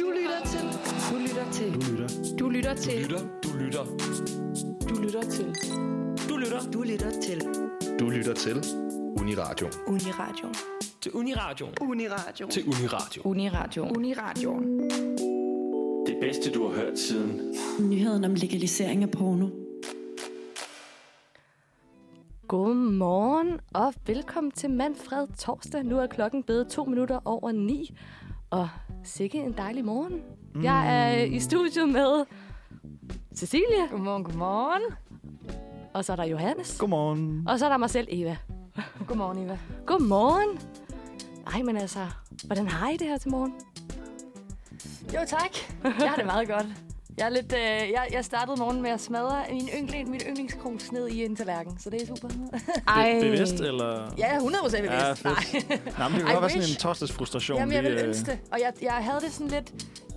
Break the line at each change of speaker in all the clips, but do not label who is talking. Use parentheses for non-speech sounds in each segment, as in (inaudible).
Du lytter til. Du lytter til.
Du lytter.
Du lytter til.
Du lytter.
Du lytter til.
Du lytter.
Du lytter til.
Du lytter til Uniradio.
Uniradio.
Til Uniradio.
Uniradio.
Til Uniradio.
Uniradio. Uniradio.
Det bedste, du har hørt siden
Nyheden om legalisering af porno.
Godmorgen og velkommen til Manfred Torsdag. Nu er klokken blevet to minutter over ni. Og sikke en dejlig morgen. Mm. Jeg er i studiet med Cecilie,
Godmorgen, godmorgen.
og så er der Johannes,
Godmorgen.
og så er der mig selv, Eva.
Godmorgen, Eva.
Godmorgen. Ej, men altså, hvordan har I det her til morgen?
Jo, tak. Jeg har det meget godt. Jeg, er lidt, øh, jeg, jeg startede morgenen med at smadre min yndling, mit yndlingskrus ned i en tallerken, så det er super.
Ej.
Bevidst, eller?
ja, jeg er 100 procent bevidst.
Ja, fedt. Nej, men det
I
kan godt være sådan
wish.
en torsdagsfrustration.
Jamen, jeg
lige,
ville
øh,
ønske det. Og jeg, jeg havde det sådan lidt...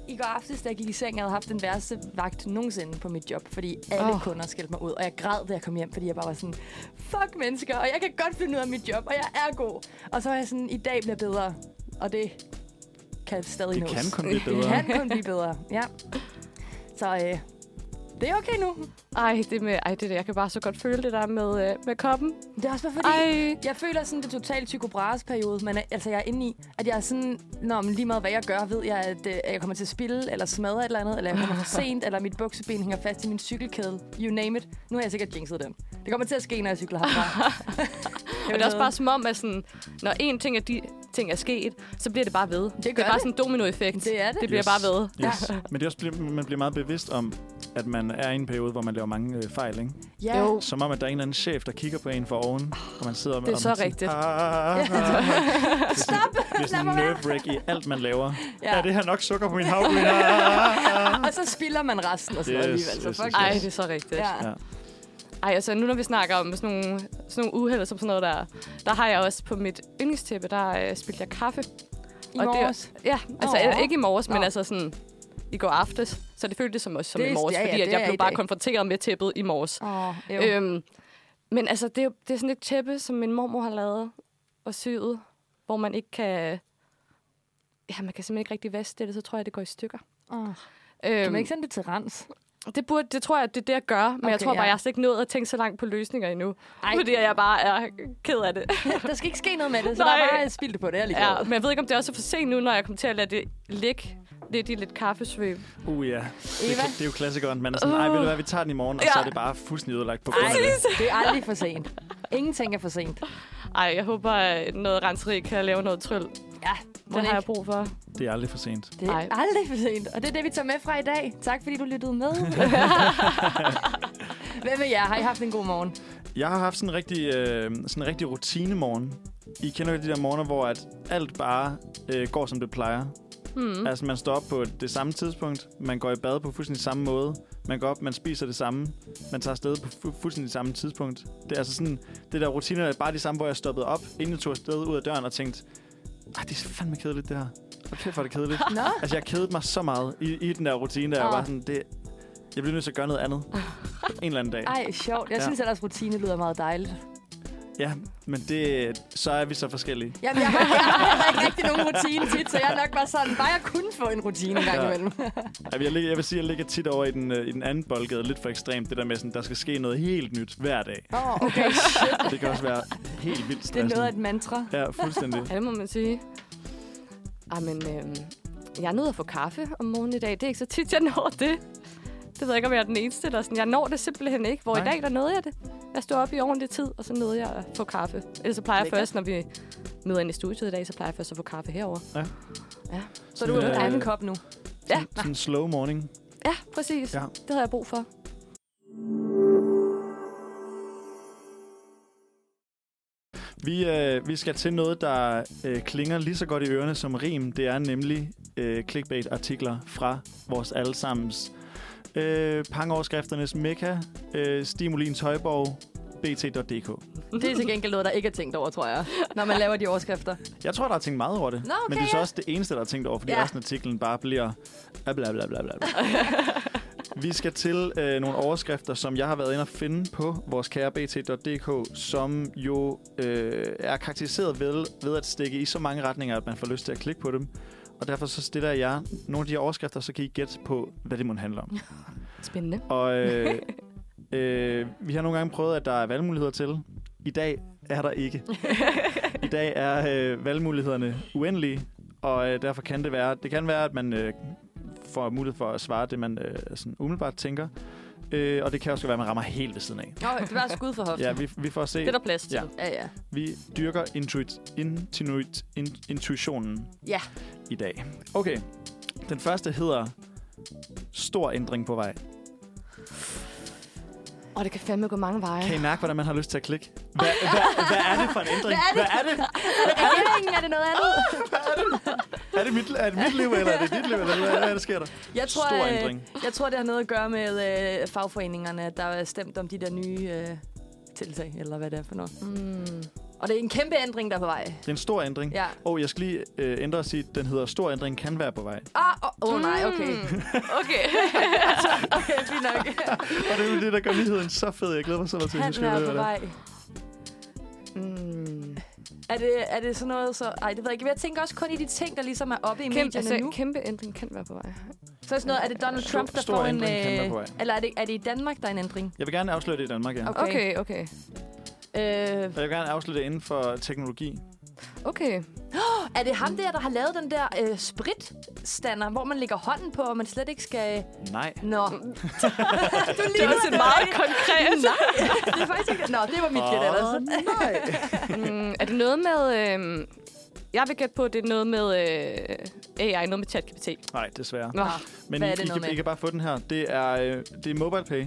I går aftes, da jeg gik i seng, jeg havde haft den værste vagt nogensinde på mit job, fordi alle
Åh.
oh. kunder skældte mig ud, og jeg græd, da jeg kom hjem, fordi jeg bare var sådan, fuck mennesker, og jeg kan godt finde ud af mit job, og jeg er god. Og så var jeg sådan, i dag bliver bedre, og det kan stadig
Det
nås.
kan kun blive
Det
bedre.
kan kun blive bedre, ja. Så øh, det er okay nu.
Ej, det med, ej, det der, jeg kan bare så godt føle det der med, øh, med koppen.
Det er også bare fordi, Ej.
Ej,
jeg føler sådan det totale Tycho Brahes periode, men altså jeg er inde i, at jeg er sådan, når men lige meget hvad jeg gør, ved jeg, at øh, at jeg kommer til at spille, eller smadre et eller andet, eller jeg kommer for sent, eller mit bukseben hænger fast i min cykelkæde. You name it. Nu har jeg sikkert jinxet den. Det kommer til at ske, når jeg cykler
(laughs)
herfra. (laughs)
men det er også bare som om, at sådan, når en ting er, de, ting er sket, så bliver det bare ved. Det, det
gør
er bare
det.
sådan en dominoeffekt.
Det er det.
Det bliver
yes,
bare ved.
Yes. Men det er også, bliver- man bliver meget bevidst om, at man er i en periode, hvor man laver mange øh, fejl. Ikke?
Ja. Jo.
Som om, at der er en eller anden chef, der kigger på en fra oven, og man sidder med...
Det er
og
så
man sådan,
rigtigt. (laughs)
"Ah, ah, ah."
Stop!
Det er sådan
Lad
en
mig være.
nerve i alt, man laver.
Ja.
Er det her nok sukker på min
(laughs)
havgryn? Ah, ah, ah.
Og så spilder man resten og sådan noget
Yes,
alligevel. Så
yes,
fuck
yes,
Ej,
yes.
det er så rigtigt.
Ja.
Ja.
Ej, altså nu når vi snakker om sådan nogle, sådan nogle uheld og sådan noget der, der har jeg også på mit yndlingstæppe, der øh, spilte jeg kaffe.
I
Og det-
morges.
Ja, altså
Nå.
oh. ikke i morges, men
Nå.
altså sådan i går aftes. Så det føltes som, også som
Det-
i morges,
ja, ja,
fordi at
det
jeg
er
blev
i
bare
dag.
konfronteret med tæppet i morges.
Åh, jo.
Øhm, men altså, det er, jo- det er sådan et tæppe, som min mormor har lavet og syet, hvor man ikke kan... Ja, man kan simpelthen ikke rigtig vaske det, så tror jeg, det går i stykker.
Åh. Kan
Øhm,
man ikke sende det til rens?
det, burde, det tror jeg, det er det, jeg gør. Men okay, jeg
Okay,
tror bare,
ja.
jeg har slet ikke nået at tænke så langt på løsninger endnu.
Ej.
Ej. Fordi jeg bare er ked af det.
Der skal ikke ske noget med det, så
Nej.
der er bare spildt på det. Jeg er ligeglad.
ja, men jeg ved ikke, om det også er for sent nu, når jeg kommer til at lade det ligge lidt i lidt kaffesvøb.
Uh, ja.
Eva?
Det,
Uh.
er- det er jo klassikeren. Man er sådan, nej, ved du hvad, vi tager den i morgen, og
Ja.
så er det bare fuldstændig ødelagt på grund af det.
Det er aldrig for sent. Ingenting er for sent.
Ej, jeg håber, at noget renseri kan lave noget tryl. Det
Ja, må
har jeg
ikke.
brug for.
Det er aldrig for sent.
Det er
Ej.
aldrig for sent. Og det er det, vi tager med fra i dag. Tak, fordi du lyttede med. Hvem med jer? Har I haft en god morgen?
Jeg har haft sådan en rigtig, øh, sådan en rigtig rutinemorgen. I kender jo de der morgener, hvor at alt bare øh, går, som det plejer.
Hmm.
Mm. Altså, man står op på det samme tidspunkt, man går i bad på fuldstændig samme måde, man går op, man spiser det samme, man tager afsted på fu- fuldstændig samme tidspunkt. Det er altså sådan, det der rutiner er bare de samme, hvor jeg stoppede op, inden jeg tog afsted ud af døren og tænkte, ej, det er fandme kedeligt, det her. Og kæft, hvor er det
(laughs)
kedeligt.
Nå?
Altså, jeg kedede mig så meget i, i den der rutine, der jeg
Åh.
var sådan, det, jeg bliver nødt til at gøre noget
(laughs)
andet. En eller anden dag.
Ej, sjovt. Jeg
Ja.
synes, at deres rutine lyder meget dejligt.
Ja, men det, så er vi så forskellige.
Jamen, jeg har, jeg har ikke rigtig nogen rutine tit, så jeg er nok bare sådan, bare jeg kunne få en rutine en gang
Ja.
imellem.
Jeg vil, jeg vil sige, at jeg ligger tit over i den, øh, i den anden boldgade, lidt for ekstremt, det der med, sådan, der skal ske noget helt nyt hver dag.
Åh, oh, okay. Shit.
Det kan også være helt vildt
Det er
stressende.
noget af et mantra.
Ja, fuldstændig.
Ja, det må man sige. Ej, men øh, jeg er nødt at få kaffe om morgenen i dag. Det er ikke så tit, jeg når det. Det ved jeg ikke, om jeg er den eneste. Eller sådan. Jeg når det simpelthen ikke. Hvor Nej. i
Nej.
dag, der nåede jeg det. Jeg stod op i ordentlig tid, og så nåede jeg at få kaffe. Ellers så plejer jeg
Lækkert.
først, når vi møder ind i studiet i dag, så plejer jeg først at få kaffe herover.
(laughs) Så du er
Sådan,
en anden
øh,
kop nu.
Sådan en slow morning.
Ja, præcis.
Ja.
Ja. Det havde jeg brug for.
Vi, øh, vi skal til noget, der øh, klinger lige så godt i ørerne som rim. Det er nemlig øh, clickbait-artikler fra vores allesammens øh, pangoverskrifternes mekka, øh, Stimulins Højborg, bt.dk.
Det er til gengæld noget, der ikke er tænkt over, tror jeg, når man laver de overskrifter.
Jeg tror, der har tænkt meget over det.
Nå, okay,
men det er så
ja.
også det eneste, der har tænkt over, fordi
Ja.
ja. resten af artiklen bare bliver... ah, Bla, bla,
(laughs)
bla, bla, bla. Vi skal til øh, nogle overskrifter, som jeg har været inde og finde på vores kære bt.dk, som jo øh, er karakteriseret ved, ved at stikke i så mange retninger, at man får lyst til at klikke på dem. og derfor så stiller jeg jer nogle af de her overskrifter, så kan I gætte på, hvad det må handle om.
Spændende.
Og øh, øh, vi har nogle gange prøvet, at der er valgmuligheder til. I dag er der ikke. I dag er øh, valgmulighederne uendelige, og øh, derfor kan det være, det kan være, at man øh, får mulighed for at svare det, man øh, sådan umiddelbart tænker. Øh, og det kan også være, at man rammer helt ved siden af.
Nå, det var skud for hoften.
Ja, vi, vi får se.
Det er der plads til.
Ja.
Ja.
ja, ja.
Vi dyrker intuit, intuit, in, intuitionen
Ja.
i dag. Okay, den første hedder Stor ændring på vej.
Og det kan fandme gå mange veje.
Kan I mærke, hvordan man har lyst til at klikke? Hvad, hvad, hvad er det for en ændring? Hvad er det?
Er det regeringen? Er det noget andet?
Er det mit, er det mit liv, eller er det dit liv, eller hvad er det, der sker der?
Jeg tror,
Stor
øh,
ændring.
Jeg tror, det har noget at gøre med øh, fagforeningerne, at der er stemt om de der nye øh, tiltag, eller hvad det er for noget.
Mm.
Og det er en kæmpe ændring, der er på vej.
Det er en stor ændring.
Ja.
Og jeg skal lige øh, ændre og sige, at den hedder Stor ændring kan være på vej.
Ah, åh oh, oh, nej, okay.
Mm. (laughs)
Okay.
(laughs) Okay, fint nok.
Og det er jo det, der gør nyheden så fed. Jeg glæder mig så meget til, at I
Han
skal høre,
er
hvad
på
det er.
vej.
mm.
Er det, er det sådan noget, så... Ej, det ved jeg ikke. Jeg tænker også kun i de ting, der ligesom er oppe i
Kæmpe,
medierne
altså,
nu.
kæmpe ændring kan være på vej.
Så er sådan noget, er det Donald
Stor-
Trump, der
stor
får en... øh,
ændring kan være på vej.
eller er det, er det i Danmark, der er en ændring?
Jeg vil gerne afsløre det i Danmark, ja.
Okay.
Okay, okay.
Øh,
Og jeg vil gerne afsløre det inden for teknologi.
Okay.
er det ham der, der har lavet den der øh, spritstander, hvor man lægger hånden på, og man slet ikke skal...
Nej.
Nå. (laughs) du
Mm. Det er også meget konkret.
det er faktisk ikke... Nå, det var mit gæt ellers.
Mm, er det noget med... Øh, jeg vil gætte på, at det er noget med øh, AI, noget med ChatGPT.
(laughs) Nej, desværre.
Nå,
Men
Ah, Hvad
I,
er det
I,
noget
kan,
med?
I kan bare få den her. Det er, øh, det er MobilePay,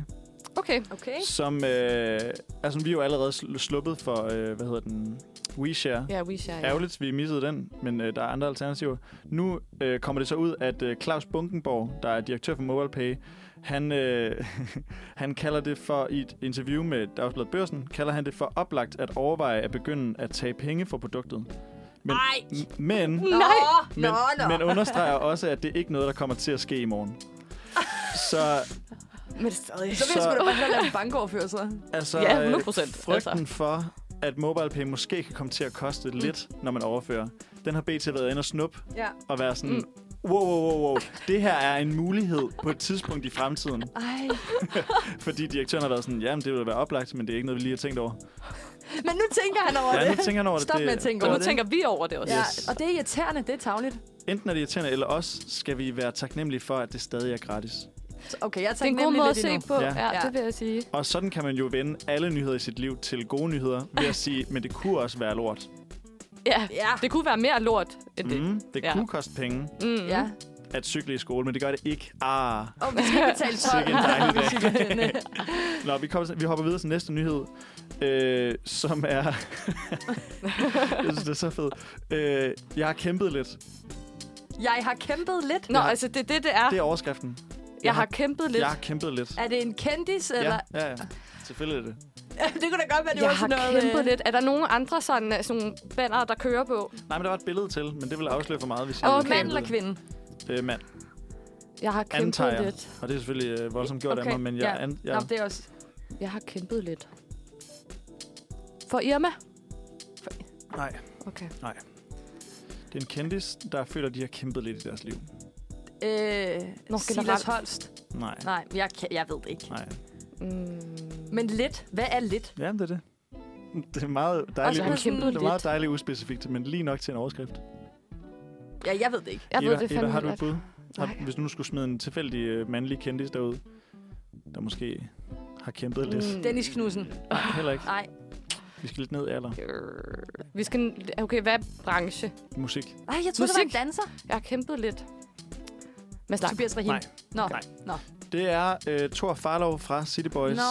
okay.
Okay.
som øh, altså, vi er jo allerede sl- sluppet for, øh, hvad hedder den, WeShare.
Ja, WeShare. Ja.
Ærgerligt, vi missede den, men øh, der er andre alternativer. Nu øh, kommer det så ud, at øh, Claus Bunkenborg, der er direktør for MobilePay, han, øh, (laughs) han kalder det for, i et interview med Dagbladet Børsen, kalder han det for oplagt at overveje at begynde at tage penge for produktet. Men, men, men,
Nej.
men,
(laughs)
men understreger også, at det ikke er noget, der kommer til at ske i morgen. Så
Men det er stadig...
Så vil jeg
Så-
sgu da bare lave bankoverførsel.
Altså,
Ja,
øh,
100%,
Frygten altså.
altså.
for, at MobilePay måske kan komme til at koste mm. lidt, når man overfører. Den har BT været inde og snup
Ja.
og være sådan, mm. wow, wow, wow, wow, det her er en mulighed på et tidspunkt i fremtiden.
Ej.
Fordi direktøren har været sådan, jamen det ville være oplagt, men det er ikke noget, vi lige har tænkt over.
Men nu tænker han over
Ja, nu
det.
tænker han over det.
Stop
det,
med at tænke
Og
over
nu
det.
tænker vi over det også.
Ja,
Yes.
og det er irriterende, det er tavligt.
Enten er det irriterende, eller også skal vi være taknemmelige for, at det stadig er gratis.
Så Okay, jeg
Det er en
tænker
god
nemlig
måde at
lidt
se
endnu.
på.
Ja.
Ja. ja,
Ja.
det vil jeg sige.
Og sådan kan man jo vende alle nyheder i sit liv til gode nyheder ved at sige, men det kunne også være lort.
Ja,
Ja.
det kunne være mere lort end det.
Mm, det
Ja.
kunne koste penge
Mm.
Ja.
at cykle i skole, men det gør det ikke. Ah.
Og vi
(laughs)
skal betale 12.
Sikke en dejlig dag.
Sikke en-
Nå, vi, kommer, vi hopper videre til næste nyhed, øh, som er... (laughs) jeg synes, det er så fedt. Øh, jeg har kæmpet lidt.
Jeg har kæmpet lidt.
Nå,
Ja.
altså det er det, det er.
Det er
Ah.
overskriften.
Jeg har kæmpet lidt.
Jeg har kæmpet lidt.
Er det en kendis, eller? (laughs)
Ja, ja, ja. Selvfølgelig er det.
det kunne da godt være, det var
Jeg har
sådan noget...
kæmpet
øh,
lidt. Er der nogen andre sådan, øh, sådan banner, der kører på?
Nej, men der var et billede til, men det ville afsløre for meget, hvis jeg...
Okay.
Mand eller kvinde?
Øh, mand.
Jeg har kæmpet
Antager.
lidt.
Og det er selvfølgelig øh, voldsomt gjort
Okay,
af mig, men jeg...
ja.
An,
Ja.
jeg
Nå, det er også...
Jeg har kæmpet lidt. For Irma?
Nej,
Okay.
det er en kendis, der føler, at de har kæmpet lidt i deres liv.
Øh,
Nå,
Silas
generelt.
Holst.
Nej.
Nej, jeg, kan- jeg ved det ikke.
Nej.
Mm.
Men lidt. Hvad er lidt?
Ja, det (laughs) er det. Det er meget dejligt,
Også har
us-
kæmpet
det er meget
lidt.
dejligt uspecifikt, men lige nok til en overskrift.
Ja, jeg ved det ikke.
Jeg ved
Eva,
det
Eva,
fandme
har du et
godt.
bud? Har,
Nej.
hvis du nu skulle smide en tilfældig øh, mandlig kendis derud, der måske har kæmpet lidt.
Mm.
Dennis Knudsen.
Nej, (laughs) heller ikke.
Nej.
Vi skal lidt ned i alder.
Øh, Vi skal... Okay, hvad er branche?
Musik.
Ej, jeg troede, det var
Musik.
en danser.
Jeg har kæmpet lidt. Mads Lang.
Tobias Rahim.
Nej.
Nå.
Nej.
Nå.
Det er øh, Thor Farlov fra City Boys,
Nå.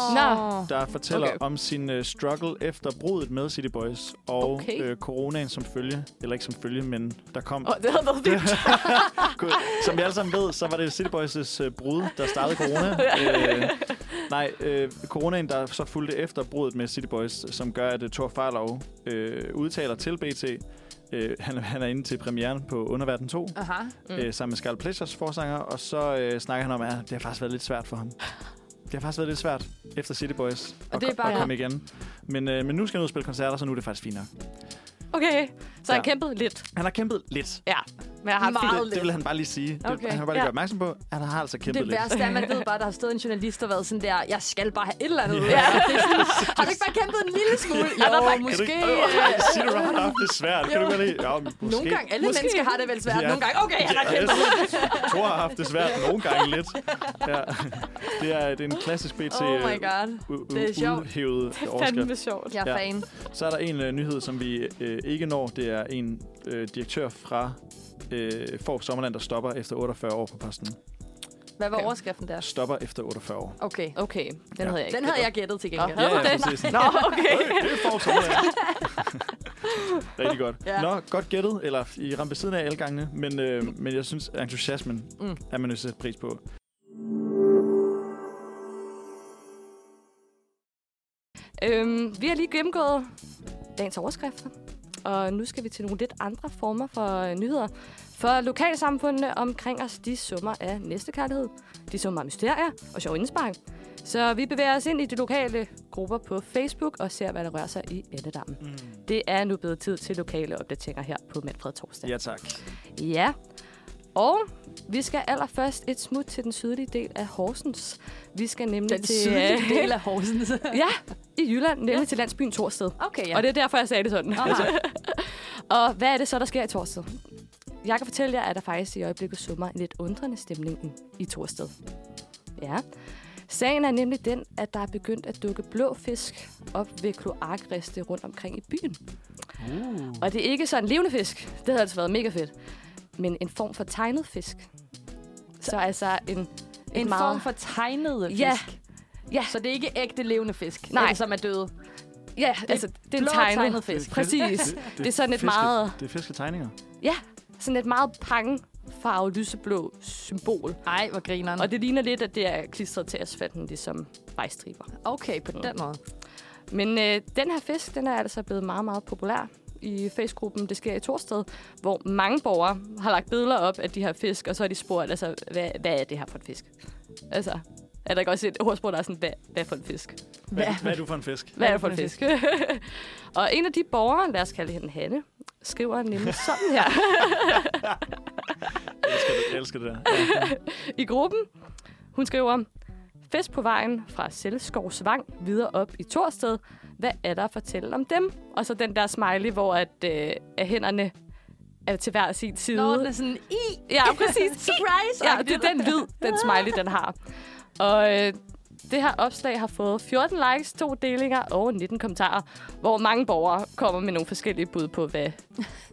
der fortæller okay.
Okay.
om sin øh, struggle efter bruddet med City Boys og
Okay.
øh, coronaen som følge. Eller ikke som følge, men der kom...
Åh, det havde været vildt.
God. Som vi alle sammen ved, så var det City Boys' øh, brud, der startede
(laughs)
corona. øh, nej, øh, coronaen, der så fulgte efter brudet med City Boys, som gør, at uh, Thor Farlov øh, udtaler til BT, øh, han, han er inde til premieren på Underverden 2,
Aha.
mm. øh, sammen med Scarlett Pleasures forsanger, og så øh, snakker han om, at det har faktisk været lidt svært for ham. Det har faktisk været lidt svært efter City Boys at,
det er
ko-
bare-
at komme igen. Men, øh, men nu skal han ud og spille koncerter, så nu er det faktisk finere.
Okay, så jeg har
Ja.
kæmpet lidt.
Han har kæmpet lidt.
Ja. Men jeg har haft
Meget
Det, det vil han bare lige sige. Okay.
Okay,
Det, han vil bare lige
ja.
gøre opmærksom på, at han har altså kæmpet
Det
lidt.
værste er, at man ved bare, at der har stået en journalist og været sådan der, jeg skal bare have et eller andet. Ja. har du ikke bare kæmpet en lille smule? Jo,
Kan du
måske.
ikke
øh,
øh, sige det right off? Det er svært. Kan du ikke bare lige... Ja, måske.
Nogle gange, alle
Måske.
mennesker har det vel svært.
Ja.
Nogle gange, okay, jeg har kæmpet.
Yes. Thor har haft det svært nogle gange lidt. Ja. Det, er, det er en klassisk BT
Oh my god. Det er sjovt.
udhævet
fandme
overskrift.
sjovt.
Jeg er
øh, Ja.
fan.
Så er der en øh, nyhed, som vi øh, ikke når. Det er en øh, direktør fra øh, Fork Sommerland, der stopper efter 48 år på posten.
Hvad var
Okay.
overskriften der?
Stopper efter 48 år.
Okay.
Okay, den
Ja.
havde jeg ikke.
Den havde jeg gættet til gengæld.
Nå, havde du
ja,
den?
præcis.
Nå, (laughs) okay.
(laughs) Det er Fork Sommerland. Rigtig godt.
Ja.
Ja. Nå, godt gættet, eller I ramte ved siden af alle gangene, men, øh, men jeg synes, at entusiasmen
Mm.
mm. er man nødt til at sætte pris på.
Øhm, vi har lige gennemgået dagens overskrifter, og nu skal vi til nogle lidt andre former for øh, nyheder. For lokalsamfundene omkring os, de summer af næstekærlighed, de summer af mysterier og sjov indspark. Så vi bevæger os ind i de lokale grupper på Facebook og ser, hvad der rører sig i Ældedammen. Mm. Det er nu blevet tid til lokale opdateringer her på Manfred Torsdag.
Ja, tak.
Ja. Og vi skal allerførst et smut til den sydlige del af Horsens. Vi skal nemlig
Den
til... øh,
sydlige øh, del af Horsens.
(laughs) Ja, i Jylland, nemlig ja. til landsbyen Torsted.
(laughs) Okay,
Ja.
ja.
Og det er derfor, jeg sagde det sådan.
Aha.
(laughs) og hvad er det så, der sker i Torsted? Jeg kan fortælle jer, at der faktisk i øjeblikket summer en lidt undrende stemning i- i Torsted. Ja. Sagen er nemlig den, at der er begyndt at dukke blå fisk op ved kloakreste rundt omkring i byen. Uh. Og det er ikke sådan levende fisk. Det havde altså været mega fedt. Men en form for tegnet fisk. Så altså en... et
en form
meget-
for tegnede fisk.
Ja. Ja.
Så det er ikke ægte levende fisk,
Nej.
eller som er døde.
Ja, altså, det er en
blå
tegnet.
tegnet fisk.
Præcis. (laughs) Det, det, det er sådan et
fiske-
meget...
Det er fisketegninger.
Ja, sådan et meget pangefarvet lyseblå symbol.
Nej, hvor grineren.
Og det ligner lidt, at det er klistret til asfalten, ligesom vejstriber.
Okay, på den måde.
Men øh, den her fisk, den er altså blevet meget, meget populær i Facebookgruppen Det sker i Torsted, hvor mange borgere har lagt billeder op af de her fisk, og så har de spurgt, altså, hvad, hvad er det her for en fisk? Altså, er der ikke også et ordsprog, der er sådan, hvad, hvad for en fisk?
Hvad, hvad er du for en fisk?
Hvad er det for en fisk? (laughs) og en af de borgere, lad os kalde hende Hanne, skriver (laughs) nemlig sådan her.
Jeg elsker det, jeg elsker det
(laughs)
der.
i gruppen. Hun skriver, fest på vejen fra Selskovsvang videre op i Torsted. Hvad er der at fortælle om dem? Og så den der smiley, hvor at, øh, at hænderne er til hver sin side.
Nå, det er sådan i.
Ja,
(laughs)
præcis.
Surprise!
Ja, det er den lyd, den smiley, den har. Og øh, det her opslag har fået 14 likes, to delinger og 19 kommentarer, hvor mange borgere kommer med nogle forskellige bud på, hvad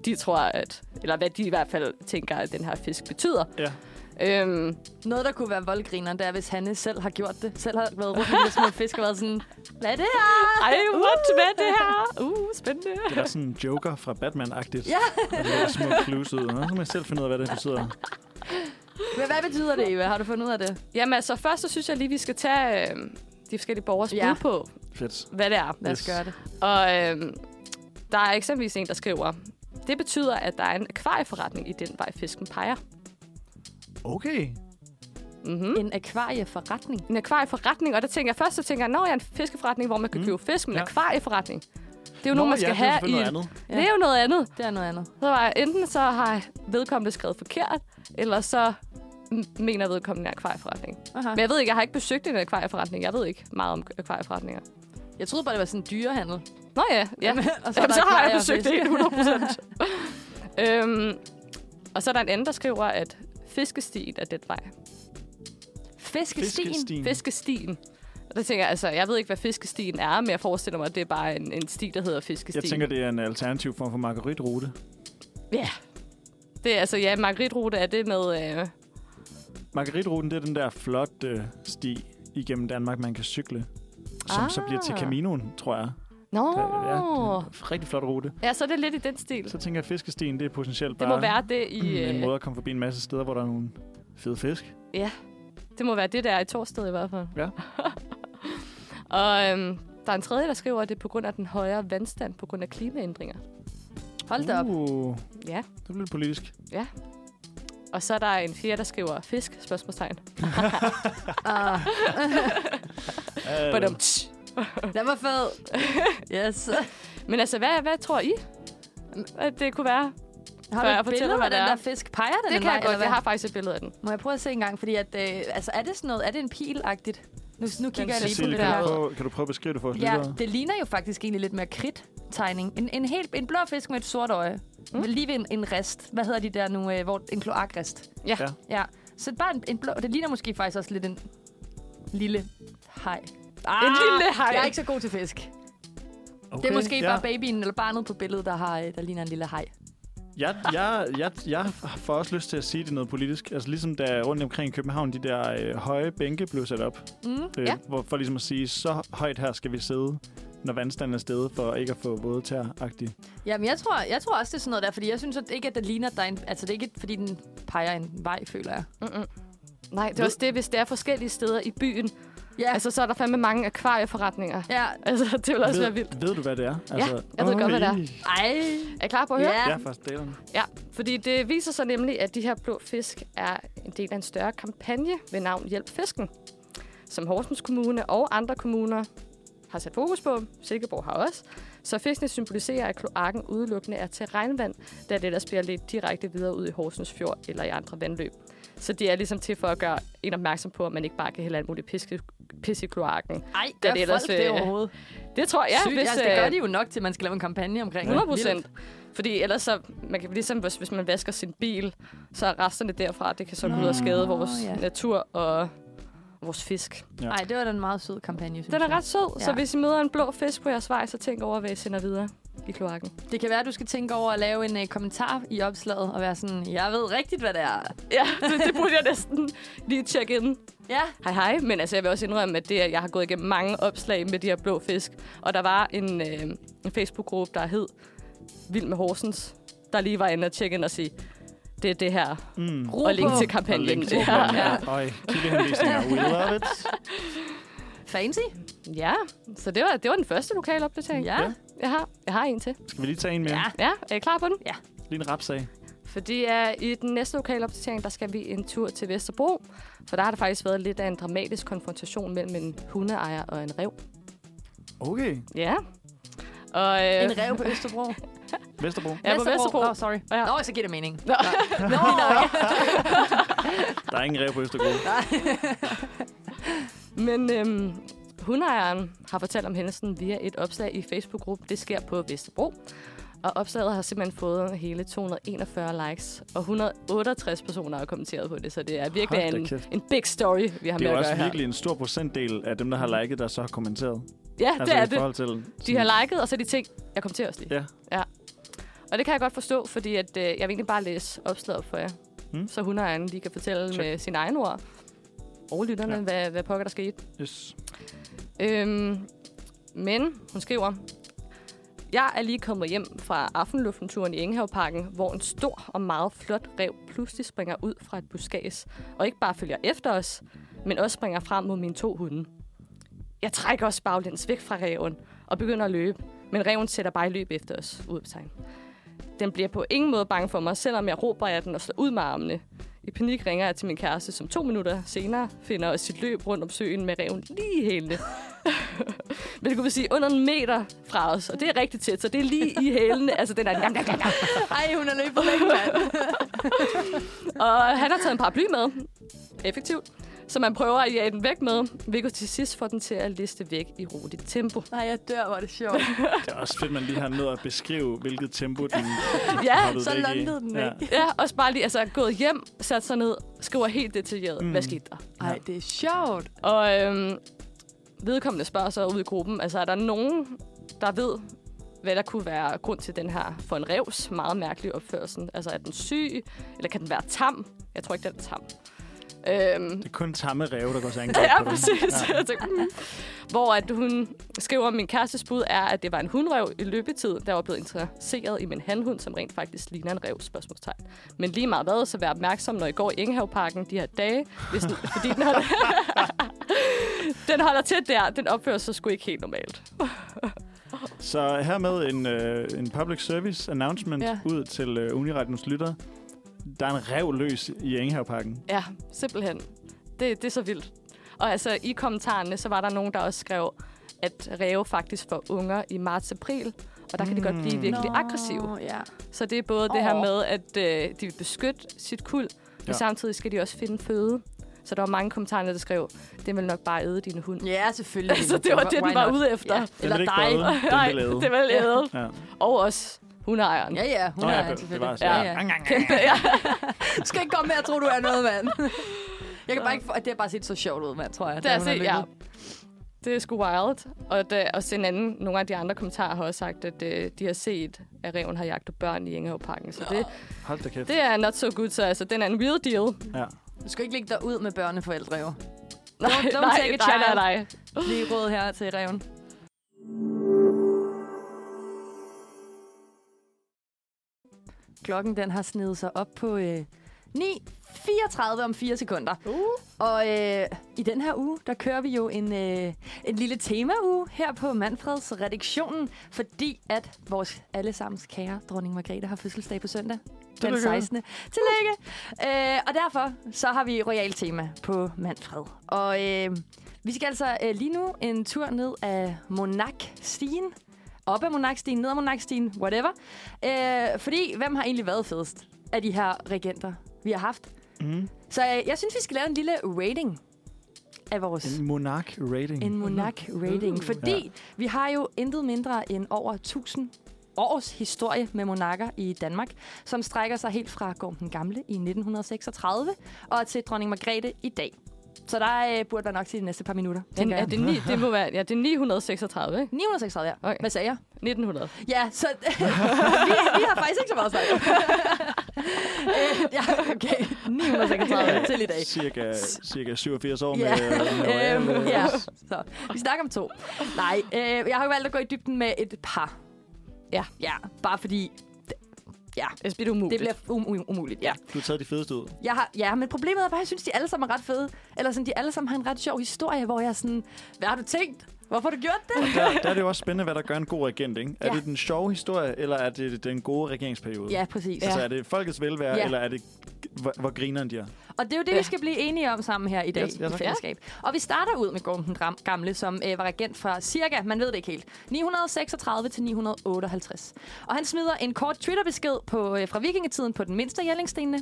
de tror, at, eller hvad de i hvert fald tænker, at den her fisk betyder.
Ja.
Øhm,
Noget, der kunne være voldgrineren, det er, hvis Hanne selv har gjort det. Selv har været rundt med en små fisk og været sådan, hvad er det her?
Ej, what med det her? Uh, spændende.
Det var sådan en joker fra Batman-agtigt. Ja. Og det var små clues ud. Nå, så må jeg selv finde ud af, hvad det betyder.
Men hvad betyder det, Eva? Har du fundet ud af det?
Jamen altså, først så synes jeg lige, vi skal tage øh, de forskellige borgers ja.
Ja.
bud på,
Fedt.
hvad det er.
Lad os
Yes.
gøre det.
Og øh, der er eksempelvis en, der skriver, det betyder, at der er en akvarieforretning i den vej, fisken peger.
Okay.
Mm-hmm.
En akvarieforretning.
En akvarieforretning, og der tænker jeg først, så tænker jeg, når jeg er en fiskeforretning, hvor man kan
Mm.
købe fisk, men
Ja.
ja. akvarieforretning, det er jo nogen, man skal
ja, det er
have i...
selvfølgelig noget andet.
Det er jo noget andet.
Det er noget andet.
Så var jeg, enten så har vedkommende skrevet forkert, eller så m- mener vedkommende en akvarieforretning.
Aha.
Men jeg ved ikke, jeg har ikke besøgt en akvarieforretning. Jeg ved ikke meget om akvarieforretninger.
Jeg troede bare, det var sådan en dyrehandel.
Nå ja, ja.
(laughs) og
Jamen,
så, er der
så har jeg
akvarier og
besøgt
fisk. (laughs)
det 100 procent. øhm, og så er der en anden, der skriver, at fiskestien er den vej.
Fiskestien.
Fiskestien.
Fiskestien. Og der tænker jeg, altså, jeg ved ikke, hvad fiskestien er, men jeg forestiller mig, at det er bare en, en sti, der hedder fiskestien.
Jeg tænker, det er en alternativ form for margaritrute.
Ja. Det er altså, ja, margaritrute er det med... Øh,
Margaritruten, det er den der flotte øh, sti igennem Danmark, man kan cykle. Som ah. så bliver til
Ah.
Caminoen, tror jeg.
Nå,
Der, ja, det er en rigtig flot rute.
ja, så er det lidt i den stil.
Så tænker jeg, at fiskestien, det er potentielt
Det
bare
må være det i...
mm, en
Øh,
måde at komme forbi en masse steder, hvor der er nogle fede fisk.
det må være det, der er i Torsted i hvert fald.
Ja.
(laughs) Og øhm, der er en tredje, der skriver, at det er på grund af den højere vandstand, på grund af klimaændringer.
Hold da op.
Uh,
Ja.
det blev lidt politisk.
Og så er der en fjerde, der skriver fisk, spørgsmålstegn. Uh.
Ah,
Øh,
Badum.
den var fed. Yes.
Men altså, hvad, hvad tror I, at det kunne være?
Har du
Før jeg
et
fortæller,
billede
hvad
af
det
den
er.
der fisk? Peger den
Det
en
kan
vej,
jeg
eller
godt.
hvad?
Jeg har faktisk et billede af den.
Må jeg prøve at se en gang? Fordi at, øh, altså, er det sådan noget? Er det en pil-agtigt? Nu, nu kigger jeg lige på
Cecilie,
det
kan, du
der.
prøve, kan du prøve at beskrive det for os
Ja,
lyttere?
det ligner jo faktisk egentlig lidt mere kridt-tegning. En, en, helt, en blå fisk med et sort øje. Mm. Lige ved en, en rest. Hvad hedder de der nu? Øh, hvor, en kloakrest.
Ja.
Ja.
ja. Så bare en, en blå... Det ligner måske faktisk også lidt en lille hej.
En lille hej.
Ah, Jeg er ikke så god til fisk. Okay, det er måske
ja.
ja. bare babyen eller barnet på billedet, der, har, øh, der ligner en lille hej.
Jeg, jeg, jeg, jeg får også lyst til at sige det er noget politisk. Altså ligesom da rundt omkring i København, de der øh, høje bænke blev sat op.
Mm,
Øh,
Ja.
hvor, for ligesom at sige, så højt her skal vi sidde, når vandstanden er stedet, for ikke at få våde tær-agtigt.
Jamen, jeg tror, jeg tror også, det er sådan noget der, fordi jeg synes at ikke, at det ligner, at der er en, altså, det er ikke, fordi den peger en vej, føler jeg.
Nej, det er også det, hvis det er forskellige steder i byen.
Ja, altså,
Altså, så er der fandme mange akvarieforretninger.
ja.
Altså, det vil også
ved,
være vildt.
Ved du, hvad det er?
jeg ved godt, hvad det er.
øj.
Ej.
Er I klar på at høre?
Ja.
Ja, for stederne.
Ja, fordi det viser sig nemlig, at de her blå fisk er en del af en større kampagne ved navn Hjælp Fisken, som Horsens Kommune og andre kommuner har sat fokus på. Silkeborg har også. Så fiskene symboliserer, at kloakken udelukkende er til regnvand, da det ellers bliver lidt direkte videre ud i Horsens Fjord eller i andre vandløb. Så det er ligesom til for at gøre en opmærksom på, at man ikke bare kan hælde alt muligt piske, pis i kloakken.
Ej, gør
Da det
det
ellers,
folk det
øh,
overhovedet?
Det tror jeg,
Sygt, altså, det
øh,
gør de jo nok til, at man skal lave en kampagne omkring.
100
Vildt.
procent. Fordi ellers så, man kan ligesom, hvis, hvis man vasker sin bil, så er resterne derfra, det kan så gå ud og skade vores
ja.
natur og vores fisk.
Ja.
Ej, det var da en meget sød kampagne, synes
Den er
jeg.
ret sød, ja. så
Ja.
hvis I møder en blå fisk på jeres vej, så tænk over, hvad I sender videre i kloakken.
Det kan være, at du skal tænke over at lave en uh, kommentar i opslaget og være sådan, jeg ved rigtigt, hvad det er.
Ja, (laughs) det, det burde jeg næsten lige tjekke ind.
Ja,
Hej hej, men altså jeg vil også indrømme, at det, at jeg har gået igennem mange opslag med de her blå fisk, og der var en, øh, en Facebook-gruppe, der hed Vild med Horsens, der lige var inde og tjekke ind og sige, det er det her,
Mm.
ro
og link
på.
til kampagnen.
link til
Ja.
kampagnen. Øj, kildehenvisninger. We love it.
Fancy.
Ja, så det var, det var den første lokale opdatering.
Ja.
Jeg har, jeg har en til.
Skal vi lige tage en mere?
Ja.
Ja, er I klar på den?
Lige en rapsag.
Fordi uh, i den næste lokale opdatering, der skal vi en tur til Vesterbro. For der har der faktisk været lidt af en dramatisk konfrontation mellem en hundeejer og en rev.
Okay.
Ja. Og, øh,
En rev på Østerbro.
Vesterbro.
(laughs) Ja, på Vesterbro.
Nå, sorry.
Ja.
Ja. Nå, så giver det mening.
Nå.
Nå, Nå.
Der er ingen rev på Østerbro.
Men øhm, hundeejeren har fortalt om hændelsen via et opslag i Facebook-gruppen. Det sker på Vesterbro. Og opslaget har simpelthen fået hele 241 likes, og 168 personer har kommenteret på det, så det er virkelig
Hold da
en,
kæft.
en big story, vi har
Det er
med
jo
at
også
gøre
virkelig en stor procentdel af dem, der har liket, der så har kommenteret.
her. Ja,
Altså
det
i
er det.
forhold til... Mm.
De har liket, og så har de tænkt, jeg kommer til os lige.
Ja.
ja. Og det kan jeg godt forstå, fordi at, øh, jeg vil egentlig bare læse opslaget for jer.
Mm.
Mm. Så hundeejeren lige kan fortælle
Check.
med sine egne ord og lytterne,
Ja.
ja. hvad, hvad pokker der skete.
Yes.
Øhm, men hun skriver, jeg er lige kommet hjem fra aftenluftenturen i Enghaveparken, hvor en stor og meget flot rev pludselig springer ud fra et buskads, og ikke bare følger efter os, men også springer frem mod mine to hunde. Jeg trækker også baglæns væk fra reven og begynder at løbe, men reven sætter bare i løb efter os, udopstegn. Den bliver på ingen måde bange for mig, selvom jeg råber af den og slår ud med armene. I panik ringer jeg til min kæreste, som to minutter senere finder os sit løb rundt om søen med reven lige i hælene. Men det kunne vi sige under en meter fra os, og det er rigtig tæt, så det er lige i hælene. Altså, den er... Jam, jam, jam, jam.
Ej, hun er løbet længe,
(laughs)
mand.
Og han har taget en paraply med. Effektivt. Så man prøver at jage den væk med, hvilket til sidst får den til at liste væk i roligt tempo.
Nej, jeg dør, hvor er det sjovt.
Det er også fedt, man lige har nået at beskrive, hvilket
(laughs)
tempo den
Ja,
hoppede
så
væk i.
landede den,
Ja.
ikke?
Ja, også bare lige altså, gået hjem, sat sig ned, skriver helt detaljeret, mm. hvad skete der?
Ej, det er sjovt.
Og øhm, vedkommende spørger så ud i gruppen, altså er der nogen, der ved, hvad der kunne være grund til den her for en revs meget mærkelige opførsel? Altså er den syg, eller kan den være tam? Jeg tror ikke, den er tam. Øhm,
Det er kun tamme ræve, der går
(laughs)
så angreb
(laughs) ja,
på den.
præcis. Jeg tænkte, mm. Hvor at hun skriver, at min kærestes bud er, at det var en hundrev i løbetid, der var blevet interesseret i min handhund, som rent faktisk ligner en rev, spørgsmålstegn. Men lige meget hvad, så vær opmærksom, når I går i Enghaveparken de her dage, hvis den, (laughs) fordi den holder, den holder til der. Den opfører sig sgu ikke helt normalt.
Så hermed en, øh, en public service announcement ja.
Ja.
ud til øh, Uniradions lyttere. Der er en rev løs i Enghaveparken.
Ja, simpelthen. Det, det er så vildt. Og altså, i kommentarerne, så var der nogen, der også skrev, at ræve faktisk får unger i marts-april, og der kan de godt blive virkelig aggressive.
ja.
Så det er både oh. det her
Åh.
med, at øh, de vil beskytte sit kul, men
Ja.
samtidig skal de også finde føde. Så der var mange kommentarer, der skrev, det vil nok bare æde dine hund.
Ja, (laughs) selvfølgelig.
(laughs) Så det var det, den
Why
var
not?
ude efter. (laughs)
Ja.
Den vil
Eller
ikke
dig.
bade.
Nej,
Den vil æde.
det vil æde.
Ja.
Og os, hundeejeren.
Ja, ja, hun
Nå, ja,
er
be-
selvfølgelig.
bevares.
Ja,
Ja.
ja. (laughs)
Kæmpe, ja.
Du skal ikke komme med at tro, du er noget, mand. Jeg kan bare ikke... få- Det har bare set så sjovt ud, mand, tror jeg.
Det
da
er,
hun
se,
har
ja.
løbet.
Det er sgu wild. Og der, også en anden, nogle af de andre kommentarer har også sagt, at øh, de har set, at reven har jagtet børn i Enghavparken. Så det,
Hold da kæft.
det er not so good, så altså, den er en real deal.
Ja.
Du skal ikke ligge dig ud med børneforældre, jo.
Nej,
don't
(laughs) nej,
take a
nej, nej,
child.
nej.
Lige råd her til reven. Klokken den har snedet sig op på øh, 9.34 om 4 sekunder. Uh. Og øh, i den her uge, der kører vi jo en, øh, en lille temauge her på Manfreds redaktionen, fordi at vores allesammens kære dronning Margrethe har fødselsdag på søndag. Den 16. Tillykke! Øh, og derfor så har vi royal tema på Manfred. Og øh, vi skal altså øh, lige nu en tur ned af Monarkstien. Op ad Monarkstien, ned ad Monarkstien, whatever. Øh, fordi, hvem har egentlig været fedest af de her regenter, vi har haft? Mm. Så øh, jeg synes, vi skal lave en lille rating af vores...
En monark rating.
En monark
Mm.
rating. Fordi ja. vi har jo intet mindre end over 1000 års historie med monarker i Danmark, som strækker sig helt fra Gorm den Gamle i 1936 og til dronning Margrethe i dag. Så der øh, burde være nok til de næste par minutter,
Den,
tænker
er
jeg.
det, ni, det må være, ja, det er 936, ikke?
936, ja.
Okay.
Hvad sagde jeg?
1900.
Ja, så (laughs) vi, vi har faktisk ikke så meget sagt. (laughs) Øh, ja, okay. 936 til i dag.
Cirka, cirka 87 år
Ja.
med... med
Øhm,
royal,
ja. Så, vi snakker om to. Nej, øh, jeg har jo valgt at gå i dybden med et par. Ja, ja bare fordi... Ja,
Det bliver umuligt.
det bliver um- um- umuligt, ja.
Du har taget de fedeste ud.
Jeg har, ja, men problemet er bare, at jeg synes, de alle sammen er ret fede. Eller sådan, de alle sammen har en ret sjov historie, hvor jeg er sådan... Hvad har du tænkt? Hvorfor har du gjort det?
Der, der er det jo også spændende, hvad der gør en god regent, ikke? Er
Ja.
det den sjove historie, eller er det den gode regeringsperiode?
Ja, præcis.
Altså, er det folkets velvære,
Ja.
eller er det, hvor, hvor grineren de er?
Og det er jo det, ja. vi skal blive enige om sammen her i dag
Ja, ja,
i
tak.
fællesskab. Og vi starter ud med Gorm den Gram- Gamle, som øh, var regent fra cirka, man ved det ikke helt, 936 til 958. Og han smider en kort Twitter-besked på, øh, fra vikingetiden på den mindste af Jellingstenene.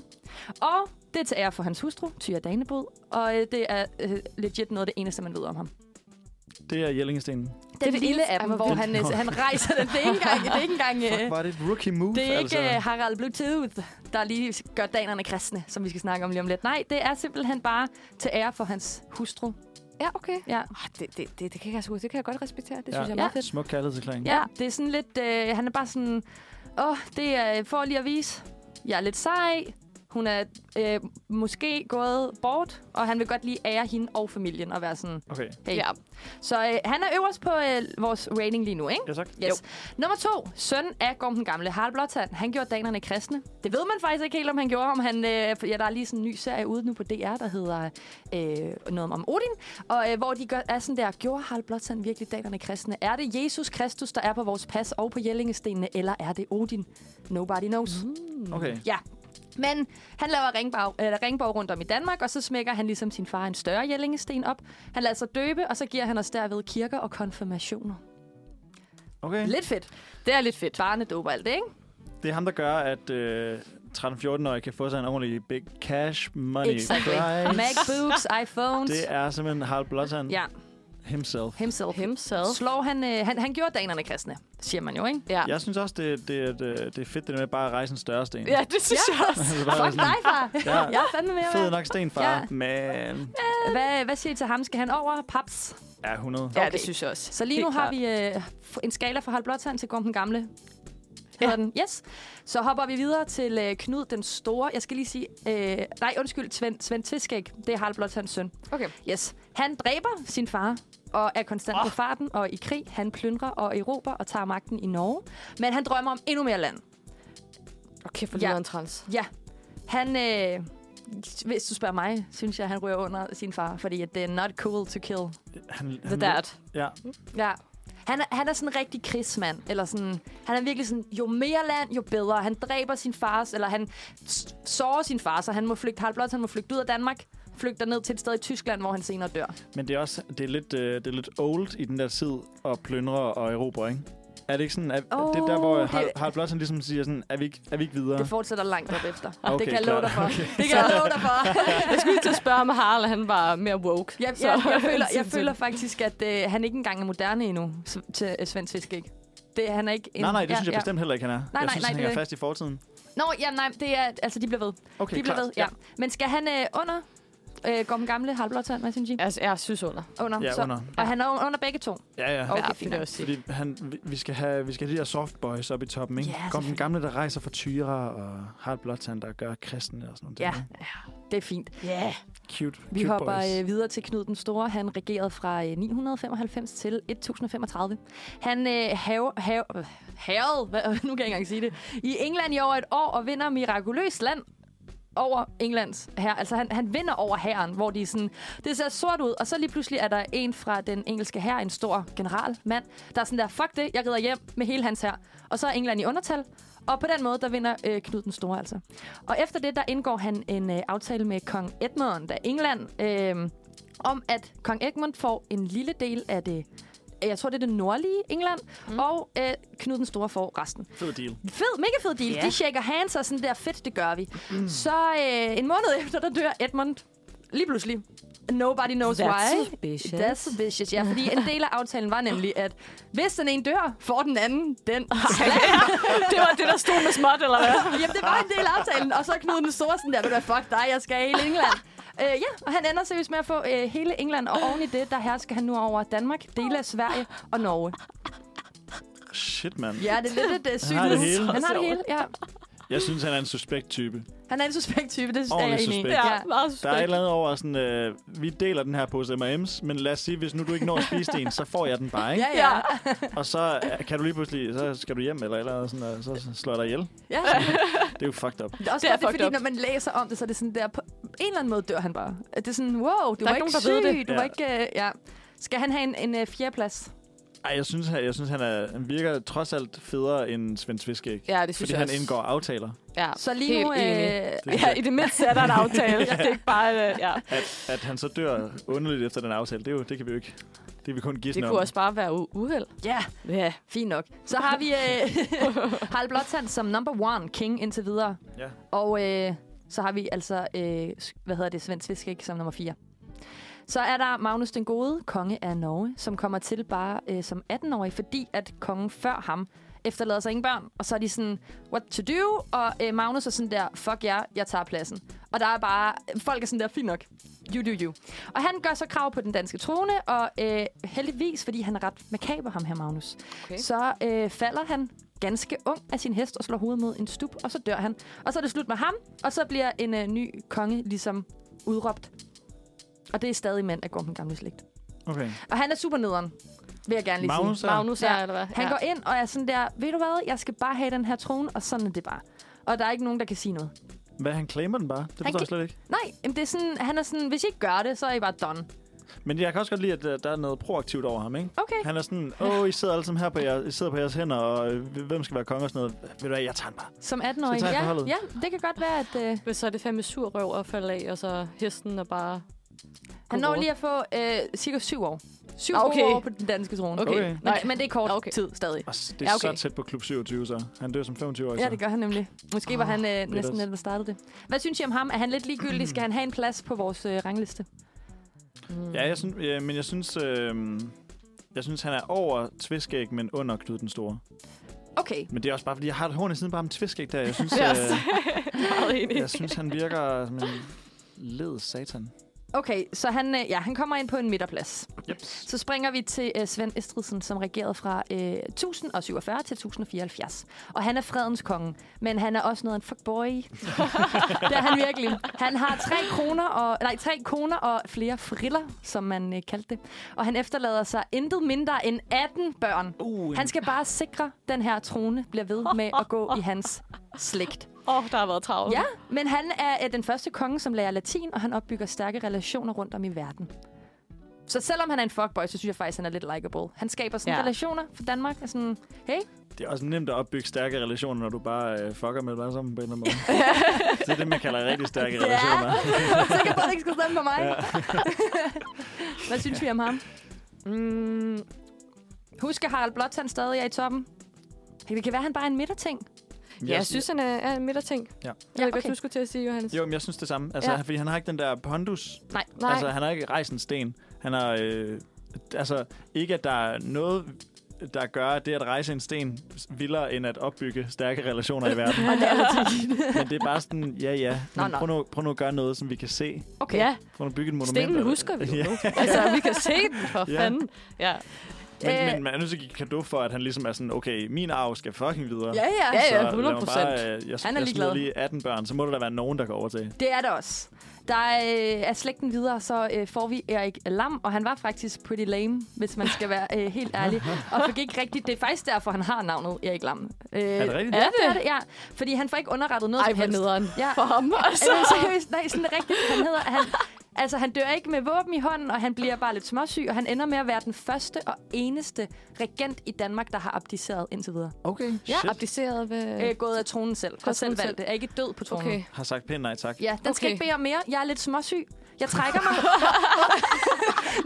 Og det er til ære for hans hustru, Tyra Danebod. Og øh, det er øh, legit noget af det eneste, man ved om ham.
Det er Jellingstenen.
Den
er
lille af
ej,
dem,
hvor
hvor han, øh, (laughs) han rejser den. Det er ikke engang... Det er ikke engang øh,
Fuck, var det et rookie move?
det er ikke
altså.
altså. Harald Bluetooth, der lige gør danerne kristne, som vi skal snakke om lige om lidt. Nej, det er simpelthen bare til ære for hans hustru.
Ja, okay.
Ja,
Oh, det, det, det, det, kan jeg, sgu- det kan jeg godt respektere. Det synes
Ja.
jeg er meget
Ja.
fedt.
Smuk kærlighedserklæring.
ja det er sådan lidt... Øh, han er bare sådan... Åh, oh, det er for lige at vise. Jeg er lidt sej. Hun er øh, måske gået bort, og han vil godt lige ære hende og familien og være sådan...
Okay.
Hey. Ja. Så øh, han er øverst på øh, vores rating lige nu, ikke?
Ja, tak.
Yes. Nummer to. Søn af Gorm den Gamle, Harald Blåtand. Han gjorde danerne kristne. Det ved man faktisk ikke helt, om han gjorde. Om han, øh, for- ja, der er lige sådan en ny serie ude nu på DR, der hedder øh, noget om Odin. Og øh, hvor de gør, er sådan der, gjorde Harald Blåtand virkelig danerne kristne? Er det Jesus Kristus, der er på vores pas og på Jellingestenene, eller er det Odin? Nobody knows. Mm.
Okay.
Ja. Men han laver øh, ringbog, eller ringborg rundt om i Danmark, og så smækker han ligesom sin far en større jællingesten op. Han lader sig døbe, og så giver han os derved kirker og konfirmationer.
okay.
(laughs) Lidt fedt. Det er lidt fedt. Barnedåb og alt det, ikke?
Det er ham, der gør, at øh, 13-14-årige kan få sig en ordentlig big cash money prize. (laughs)
MacBooks, iPhones.
Det er simpelthen Harald Blåtand
Ja,
himself.
himself.
Himself.
Slår han, øh, han, han gjorde danerne kristne, siger man jo, ikke?
Ja.
Jeg synes også, det, det, det, det er fedt, det der med bare at rejse en større sten.
ja, det synes jeg også.
Altså, bare
Fuck
sådan,
dig, far.
(laughs) Ja.
Jeg er fandme med
Fed
at være.
nok sten, far.
Ja.
Men...
Hvad, hvad siger I til ham? Skal han over? Paps.
Ja, 100.
Ja,
Okay.
det synes jeg også.
Så lige nu
Helt
har
klart.
vi øh, en skala fra Harald Blåtand til Gorm den Gamle. Ja. Den. Yes. Så hopper vi videre til øh, Knud den Store. Jeg skal lige sige... Øh, nej, undskyld, Svend, Svend Tviskæg. Det er Harald Blåtands søn.
Okay.
Yes. Han dræber sin far og er konstant oh. på farten og i krig. Han plyndrer og erobrer og tager magten i Norge. Men han drømmer om endnu mere land.
Okay, for
Ja.
ja. en trans.
Ja. Han, øh, hvis du spørger mig, synes jeg, han ryger under sin far, fordi at det er not cool to kill.
Han, han,
The dad.
Ja,
Ja. Han er, han er sådan en rigtig krigsmand, eller sådan, han er virkelig sådan, jo mere land, jo bedre. Han dræber sin fars, eller han s- sårer sin far, så han må flygte, Harald Blot, han må flygte ud af Danmark, flygter ned til et sted i Tyskland, hvor han senere dør.
men det er også det er lidt, øh, det er lidt old i den der tid at plyndre og erobre, ikke? Er det ikke sådan, at oh,
Åh,
det er der, hvor
det-
Har, Harald Blåtand ligesom siger sådan, er vi ikke, er vi ikke videre?
Det fortsætter langt op efter.
(laughs) Okay,
Okay, det kan jeg love
klart.
dig for.
(laughs)
Okay. Det kan jeg love dig (laughs) for.
Jeg skulle lige til at spørge, om Harald han var mere woke.
Jeg,
Så-
jeg, jeg, føler,
(laughs)
jeg
Sindssygt.
føler faktisk, at øh, han ikke engang er moderne endnu s- til øh, Svend Fisk, ikke? Det, han er ikke en,
Nej, nej, det synes jeg bestemt heller ikke, han er.
nej,
jeg synes,
nej,
han
det er
hænger
ikke-
fast i fortiden.
Nå, ja, nej, det er, altså, de bliver ved.
Okay,
de bliver
klart.
ved, ja. Men skal han øh, under? Øh, går den gamle Harald Blåtand, hvad synes I?
Altså, jeg synes under.
Under.
Ja,
så,
under.
Og han er un- under begge to.
Ja, ja.
Okay,
ja,
fint
det er
nok.
også sige.
Fordi han, vi- vi, skal have, vi skal have de der soft boys op i toppen, ikke?
Ja,
Kom den
selvfølgelig.
gamle, der rejser for tyre og Harald Blåtand, der gør kristne og sådan noget.
Ja, det er fint.
Ja.
Cute,
Vi
cute
hopper
boys.
øh, videre til Knud den Store. Han regerede fra øh, 995 til 1035. Han øh, have, have, øh, herrede, hvad, (laughs) nu kan jeg ikke engang sige det, i England i over et år og vinder mirakuløst land over Englands her. Altså han, han vinder over herren, hvor de er sådan, det ser sort ud, og så lige pludselig er der en fra den engelske her, en stor generalmand, der er sådan der, fuck det, jeg rider hjem med hele hans her. Og så er England i undertal, og på den måde, der vinder øh, Knud den Store altså. Og efter det, der indgår han en øh, aftale med kong Edmund af England, øh, om at kong Edmund får en lille del af det, jeg tror, det er det nordlige England, mm. og øh, Knud den Store får resten.
Fed deal.
Fed, mega fed deal. Yeah. De shaker hands og sådan der, fedt, det gør vi. Mm. Så øh, en måned efter, der dør Edmund lige pludselig. Nobody knows
That's
why.
suspicious. (laughs)
That's suspicious, ja. Fordi en del af aftalen var nemlig, at hvis den ene dør, får den anden den.
det var det, der stod med småt, eller hvad?
Jamen, det var en del af aftalen. Og så Knud den store sådan der, ved du hvad, fuck dig, jeg skal i hele England. Øh, ja, og han ender seriøst med at få øh, hele England, og oven i det, der hersker han nu over Danmark, dele af Sverige og Norge.
Shit, mand.
Ja, det er lidt øh, sygt.
Han har det hele.
Han har det hele, ja.
Jeg synes, han er en suspekt type.
Han er en suspekt type, det er jeg
Ordentlig
enig i.
suspekt.
Ja.
meget
Der er et eller andet over sådan, øh, vi deler den her pose M&M's, men lad os sige, hvis nu du ikke når at spise en, så får jeg den bare, ikke?
Ja, ja.
Og så øh, kan du lige pludselig, så skal du hjem eller et eller andet, sådan, og så slår jeg dig ihjel.
ja.
Det er jo fucked up.
Det er også
Det er
det er
fucked
fordi,
up.
når man læser om det, så er det sådan der, på en eller anden måde dør han bare. At Det er sådan, wow, du
Der er
var
ikke
ikke
nogen, der ved
syg,
det.
du
Ja.
var ikke... øh, ja. Skal han have en, en øh, fjerdeplads?
Ej, jeg synes, han, jeg synes, han, er, han virker trods alt federe end Svend Sviskæg.
Ja, det synes
Fordi
jeg
han
også.
indgår aftaler.
Ja,
Så lige
helt
nu...
enig.
Øh,
Ja, i det mindste er der en
(laughs)
aftale. Det er ikke bare... øh, Ja.
At, at han så dør underligt efter den aftale, det, er jo, det kan vi jo ikke. Det kan vi kun gisne
Det
om.
kunne også bare være u- uheld.
ja,
Ja.
fint nok. Så har vi øh, (laughs) Harald Blåtand som number one king indtil videre.
Ja.
Og øh, så har vi altså, øh, s- hvad hedder det, Svend Sviskæk som nummer 4. Så er der Magnus den Gode, konge af Norge, som kommer til bare øh, som 18-årig, fordi at kongen før ham efterlader sig ingen børn. Og så er de sådan, what to do? Og øh, Magnus er sådan der, fuck jer, jeg tager pladsen. Og der er bare, folk er sådan der, fint nok. You do you. Og han gør så krav på den danske trone, og øh, heldigvis, fordi han er ret makaber, ham her Magnus,
Okay.
okay. så øh, falder han ganske ung af sin hest og slår hovedet mod en stup, og så dør han. Og så er det slut med ham, og så bliver en øh, ny konge ligesom udråbt. Og det er stadig mænd, der går på den gamle slægt.
Okay.
Og han er super nederen, vil jeg gerne lige sige.
Magnus er...
Magnus er,
Ja.
eller hvad?
Han
Ja.
går ind og er sådan der, ved du hvad, jeg skal bare have den her trone, og sådan er det bare. Og der er ikke nogen, der kan sige noget.
Hvad, han claimer den bare? Det forstår jeg
gi-
slet ikke.
Nej, jamen det er sådan, han er sådan, hvis I ikke gør det, så er I bare done.
Men jeg kan også godt lide, at øh, der- der er noget proaktivt over ham, ikke?
Okay.
Han er sådan, åh, I sidder alle sammen her på, jer, I sidder på jeres hænder, og øh, hvem skal være konge og sådan noget. Ved du hvad, jeg tager den bare.
Som
Så
18-årig.
tager han
Ja,
forholdet.
ja, det kan godt være, at øh,
Men så er det fandme sur røv at falde af, og så hesten og bare...
han når lige at få øh, cirka syv år. Syv
Ah, okay.
okay. år på den danske trone.
Okay.
Okay.
Men,
Nej,
men det er kort
Okay.
okay. tid stadig.
Og s- det er
Ja,
ja,
okay.
okay. så tæt på klub 27, så. Han dør som 25 år.
Ja, det gør han nemlig. Måske
Ah,
var han øh, næsten
også-
den, der startede det. Hvad synes I om ham? Er han lidt ligegyldig? Skal han have en plads på vores øh, rangliste?
Ja, jeg synes, ja, men jeg synes, øh, jeg synes, han er over Tviskæg, men under Knud den Store.
Okay.
Men det er også bare, fordi jeg har et horn i siden bare om Tviskæg der. Jeg synes,
Ja,
øh,
Mm, meget enig.
jeg synes han virker som en led satan.
Okay, så han, øh, ja, han kommer ind på en midterplads.
Yep.
Så springer vi til øh, Svend Estridsen, som regerede fra øh, 1047 til 1074. Og han er fredens konge, men han er også noget af en fuckboy. det er han virkelig. Han har tre, kroner og, nej, tre koner og flere friller, som man øh, kaldte det. Og han efterlader sig intet mindre end 18 børn. Uh, han skal bare sikre, at den her trone bliver ved med at gå i hans slægt.
Åh, oh, der har været travlt.
Ja, men han er øh, den første konge, som lærer latin, og han opbygger stærke relationer rundt om i verden. Så selvom han er en fuckboy, så synes jeg faktisk, han er lidt likable. Han skaber sådan
Ja.
ja. relationer for Danmark. Og sådan, hey,
Det er også nemt at opbygge stærke relationer, når du bare øh, fucker med dig sammen på en eller anden måde. det er det, man kalder rigtig stærke
Ja.
relationer.
(laughs) så kan folk ikke skulle stemme (laughs) på mig. Hvad synes vi om ham?
Mm,
Husk, at Harald Blåtand stadig er i toppen. Det kan være, han bare er en midterting.
Ja, jeg synes, han er, er en midterting.
Ja.
Jeg ved ikke,
okay.
hvad du skulle til at sige, Johannes.
Jo, men jeg synes det samme. Altså,
Ja.
ja. fordi han har ikke den der pondus.
Nej.
Nej,
Altså, han har ikke rejst en sten. Han har... Øh, altså, ikke at der er noget der gør det at rejse en sten vildere end at opbygge stærke relationer i verden.
Og det er
(laughs)
altså
Men det er bare sådan, ja ja,
Nå,
men
nå.
prøv, nu, prøv nu at gøre noget, som vi kan se.
okay. Ja,
Prøv nu at bygge et monument.
stenen
eller-
husker vi jo
(laughs) Ja,
nu. Altså, vi kan se den, for
Ja.
fanden. Ja,
men,
Øh.
men man er nødt til at give kado for, at han ligesom er sådan, okay, min arv skal fucking videre.
Ja, ja.
ja, ja
Så lad mig
100 procent.
bare, øh, Jeg,
Han er
han er
ligeglad.
jeg smider lige 18 børn, så må der da være nogen, der går over til.
Det er det også. Der er, øh, er slægten videre, så øh, får vi Erik Lam, og han var faktisk pretty lame, hvis man skal være øh, helt ærlig. Og fik ikke rigtigt... Det er faktisk derfor, han har navnet Erik Lam. Øh,
Er det rigtigt?
Ja, det er det, ja. Fordi han får ikke underrettet noget
Ej,
som
hvor
helst.
nederen
Ja.
for ham. (laughs) Altså.
Altså, seriøst, nej, sådan rigtigt. Han hedder, han, altså, han dør ikke med våben i hånden, og han bliver bare lidt småsyg, og han ender med at være den første og eneste regent i Danmark, der har abdiceret indtil videre.
Okay,
Ja,
shit.
abdiceret ved...
Øh, gået af tronen selv. Har
tronen
selv valgt
selv.
det. Er ikke død på tronen.
Okay.
Har sagt pænt nej tak.
Ja, den okay. skal
Okay.
ikke bede om mere. Jeg er lidt småsyg. Jeg trækker mig.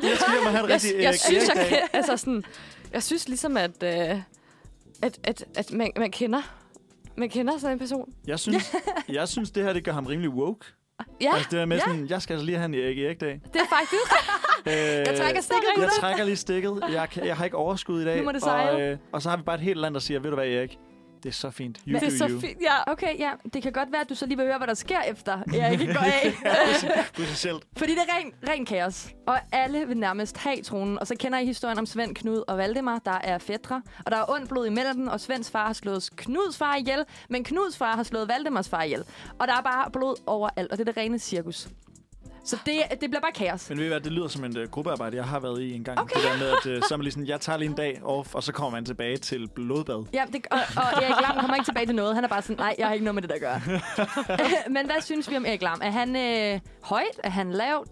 Jeg tror, man har en
Jeg,
rigtig
jeg,
Erik øh.
synes, jeg,
Erik-dag.
kan, altså sådan, jeg synes ligesom, at, øh, at, at, at man, man kender man kender sådan en person.
jeg,
(laughs)
synes, jeg synes, det her det gør ham rimelig woke.
Ja,
altså det der med
ja.
sådan, jeg skal altså lige have en Erik Erik dag.
det er faktisk...
Øh,
Jeg trækker stikket,
Jeg
gutter.
trækker lige stikket. Jeg, kan, jeg har ikke overskud i dag.
Nu må det
og,
sejle.
øh, og så har vi bare et helt land, der siger, ved du hvad Erik, det er så fint. You
det
do
er så
you.
fint. Ja,
Okay, ja. Det kan godt være, at du så lige vil høre, hvad der sker
(laughs)
efter. Jeg ikke går af. (laughs)
Du er sig selv.
Fordi det er ren, ren kaos. Og alle vil nærmest have tronen. Og så kender I historien om Svend, Knud og Valdemar, der er fædre. Og der er ondt blod imellem dem, og Svends far har slået Knuds far ihjel. Men Knuds far har slået Valdemars far ihjel. Og der er bare blod overalt, og det er det rene cirkus. Så det, det bliver bare kaos.
Men ved I hvad, det lyder som en uh, gruppearbejde, jeg har været i en gang.
Okay.
Det der med, at uh, så er man lige sådan, jeg tager lige en dag off, og så kommer man tilbage til blodbad.
Ja, det, og, og Erik Lam kommer ikke tilbage til noget. Han er bare sådan, nej, jeg har ikke noget med det, der gør. (laughs) Men hvad synes vi om Erik Lam? Er han øh, højt? Er han lavt?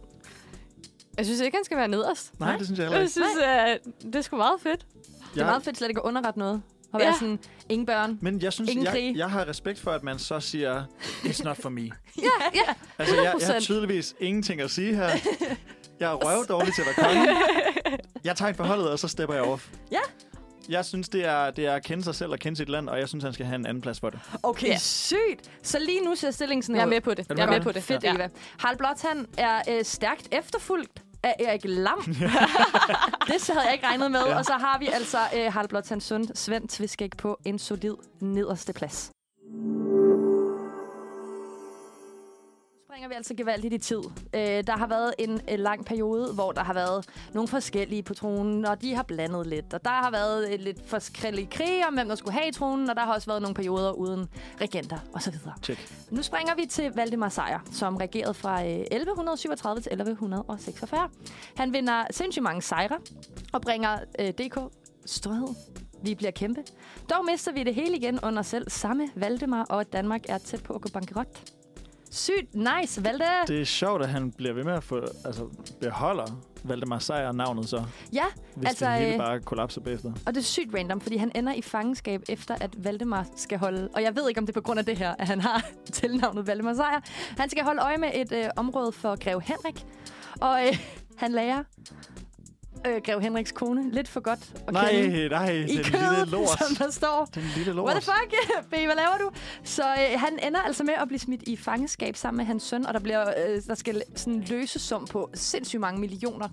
jeg synes ikke, han skal være nederst.
Nej, det synes jeg heller
Jeg
ikke.
synes, øh, det er sgu meget fedt.
Det er meget fedt slet ikke at underrette noget. Og være
Ja.
sådan, ingen børn.
Men jeg synes,
Ingen
jeg,
krige.
jeg har respekt for, at man så siger, it's not for
(laughs)
me.
Ja, ja.
Altså, jeg, jeg har
100%.
tydeligvis ingenting at sige
(laughs)
her. Jeg er røvdårlig til at være konge. Jeg tager en forholdet, og så stepper jeg off.
Ja.
Jeg synes, det er, det er at kende sig selv og kende sit land, og jeg synes, han skal have en anden plads for det.
Okay,
Ja.
yeah. sygt. Så lige nu ser stillingen sådan
Jeg er
ud.
med på det.
Er du
Jeg er
med
med
på
på det.
Fedt,
ja.
ja. Eva. Harald Blåtand er øh, stærkt efterfulgt af Erik Lam. det så havde jeg ikke regnet med. Ja. Og så har vi altså øh, Harald Blåtands søn, Svend Tviskæk, på en solid nederste plads. Nu springer vi altså gevaldigt i tid. Øh, der har været en øh, lang periode, hvor der har været nogle forskellige på tronen, og de har blandet lidt. Og der har været øh, lidt forskellige krige om, hvem der skulle have i tronen, og der har også været nogle perioder uden regenter osv.
Check.
Nu springer vi til Valdemar Sejr, som regerede fra øh, 1137 til 1146. Han vinder sindssygt mange sejre og bringer øh, DK storhed. Vi bliver kæmpe. Dog mister vi det hele igen under selv samme Valdemar, og Danmark er tæt på at gå bankerot. Sygt nice, Valde.
Det er sjovt, at han bliver ved med at få, altså, beholder Valdemar Sejr navnet så,
Ja,
hvis
Altså,
altså, det hele
øh,
bare kollapser bagefter.
og det er sygt random, fordi han ender i fangenskab efter, at Valdemar skal holde... Og jeg ved ikke, om det er på grund af det her, at han har (laughs) tilnavnet Valdemar Sejr. Han skal holde øje med et øh, område for Grev Henrik. Og øh, (laughs) han lærer øh, Grev Henriks kone lidt for godt at
Nej,
kende
nej, den
i
lille
kødet,
lort.
(laughs) som der står.
Den lille lort.
What the fuck, (laughs) B, hvad laver du? Så øh, han ender altså med at blive smidt i fangenskab sammen med hans søn, og der, bliver, øh, der skal sådan en løsesum på sindssygt mange millioner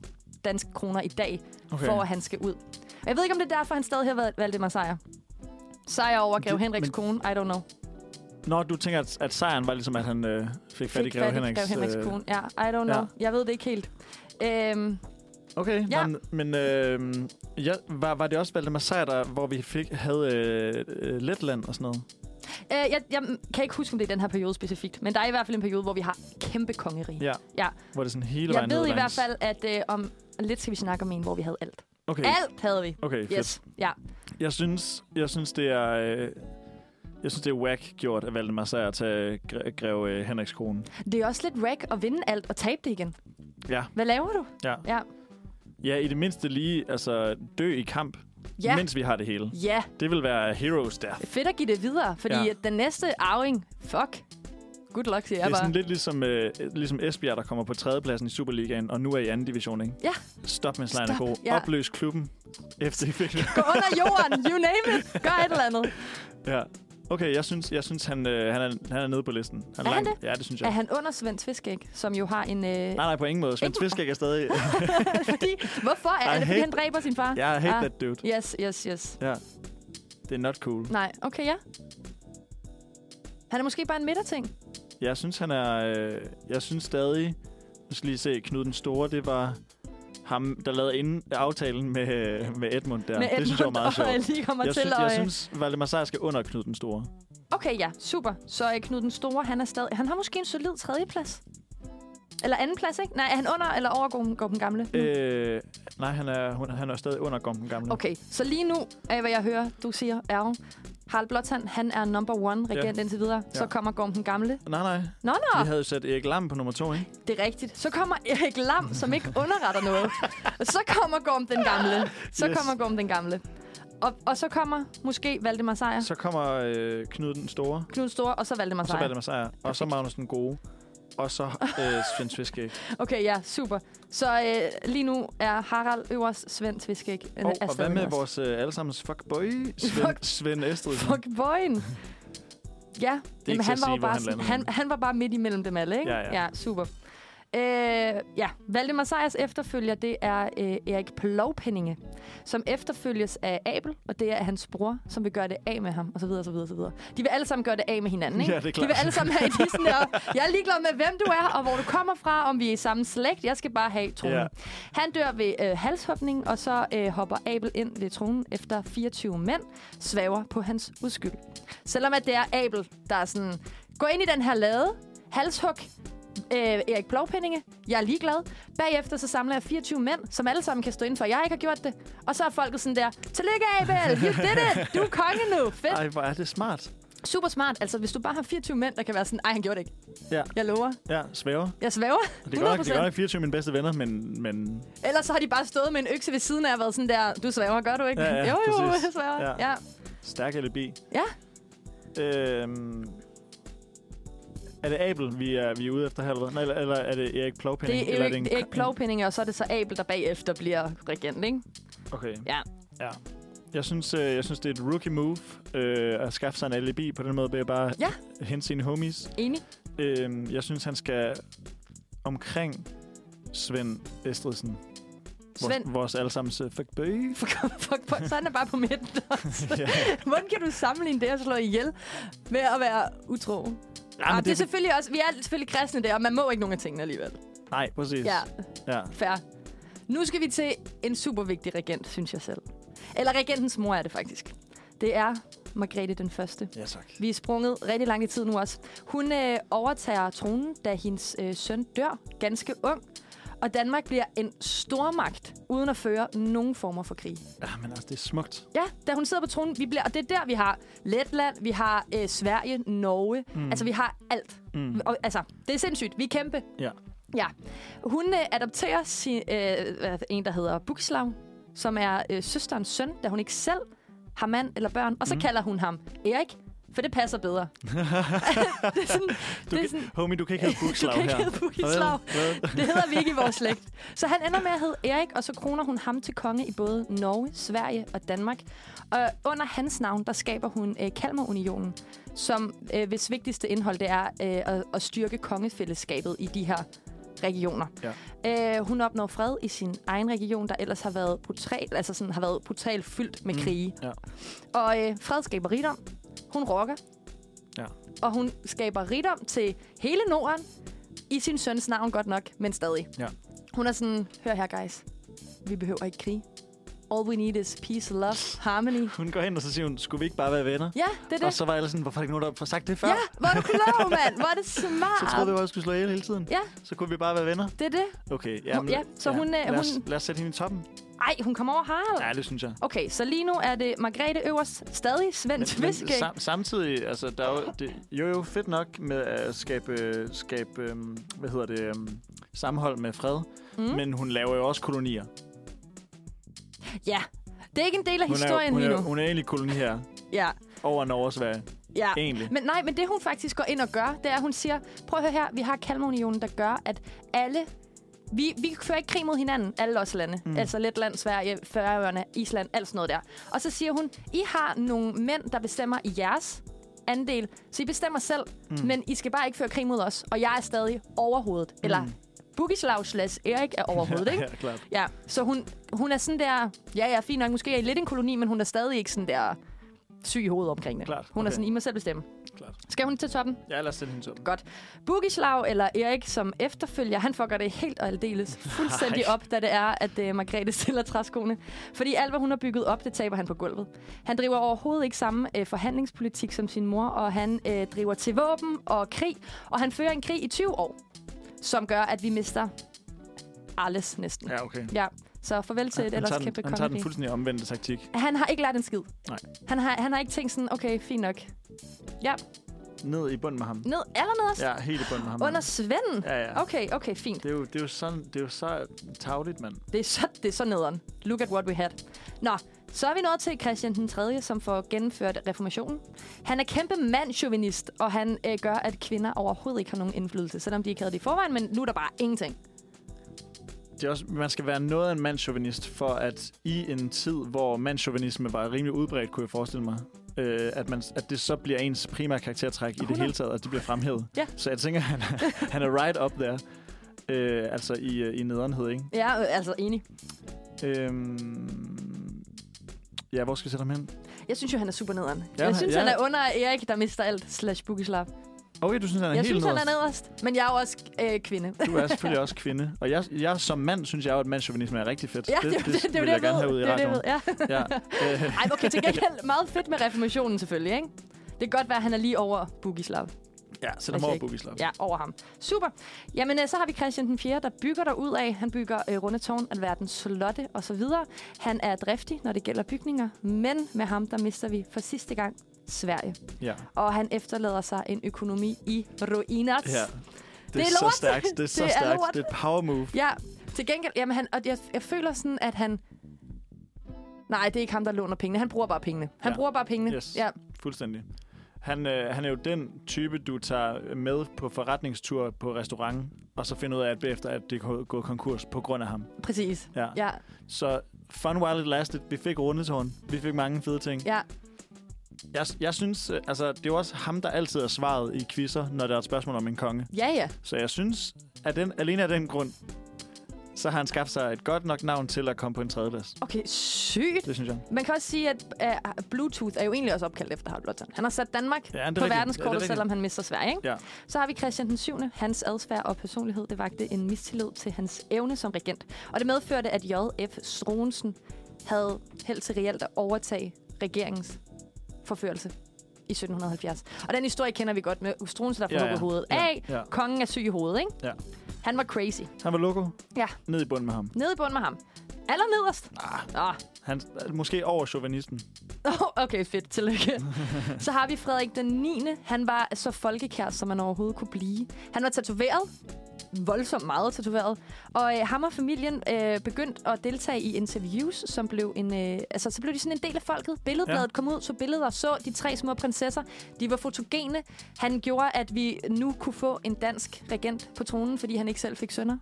danske kroner i dag, okay.
Okay.
for at han skal ud. Og jeg ved ikke, om det er derfor, han stadig har været Valdemar Sejr. Sejr over Grev
Det-
Henriks
men-
kone, I don't know.
Når du tænker, at, at sejren var ligesom, at han øh, fik fat i
Fik
Greve
fat i
Henriks...
Grev Henriks
øh,
kone, ja, I don't know. Jeg ved det ikke helt. Øhm,
Okay,
Ja.
ja. men, men øh, ja, var, var det også Valdemar Sejr, der, hvor vi fik, havde øh, øh, Letland og sådan noget?
øh, jeg, jeg kan ikke huske, om det er den her periode specifikt, men der er i hvert fald en periode, hvor vi har kæmpe kongerige.
Ja.
Ja.
Hvor det sådan hele
Jeg
vejen ned
ved i hvert
langs-
fald, at øh, om lidt skal vi snakke om en, hvor vi havde alt.
Okay,
Alt havde vi.
okay fedt.
Yes, ja.
Jeg, synes, jeg synes, det er... Øh, jeg synes, det er whack gjort af Valdemar Sejr at tage gre- Grev øh, Henriks kone.
Det er også lidt rack at vinde alt og tabe det igen.
Ja.
Hvad laver du?
Ja.
Ja.
ja, i det mindste lige altså, dø i kamp,
Ja,
mens vi har det hele.
ja.
Det vil være heroes death.
fedt at give det videre, fordi
Ja.
ja. den næste arving, fuck, Good luck, siger
Det
jeg
er sådan
bare.
lidt ligesom, øh, ligesom Esbjerg, der kommer på tredjepladsen i Superligaen, og nu er i anden division, ikke?
Ja.
Stop med slejren
Stop,
god.
ja.
Opløs klubben. FC Fik.
Gå under jorden, you name it. Gør et eller andet.
ja. Okay, jeg synes, jeg synes han, øh, han, er, han er nede på listen. Han
Er han
langt- (laughs) Ja, det synes jeg.
Er han under Svend Tviskæg, som jo har en... Øh...
Nej, nej, på ingen måde. Svend
Ikke-
Tviskæk er stadig...
(laughs) fordi, hvorfor er,
I
er det, fordi
hate-
han dræber sin far?
Jeg hate that dude.
Yes, yes, yes.
Ja. Det er not cool.
Nej, okay, ja. Han er måske bare en midterting.
Jeg synes, han er... Øh, jeg synes stadig... Nu skal lige se, Knud den Store, det var ham, der lavede inden aftalen med, øh, med Edmund der.
med
det synes jeg var
Edmund,
meget sjovt.
og lige kommer
Jeg
til
synes,
at...
jeg
øh,
synes, Valdemar Sejr skal under Knud den Store.
Okay, ja, super. Så øh, Knud den Store, han er stadig... Han har måske en solid tredjeplads. Eller anden plads, ikke? Nej, er han under eller over Gorm, Gorm den Gamle? nu?
Øh, nej, han er, hun, han er stadig under Gorm den Gamle.
Okay, så lige nu af, hvad jeg hører, du siger, er jo, Harald Blåtand, han er number one regent ja. indtil videre. Så
Ja.
kommer Gorm den Gamle.
Nej, nej.
Nå,
Vi
nå,
havde jo sat Erik Lam på nummer to, ikke?
det er rigtigt. Så kommer Erik Lam, som ikke underretter noget. Og så kommer Gorm den Gamle. Så
Yes.
yes. kommer Gorm den Gamle. Og, og så kommer måske Valdemar Sejr,
Så kommer øh, Knud den Store,
Knud Store, og så Valdemar
og så
Sejr.
Valdemar Sejr, og så
Perfekt.
Magnus den Gode, og
(laughs)
så øh, Svend Tviskæk.
Okay, ja, super. Så øh, lige nu er Harald øverst, Svend Tviskæk. øh,
Og,
er
og hvad
stadig
med
øverst.
vores øh, allesammens fuckboy, Svend,
Fuck-
Svend Estrid?
Fuck boyen. Ja,
til
Jamen,
at
han, var
sige,
jo
hvor
bare
han
sådan,
lander
han,
henne.
han var bare midt imellem dem alle, ikke?
Ja, ja.
ja super. Øh, ja, Valdemar Sejers efterfølger, det er øh, Erik Plovpenninge, som efterfølges af Abel, og det er hans bror, som vil gøre det af med ham, og så videre, og så videre, og så videre. De vil alle sammen gøre det af med hinanden, ikke?
Ja, det er
De vil
klart.
alle sammen have de er sådan der, jeg er ligeglad med, hvem du er, og hvor du kommer fra, om vi er i samme slægt, jeg skal bare have tronen.
Ja.
Han dør ved øh, halshopning, og så øh, hopper Abel ind ved tronen efter 24 mænd, svæver på hans udskyld. Selvom at det er Abel, der er sådan, gå ind i den her lade, halshug, øh, Erik Blovpendinge, jeg er ligeglad. Bagefter så samler jeg 24 mænd, som alle sammen kan stå inden for, jeg ikke har gjort det. Og så er folket sådan der, tillykke Abel, you did it, du er konge nu, fedt.
Ej, hvor er det smart.
Super smart, altså hvis du bare har 24 mænd, der kan være sådan, ej han gjorde det ikke.
Ja.
Jeg lover,
Ja, svæver.
jeg svæver,
Det
100%.
er godt nok, det er godt nok 24 af mine bedste venner, men... men
Ellers så har de bare stået med en økse ved siden af og været sådan der, du svæver, gør du ikke?
Ja, ja,
jo, jo,
præcis.
jeg svæver.
Ja.
Ja. ja.
Stærk eller bi?
Ja.
Øhm, er det Abel, vi er, vi er ude efter her, eller, hvad? Eller- eller er det Erik Plovpenning?
Det
eller
er ikke,
en-
det er ikke plovpindinger, og så er det så Abel, der bagefter bliver regent, ikke?
Okay.
Ja.
ja. Jeg synes, øh, jeg synes, det er et rookie move øh, at skaffe sig en alibi på den måde, ved at bare
Ja.
hente sine homies.
Enig? (laughs)
Øh, jeg synes, han skal omkring Svend Estridsen.
Svend. Ah,
Vores, vores allesammens øh, fuckboy.
Fuck, fuck, så er han bare på
(laughs)
midten (laughs) også.
ja.
Hvordan kan du sammenligne det at slå ihjel med at være utro? Ja,
Ja,
det, det er selvfølgelig også, vi er selvfølgelig kristne der, og man må ikke nogen af tingene alligevel.
Nej, præcis.
Ja,
ja.
fair. Nu skal vi til en super vigtig regent, synes jeg selv. Eller regentens mor er det faktisk. Det er Margrethe den Første.
ja tak.
Vi er sprunget rigtig langt i tid nu også. Hun øh, overtager tronen, da hendes øh, søn dør ganske ung. Og Danmark bliver en stormagt, uden at føre nogen former for krig.
Ja, men altså, det er smukt.
Ja, da hun sidder på tronen, vi bliver, og det er der, vi har Letland, vi har øh, Sverige, Norge. Mm. Altså, vi har alt. Mm. Og, altså, det er sindssygt. Vi er kæmpe.
Ja.
Ja. Hun øh, adopterer sin, øh, hvad- en, der hedder Bukislav, som er øh, søsterens søn, da hun ikke selv har mand eller børn. Og så mm. kalder hun ham Erik, for det passer
(laughs)
bedre. (laughs) det er sådan,
Du
det er
kan,
sådan,
homie, du kan
(laughs)
ikke hedde Bukslav
du kan
her.
ikke hedde Bukislav.
Hvad? Hvad?
(laughs) Det hedder vi ikke i vores slægt. Så han ender med at hedde Erik, og så kroner hun ham til konge i både Norge, Sverige og Danmark. Og under hans navn, der skaber hun øh, Kalmarunionen, som øh, hvis vigtigste indhold det er øh, at, at styrke kongefællesskabet i de her regioner. Ja. Øh, hun opnår fred i sin egen region, der ellers har været brutal, altså sådan, har været brutalt fyldt med krige.
Mm, ja.
Og øh, fred skaber rigdom. Hun rocker.
Ja.
Og hun skaber rigdom til hele Norden, i sin søns navn godt nok, men stadig.
Ja.
Hun er sådan, hør her guys, vi behøver ikke krig. All we need is peace, love, harmony.
Hun går hen, og så siger hun, skulle vi ikke bare være venner?
Ja, det er
Og
det.
så var alle sådan, hvorfor er der ikke nogen, der har sagt det før?
Ja, hvor er du klog, mand. Hvor er det
(laughs) Så troede vi,
smart.
at vi skulle slå ihjel hele tiden.
Ja,
Så kunne vi bare være venner.
det er det.
Okay,
ja, så hun, øh,
lad, os,
hun-
lad os sætte hende i toppen.
Ej, hun kommer over Harald.
Ja, det synes jeg.
Okay, så lige nu er det Margrethe Øverst, stadig Svend Tviske.
sam, samtidig, altså, der er jo, det, jo, jo fedt nok med at skabe, øh, skabe øh, hvad hedder det, øh, sammenhold med fred. Mm. Men hun laver jo også kolonier.
Ja, det er ikke en del af
Hun er, jo-
historien
hun,
lige
er,
nu.
hun er egentlig kolonier
Ja.
over Norge og Sverige.
Ja.
egentlig.
Men nej, men det hun faktisk går ind og gør, det er, at hun siger, prøv at høre her, vi har Kalmarunionen, der gør, at alle... Vi, vi fører ikke krig mod hinanden, alle os lande. Mm. Altså Letland, Sverige, Færøerne, Island, alt sådan noget der. Og så siger hun, I har nogle mænd, der bestemmer i jeres andel, så I bestemmer selv, mm. men I skal bare ikke føre krig mod os, og jeg er stadig overhovedet. Mm. Eller Bugislav slash Erik er
(laughs)
overhovedet, ikke?
Ja, klart.
Ja, så hun, hun er sådan der... Ja, ja, fint nok. Måske er I lidt en koloni, men hun er stadig ikke sådan der syg i hovedet omkring det.
Klart.
Hun er
Okay.
sådan, I må selv bestemme.
Klart.
Skal hun til toppen?
Ja, lad os sætte hende til.
Godt. Bugislav eller Erik som efterfølger, han fucker det helt og aldeles fuldstændig
Ej.
op, da det er, at uh, Margrethe (laughs) stiller træskoene. Fordi alt, hvad hun har bygget op, det taber han på gulvet. Han driver overhovedet ikke samme uh, forhandlingspolitik som sin mor, og han uh, driver til våben og krig, og han fører en krig i 20 år, som gør, at vi mister alles næsten.
Ja, okay.
Ja, så farvel til et
han,
ellers
tager den,
kæmpe
han tager den
kongeri.
fuldstændig omvendte taktik.
Han har ikke lært en skid.
Nej.
Han har, han har ikke tænkt sådan, okay, fint nok.
Ned i bunden med ham.
Ned, allernederst?
Ja, helt i bunden med ham.
Under Svend?
Ja, ja.
Okay, okay, fint.
Det er jo, det er jo, sådan, det er jo så tavligt, mand.
Det er, så, det er så nederen. Look at what we had. Nå, så er vi nået til Christian den 3., som får gennemført reformationen. Han er kæmpe mandchauvinist, og han øh, gør, at kvinder overhovedet ikke har nogen indflydelse, selvom de ikke havde det i forvejen, men nu er der bare ingenting.
Det er også, man skal være noget af en mandchauvinist, for at i en tid, hvor mandchauvinisme var rimelig udbredt, kunne jeg forestille mig, øh, at, man, at det så bliver ens primære karaktertræk i det
100.
hele taget, at det bliver fremhævet.
Ja.
Så jeg tænker, han, er- han er right up there. Øh, altså i, øh, i nederenhed, ikke?
Ja, øh, altså enig.
Øhm, ja, hvor skal jeg sætte ham hen?
Jeg synes jo, han er super nederen.
Ja,
jeg synes,
ja.
han er under Erik, der mister alt, slash Bukislav.
Okay, du synes, han er
Jeg
helt
synes, han er
nederst.
nederst, men jeg er jo også øh, kvinde.
Du er selvfølgelig også kvinde. Og jeg, jeg som mand synes jeg jo, at mandchauvinisme er rigtig fedt.
Ja, det, det, det, det, det,
vil
det,
jeg gerne
ved.
have ud i
det, er det, jeg
radioen.
ved. Ja.
Ja. (laughs) Øh,
Ej, okay, til gengæld meget fedt med reformationen selvfølgelig, ikke? Det kan godt være, at han er lige over Bugislav. (laughs)
ja, så der
Altså
må over
ikke-
Bugislav.
Ja, over ham. Super. Jamen, øh, så har vi Christian den 4., der bygger der ud af. Han bygger øh, rundetårn, alverdens slotte og så videre. Han er driftig, når det gælder bygninger, men med ham, der mister vi for sidste gang Sverige.
Ja.
Og han efterlader sig en økonomi i ruiner.
ja. Det,
Det
er,
er
så
lort.
stærkt. Det er så
Det er
stærkt.
lort.
Det er et power move.
Ja, til gengæld, jamen han, og jeg, jeg føler sådan, at han... Nej, det er ikke ham, der låner pengene. Han bruger bare pengene. Han
Ja.
ja. bruger bare pengene.
Yes.
Ja,
Fuldstændig. Han, øh, han er jo den type, du tager med på forretningstur på restaurant, og så finder ud af, at bagefter at det er gået- gået konkurs på grund af ham.
præcis.
Ja.
Ja,
Så fun while it lasted. Vi fik rundetårn. Vi fik mange fede ting.
ja.
Jeg, jeg synes, øh, altså, det er jo også ham, der altid er svaret i quizzer, når der er et spørgsmål om en konge.
Ja, ja.
Så jeg synes, at den, alene af den grund, så har han skabt sig et godt nok navn til at komme på en tredjeplads.
Okay, sygt.
Det synes jeg.
Man kan også sige, at uh, Bluetooth er jo egentlig også opkaldt efter Harald Blåtand. Han har sat Danmark
Ja, det
ja,
er
på
rigtigt. Ja, det er
verdenskortet,
rigtigt.
selvom han mister Sverige. Ikke?
Ja.
Så har vi Christian den 7. Hans adfærd og personlighed det vagte en mistillid til hans evne som regent. Og det medførte, at J.F. Struensen havde held til reelt at overtage regeringens forførelse i 1770. Og den historie kender vi godt med Struensen, der får
Ja,
ja,
ja.
hovedet
Ja,
af.
ja.
Kongen er syg i hovedet, ikke?
Ja.
Han var crazy.
Han var loco.
Ja.
Ned i bunden med ham.
Nede i bunden med ham. Allernederst. Ah.
Han er måske over chauvinisten.
Åh, Okay, fedt. Tillykke. Så har vi Frederik den 9. Han var så folkekær, som man overhovedet kunne blive. Han var tatoveret. Voldsomt meget tatoveret. Og øh, ham og familien øh, begyndte at deltage i interviews, som blev en... Øh, altså, så blev de sådan en del af folket. Billedbladet
Ja.
ja. kom ud, så billeder og så de tre små prinsesser. De var fotogene. Han gjorde, at vi nu kunne få en dansk regent på tronen, fordi han ikke selv fik sønner.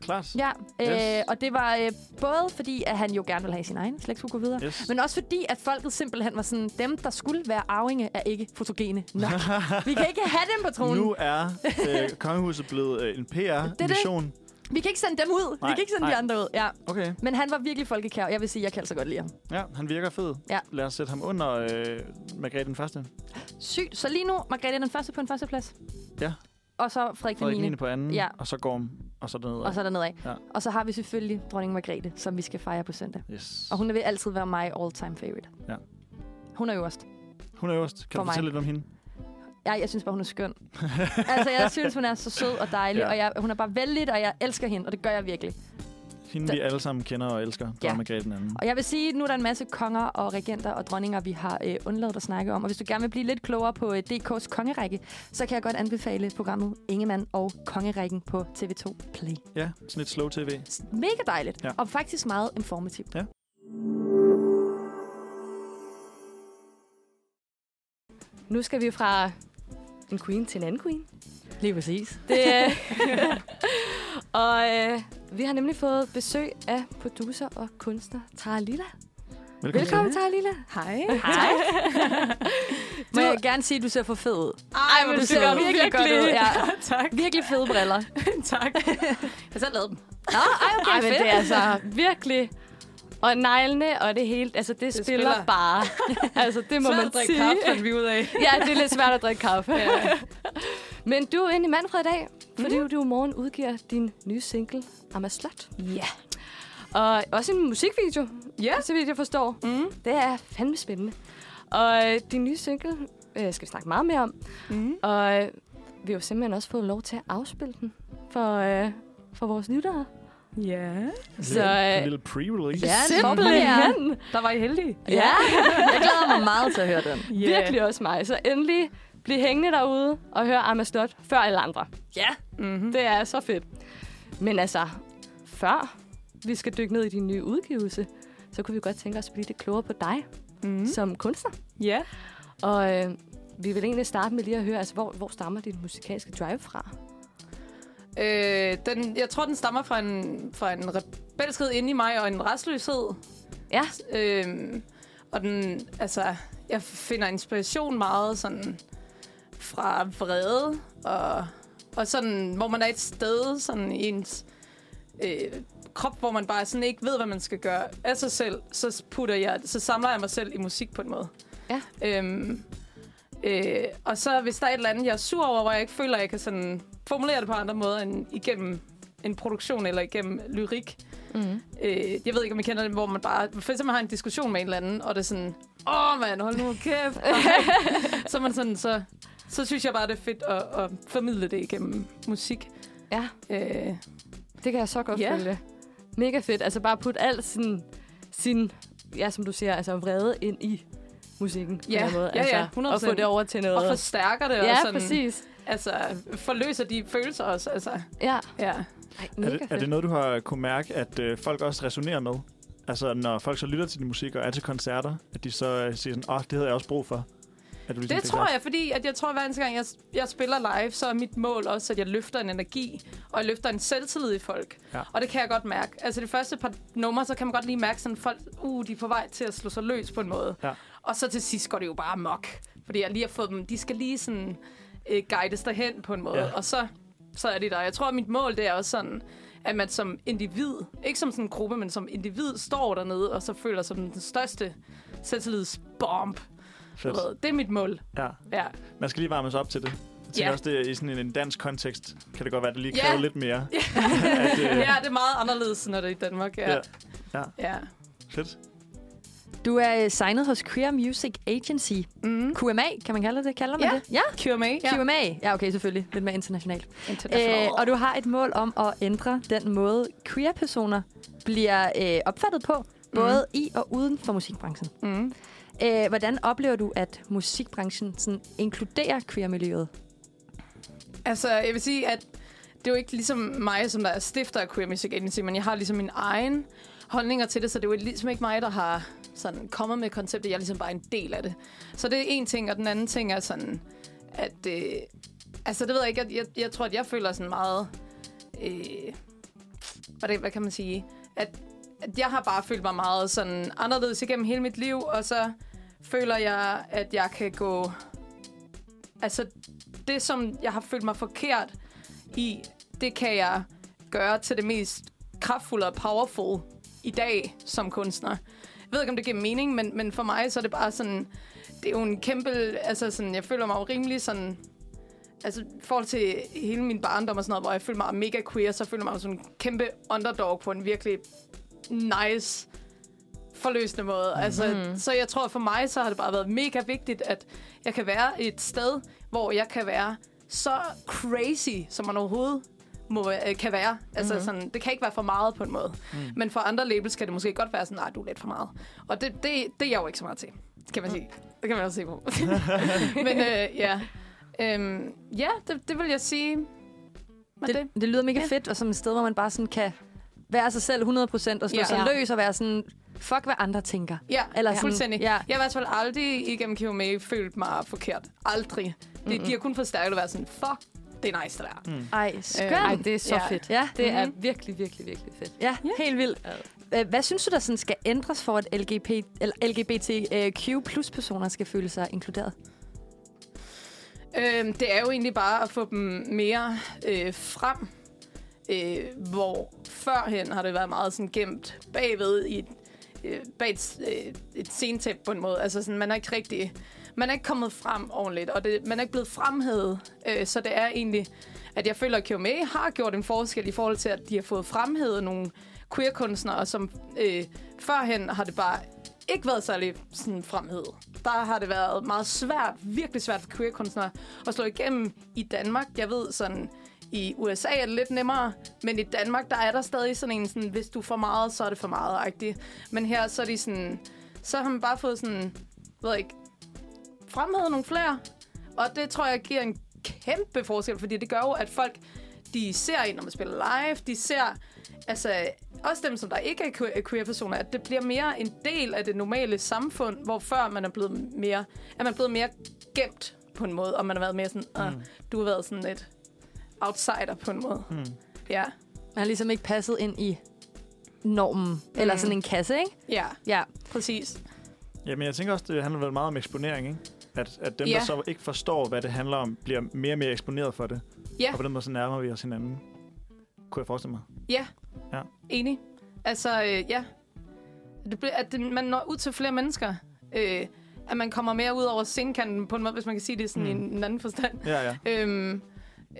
Klart.
Ja, øh,
Yes.
og det var øh, både fordi, at han jo gerne ville have sin egen slægt skulle gå videre,
Yes.
men også fordi, at folket simpelthen var sådan, dem, der skulle være arvinge, er ikke fotogene
(laughs)
nok. Vi kan ikke have dem på tronen.
Nu er øh, kongehuset blevet øh, en PR-mission.
Vi kan ikke sende dem ud.
Nej,
Vi kan ikke sende
nej.
de andre ud. Ja.
Okay.
Men han var virkelig folkekær, og jeg vil sige, at jeg kan altså godt lide ham.
Ja, han virker fed.
Ja.
Lad os sætte ham under øh, Margrethe den Første.
Sygt. Så lige nu, Margrethe er den første på en førsteplads.
Ja.
Og så Frederik,
Frederik
den 9.
9. på anden,
Ja.
og så Gorm, og så dernede.
Og så dernede af.
Ja.
Og så har vi selvfølgelig dronning Margrethe, som vi skal fejre på søndag.
Yes.
Og hun vil altid være my all-time favorite.
Ja.
Hun er øverst.
hun er øverst. Kan
For
du fortælle
mig.
lidt om hende?
Ja, jeg synes bare, hun er skøn. altså, jeg synes, hun er så sød og dejlig,
(laughs) Ja.
ja. og jeg, hun er bare vældig, og jeg elsker hende, og det gør jeg virkelig.
Hende,
Da-
vi alle sammen kender og elsker. Ja.
Ja.
Dronning Margrethe den anden.
Og jeg vil sige, at nu er der en masse konger og regenter og dronninger, vi har øh, undladt at snakke om. Og hvis du gerne vil blive lidt klogere på øh, DK's kongerække, så kan jeg godt anbefale programmet Ingemann og kongerækken på TV2 Play.
Ja, sådan lidt slow tv.
S- Mega dejligt,
Ja.
ja. og faktisk meget informativt.
Ja.
Nu skal vi fra en queen til en anden queen.
Lige (laughs) præcis.
Det, øh, (laughs) og øh, vi har nemlig fået besøg af producer og kunstner Tara Lilla.
Velkommen.
Velkommen, Tara Lilla.
Hej.
Hej.
Må jeg gerne sige, at du ser for fed ud?
Ej,
men du ser virkelig godt ud.
Ja.
(laughs) tak.
Virkelig fede briller.
(laughs) tak. Jeg selv lavede dem.
Nå, ej, okay, ej, men det er altså virkelig... Og neglene og det hele, altså det, det spiller,
spiller.
spiller bare. (laughs) altså det må man sige.
vi ud af.
(laughs) ja, det er lidt svært at drikke kaffe. Ja. (laughs) Men du er inde i Manfred i dag, fordi mm. du i morgen udgiver din nye single, Amma Slot. Ja. Og også en musikvideo,
Ja.
så vidt jeg forstår.
Mm.
Det er fandme spændende. Og øh, din nye single øh, skal vi snakke meget mere om.
Mm.
Og øh, vi har jo simpelthen også fået lov til at afspille den for, øh, for vores lyttere.
Ja.
Så
Altså, En
øh,
lille pre-release.
ja,
en
simpelthen.
Der var I heldige.
Ja,
Jeg glæder mig meget til at høre den.
yeah. virkelig også mig. Så endelig bliv hængende derude og hør Amma Slot før alle andre.
Ja. Mm-hmm.
Det er så fedt. Men altså, før vi skal dykke ned i din nye udgivelse, så kunne vi godt tænke os at blive lidt klogere på dig
Mm.
mm. som kunstner.
Ja.
Og øh, vi vil egentlig starte med lige at høre, altså, hvor, hvor stammer din musikalske drive fra?
Øh, den, jeg tror, den stammer fra en, fra en rebelskhed inde i mig og en restløshed.
Ja.
Øh, og den, altså, jeg finder inspiration meget sådan fra vrede og, og sådan, hvor man er et sted sådan i ens øh, krop, hvor man bare sådan ikke ved, hvad man skal gøre af sig selv, så, putter jeg, så samler jeg mig selv i musik på en måde.
Ja.
Øhm, øh, og så hvis der er et eller andet, jeg er sur over, hvor jeg ikke føler, at jeg kan sådan formulere det på andre måder end igennem en produktion eller igennem lyrik.
Mm.
Øh, jeg ved ikke, om I kender det, hvor man bare... For eksempel har en diskussion med en eller anden, og det er sådan... Åh, mand, hold nu kæft.
(laughs)
så er man sådan, så, så synes jeg bare, det er fedt at, at formidle det igennem musik.
Ja.
Øh,
Det kan jeg så godt
Ja.
følge. Mega fedt. Altså bare putte al sin, sin, ja, som du siger, altså vrede ind i musikken. på en
Ja.
eller anden måde.
Ja,
altså,
ja,
Og få
100%.
det over til noget.
og forstærker det,
ja,
og sådan,
præcis.
altså, forløser de følelser også. Altså,
Ja.
ja.
Ej,
Er
mega
det,
fedt.
er det noget, du har kunne mærke, at øh, folk også resonerer med? Altså, når folk så lytter til din musik og er til koncerter, at de så øh, siger sådan, åh, oh, det havde jeg også brug for. At du ligesom
Det tror jeg, fordi at jeg tror, at hver eneste gang, jeg, jeg spiller live, så er mit mål også, at jeg løfter en energi, og jeg løfter en selvtillid i folk.
Ja.
Og det kan jeg godt mærke. Altså det første par numre, så kan man godt lige mærke, sådan, at folk uh, de er på vej til at slå sig løs på en måde.
Ja.
Og så til sidst går det jo bare mok. Fordi jeg lige har fået dem, de skal lige sådan øh, guides derhen på en måde.
Ja.
Ja. Og så, så er det der. Jeg tror, at mit mål, det er også sådan, at man som individ, ikke som sådan en gruppe, men som individ står dernede, og så føler sig som den største selvtillidsbomb. du
Fedt.
ved. Det er mit mål.
Ja.
Ja.
Man skal lige varmes op til det. Jeg tænker
Ja.
også, det, er i sådan en, en dansk kontekst kan det godt være, at det lige
(laughs) Ja.
kræver lidt mere. øh,
ja, det er meget anderledes, når det er i Danmark. Ja.
Ja.
ja.
Ja.
ja.
Fedt.
Du er øh, signet hos Queer Music Agency.
Mm.
QMA, kan man kalde det? Kalder man
Ja.
det? Ja.
Cure me. Ja.
QMA. Ja, okay, selvfølgelig. Lidt mere internationalt.
International.
Øh, og du har et mål om at ændre den måde, queer-personer bliver øh, opfattet
Mm.
på, både i og uden for musikbranchen.
Mm.
Øh, hvordan oplever du, at musikbranchen sådan, inkluderer queer-miljøet?
Altså, jeg vil sige, at det er jo ikke ligesom mig, som der er stifter af Queer Music Agency, men jeg har ligesom min egen holdninger til det, så det er jo ligesom ikke mig, der har sådan kommet med konceptet. Jeg er ligesom bare en del af det. Så det er en ting, og den anden ting er sådan, at... Øh, altså, det ved jeg ikke. Jeg, jeg, jeg tror, at jeg føler sådan meget... Øh, hvad, det, hvad kan man sige? At, at jeg har bare følt mig meget sådan anderledes igennem hele mit liv, og så føler jeg, at jeg kan gå... Altså, det, som jeg har følt mig forkert i, det kan jeg gøre til det mest kraftfulde og powerful i dag som kunstner. Jeg ved ikke, om det giver mening, men, men for mig så er det bare sådan... Det er jo en kæmpe... Altså sådan, jeg føler mig jo rimelig sådan... Altså i forhold til hele min barndom og sådan noget, hvor jeg følte mig mega queer, så føler jeg mig jo som en kæmpe underdog på en virkelig nice, forløsende måde. Altså,
Mhm.
Så jeg tror for mig, så har det bare været mega vigtigt, at jeg kan være et sted, hvor jeg kan være så crazy, som man overhovedet må, øh, kan være. Altså, mm-hmm. sådan, det kan ikke være for meget på en måde. Mm. Men for andre labels kan det måske godt være sådan, nej, du er lidt for meget. Og det, det, det er jeg jo ikke så meget til, kan man sige. Det kan man også se på. Men øh, ja, øhm, ja det, det vil jeg sige. Var det, det.
det lyder mega fedt, og som et sted, hvor man bare sådan kan være sig selv 100% og slå ja.
Ja.
sig
Ja.
løs og være sådan, fuck hvad andre tænker.
Ja,
Eller
Eller
sådan,
fuldstændig.
ja.
Ja. Jeg har i hvert fald aldrig igennem QMA følt mig forkert. Aldrig. Det, mm-hmm. De har kun forstærket at være sådan, fuck, det er nice, det der. Mm.
Øh, Ej, skønt.
Ej, det er så
Ja.
fedt.
Ja. Mm-hmm.
Det er virkelig, virkelig, virkelig fedt.
Ja, helt vildt. Øh, Hvad synes du, der sådan skal ændres for, at LGBT, eller LGBTQ plus personer skal føle sig inkluderet?
Øhm, det er jo egentlig bare at få dem mere øh, frem. Øh, hvor førhen har det været meget sådan gemt bagved i et, øh, bag et, øh, et scentæp på en måde. Altså sådan, man er ikke rigtig... Man er ikke kommet frem ordentligt, og det, man er ikke blevet fremhævet. Øh, så det er egentlig, at jeg føler, at QMA har gjort en forskel i forhold til, at de har fået fremhævet nogle queer-kunstnere, som øh, førhen har det bare ikke været særlig sådan fremhed. Der har det været meget svært, virkelig svært for queer-kunstnere at slå igennem i Danmark. Jeg ved sådan, i USA er det lidt nemmere, men i Danmark, der er der stadig sådan en sådan, hvis du er for meget, så er det for meget -agtig. Men her, så er de sådan, så har man bare fået sådan, ved jeg ikke, fremhævet nogle flere. Og det tror jeg giver en kæmpe forskel, fordi det gør jo, at folk, de ser en, når man spiller live, de ser, altså også dem, som der ikke er que- queer-personer, at det bliver mere en del af det normale samfund, hvor før man er blevet mere, er man blevet mere gemt på en måde, og man har været mere sådan, "Åh,
Mm.
du har været sådan lidt outsider på en måde. Mm. Ja,
Man har ligesom ikke passet ind i normen, mm. eller sådan en kasse, ikke?
ja,
Ja.
præcis.
Jamen, jeg tænker også, det handler vel meget om eksponering, ikke? At, at dem, ja.
Ja.
der så ikke forstår, hvad det handler om, bliver mere og mere eksponeret for det.
Ja.
Og på den måde, så nærmer vi os hinanden. Kunne jeg forestille mig.
Ja.
Ja.
Enig. Altså, øh, ja. Det bliver, at det, man når ud til flere mennesker. Øh, at man kommer mere ud over scenekanten på en måde, hvis man kan sige det sådan mm. i en anden forstand.
Ja, ja.
Øhm,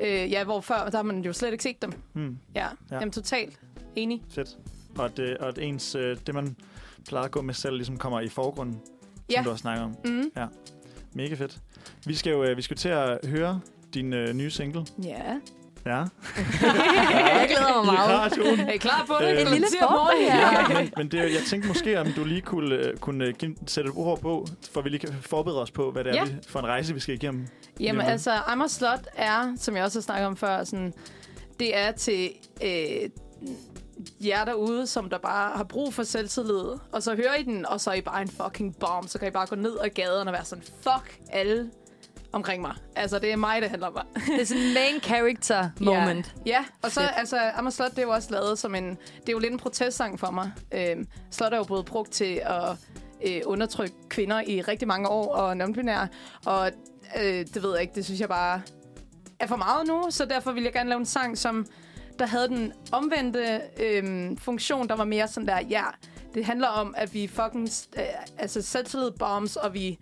øh, ja, hvor før, der har man jo slet ikke set dem.
Mm,
Ja,
Ja.
ja. jamen totalt. Enig.
fedt. Og at, øh, og at ens, øh, det man plejer at gå med selv, ligesom kommer i forgrunden, ja.
Ja.
som du også snakker om.
Mm.
Mega fedt. Vi skal jo øh, vi skal til at høre din øh, nye single.
Ja.
Ja.
Jeg glæder mig
I
meget.
radioen.
(laughs) Er I klar på det?
Øh, En
Klokken
lille
ti om morgenen.
forberedelse. Ja.
Men, men det, er- jeg tænkte måske, om du lige kunne, øh, kunne øh, give, sætte et ord på, for vi lige kan forberede os på, hvad det er
Ja.
vi, for en rejse, vi skal igennem.
Jamen
Jamen.
altså, Amager Slot er, som jeg også har snakket om før, sådan, det er til øh, jer derude, som der bare har brug for selvtillid. Og så hører I den, og så er I bare en fucking bomb. Så kan I bare gå ned ad gaden og være sådan, fuck alle omkring mig. Altså, det er mig, det handler om.
Det er sådan en main character moment.
Ja, ja. og så altså, Amager Slot, det er jo også lavet som en... Det er jo lidt en protestsang for mig. Øhm, Slot er jo blevet brugt til at øh, undertrykke kvinder i rigtig mange år, og non-binære. Og øh, det ved jeg ikke, det synes jeg bare er for meget nu, så derfor ville jeg gerne lave en sang, som der havde den omvendte øhm, funktion, der var mere sådan der, ja, det handler om, at vi fucking øh, altså selvtillid bombs, og vi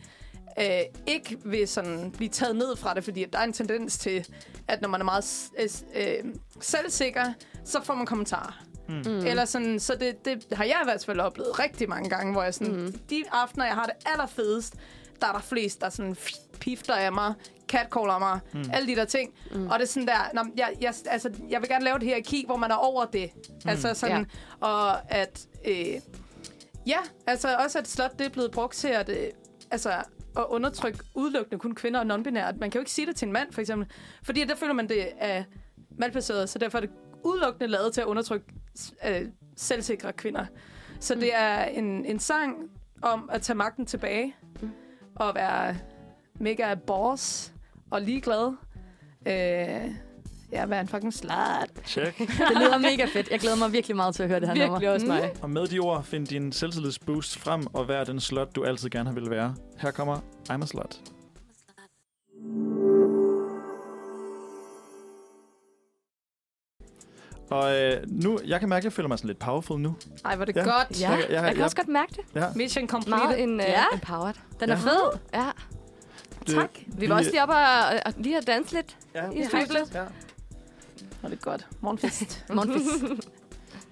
øh, ikke vil sådan blive taget ned fra det, fordi at der er en tendens til, at når man er meget s- s- øh, selvsikker, så får man kommentarer. Mm. Eller sådan, så det, det har jeg i hvert fald oplevet rigtig mange gange, hvor jeg sådan, mm. de aftener, jeg har det allerfedest, der er der flest, der sådan f- pifter af mig, catcaller mig, mm. alle de der ting. Mm. Og det er sådan der, nå, men jeg, jeg, altså, jeg vil gerne lave et hierarki, hvor man er over det. Mm. Altså sådan, ja. og at, øh, ja, altså også at slot, det er blevet brugt til at, øh, altså, at undertrykke udelukkende kun kvinder og non-binære. Man kan jo ikke sige det til en mand, for eksempel. Fordi der føler man, det er malplaceret, så derfor er det udelukkende lavet til at undertrykke øh, selvsikre kvinder. Så mm. det er en, en sang om at tage magten tilbage, mm. og være mega boss og ligeglad. Øh, ja, være en fucking slat.
Check.
Det lyder mega fedt. Jeg glæder mig virkelig meget til at høre det her nummer. Mm.
også mig.
Og med de ord, find din selvtillidsboost frem og vær den slot, du altid gerne har ville være. Her kommer I'm a slot. Og øh, nu, jeg kan mærke, at jeg føler mig sådan lidt powerful nu.
Ej, hvor er det
Ja.
ja. godt.
Ja,
Jeg- jeg-
jeg,
jeg-
kan også godt mærke det.
Mission
Meget
completed.
en, uh,
Ja.
empowered.
Den er
Ja.
fed.
Ja.
Det-
Tak. Vi var også lige oppe og, og lige at danse lidt.
Ja,
i studiet.
ja.
Var det godt. Morgenfest.
Monfis.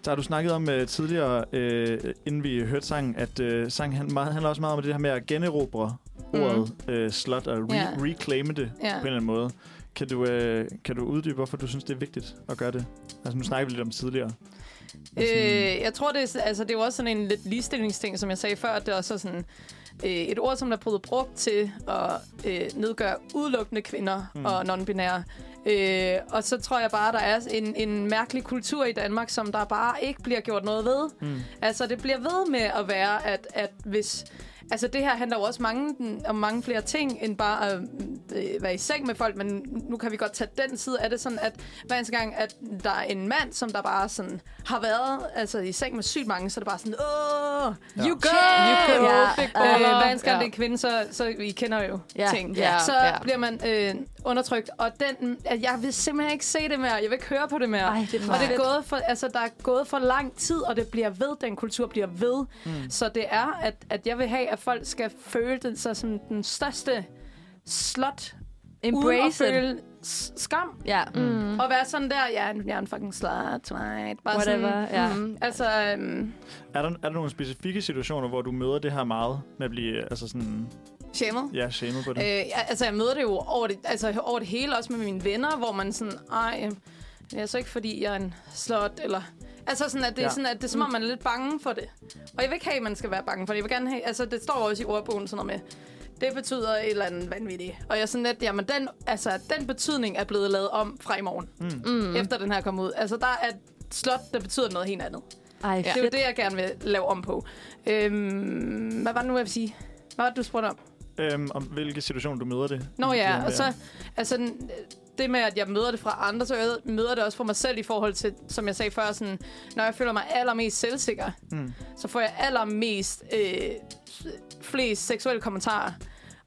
Der har du snakket om uh, tidligere, uh, inden vi hørte sangen, at uh, sangen han, meget, handler også meget om det her med at generobre
Mhm.
mm. ordet uh, slot og re-
Ja.
yeah. reclaime det yeah. på en
Ja.
eller anden måde. Kan du, uh, kan du uddybe, hvorfor du synes, det er vigtigt at gøre det? Altså, nu snakker vi lidt om tidligere.
Øh, jeg tror, det er, altså, det er jo også sådan en lidt ligestillingsting, som jeg sagde før. at Det er også sådan øh, et ord, som der er blevet brugt til at øh, nedgøre udelukkende kvinder mm. og non-binære. Øh, og så tror jeg bare, der er en, en mærkelig kultur i Danmark, som der bare ikke bliver gjort noget ved. Mm. Altså, det bliver ved med at være, at, at hvis... Altså, det her handler jo også mange, om mange flere ting, end bare at øh, være i seng med folk, men nu kan vi godt tage den side af det, sådan at hver eneste gang, at der er en mand, som der bare sådan har været altså, i seng med sygt mange, så er det bare sådan, åh, you go!
You go,
Ja.
big
Øh,
baller.
hver eneste gang,
Ja.
det er en kvinde, så, så I kender jo
Ja,
ting.
ja,
så
ja.
bliver man øh, undertrykt, og den, at jeg vil simpelthen ikke se det mere, jeg vil ikke høre på det mere.
Ej, det er for
og det er
fedt.
gået for, altså, der er gået for lang tid, og det bliver ved, den kultur bliver ved. Mm. Så det er, at, at jeg vil have, at folk skal føle den, sig som den største slot, uden at
Embrace it.
føle s- skam,
Ja. Mm.
mm. og være sådan der, ja, jeg er en fucking slut, right? Bare
Whatever,
sådan,
ja.
mm, altså, um,
Er der, er der nogle specifikke situationer, hvor du møder det her meget med at blive altså sådan,
shamed.
ja, shamed på det?
Øh, ja, altså, jeg møder det jo over det, altså, over det hele, også med mine venner, hvor man sådan, ej, øhm, det er så ikke, fordi jeg er en slot, eller... Altså sådan, at det, ja.
Ja.
er sådan, at det er som om, man er lidt bange for det. Og jeg vil ikke have, at man skal være bange for det. Jeg vil gerne have, altså, det står også i ordbogen sådan noget med, det betyder et eller andet vanvittigt. Og jeg er sådan lidt, jamen den, altså, den betydning er blevet lavet om fra i morgen. Mm. Efter den her kom ud. Altså der er slot, der betyder noget helt andet.
Ej,
Ja. Det er jo det, jeg gerne vil lave om på. Øhm, hvad var det nu, jeg vil sige? Hvad var det, du spurgte om?
Øhm, om hvilke situationer du møder det?
Nå ja,
Ja.
og så altså, den- det med, at jeg møder det fra andre, så jeg møder det også fra mig selv i forhold til, som jeg sagde før, sådan, når jeg føler mig allermest selvsikker, mm. så får jeg allermest øh, flest seksuelle kommentarer,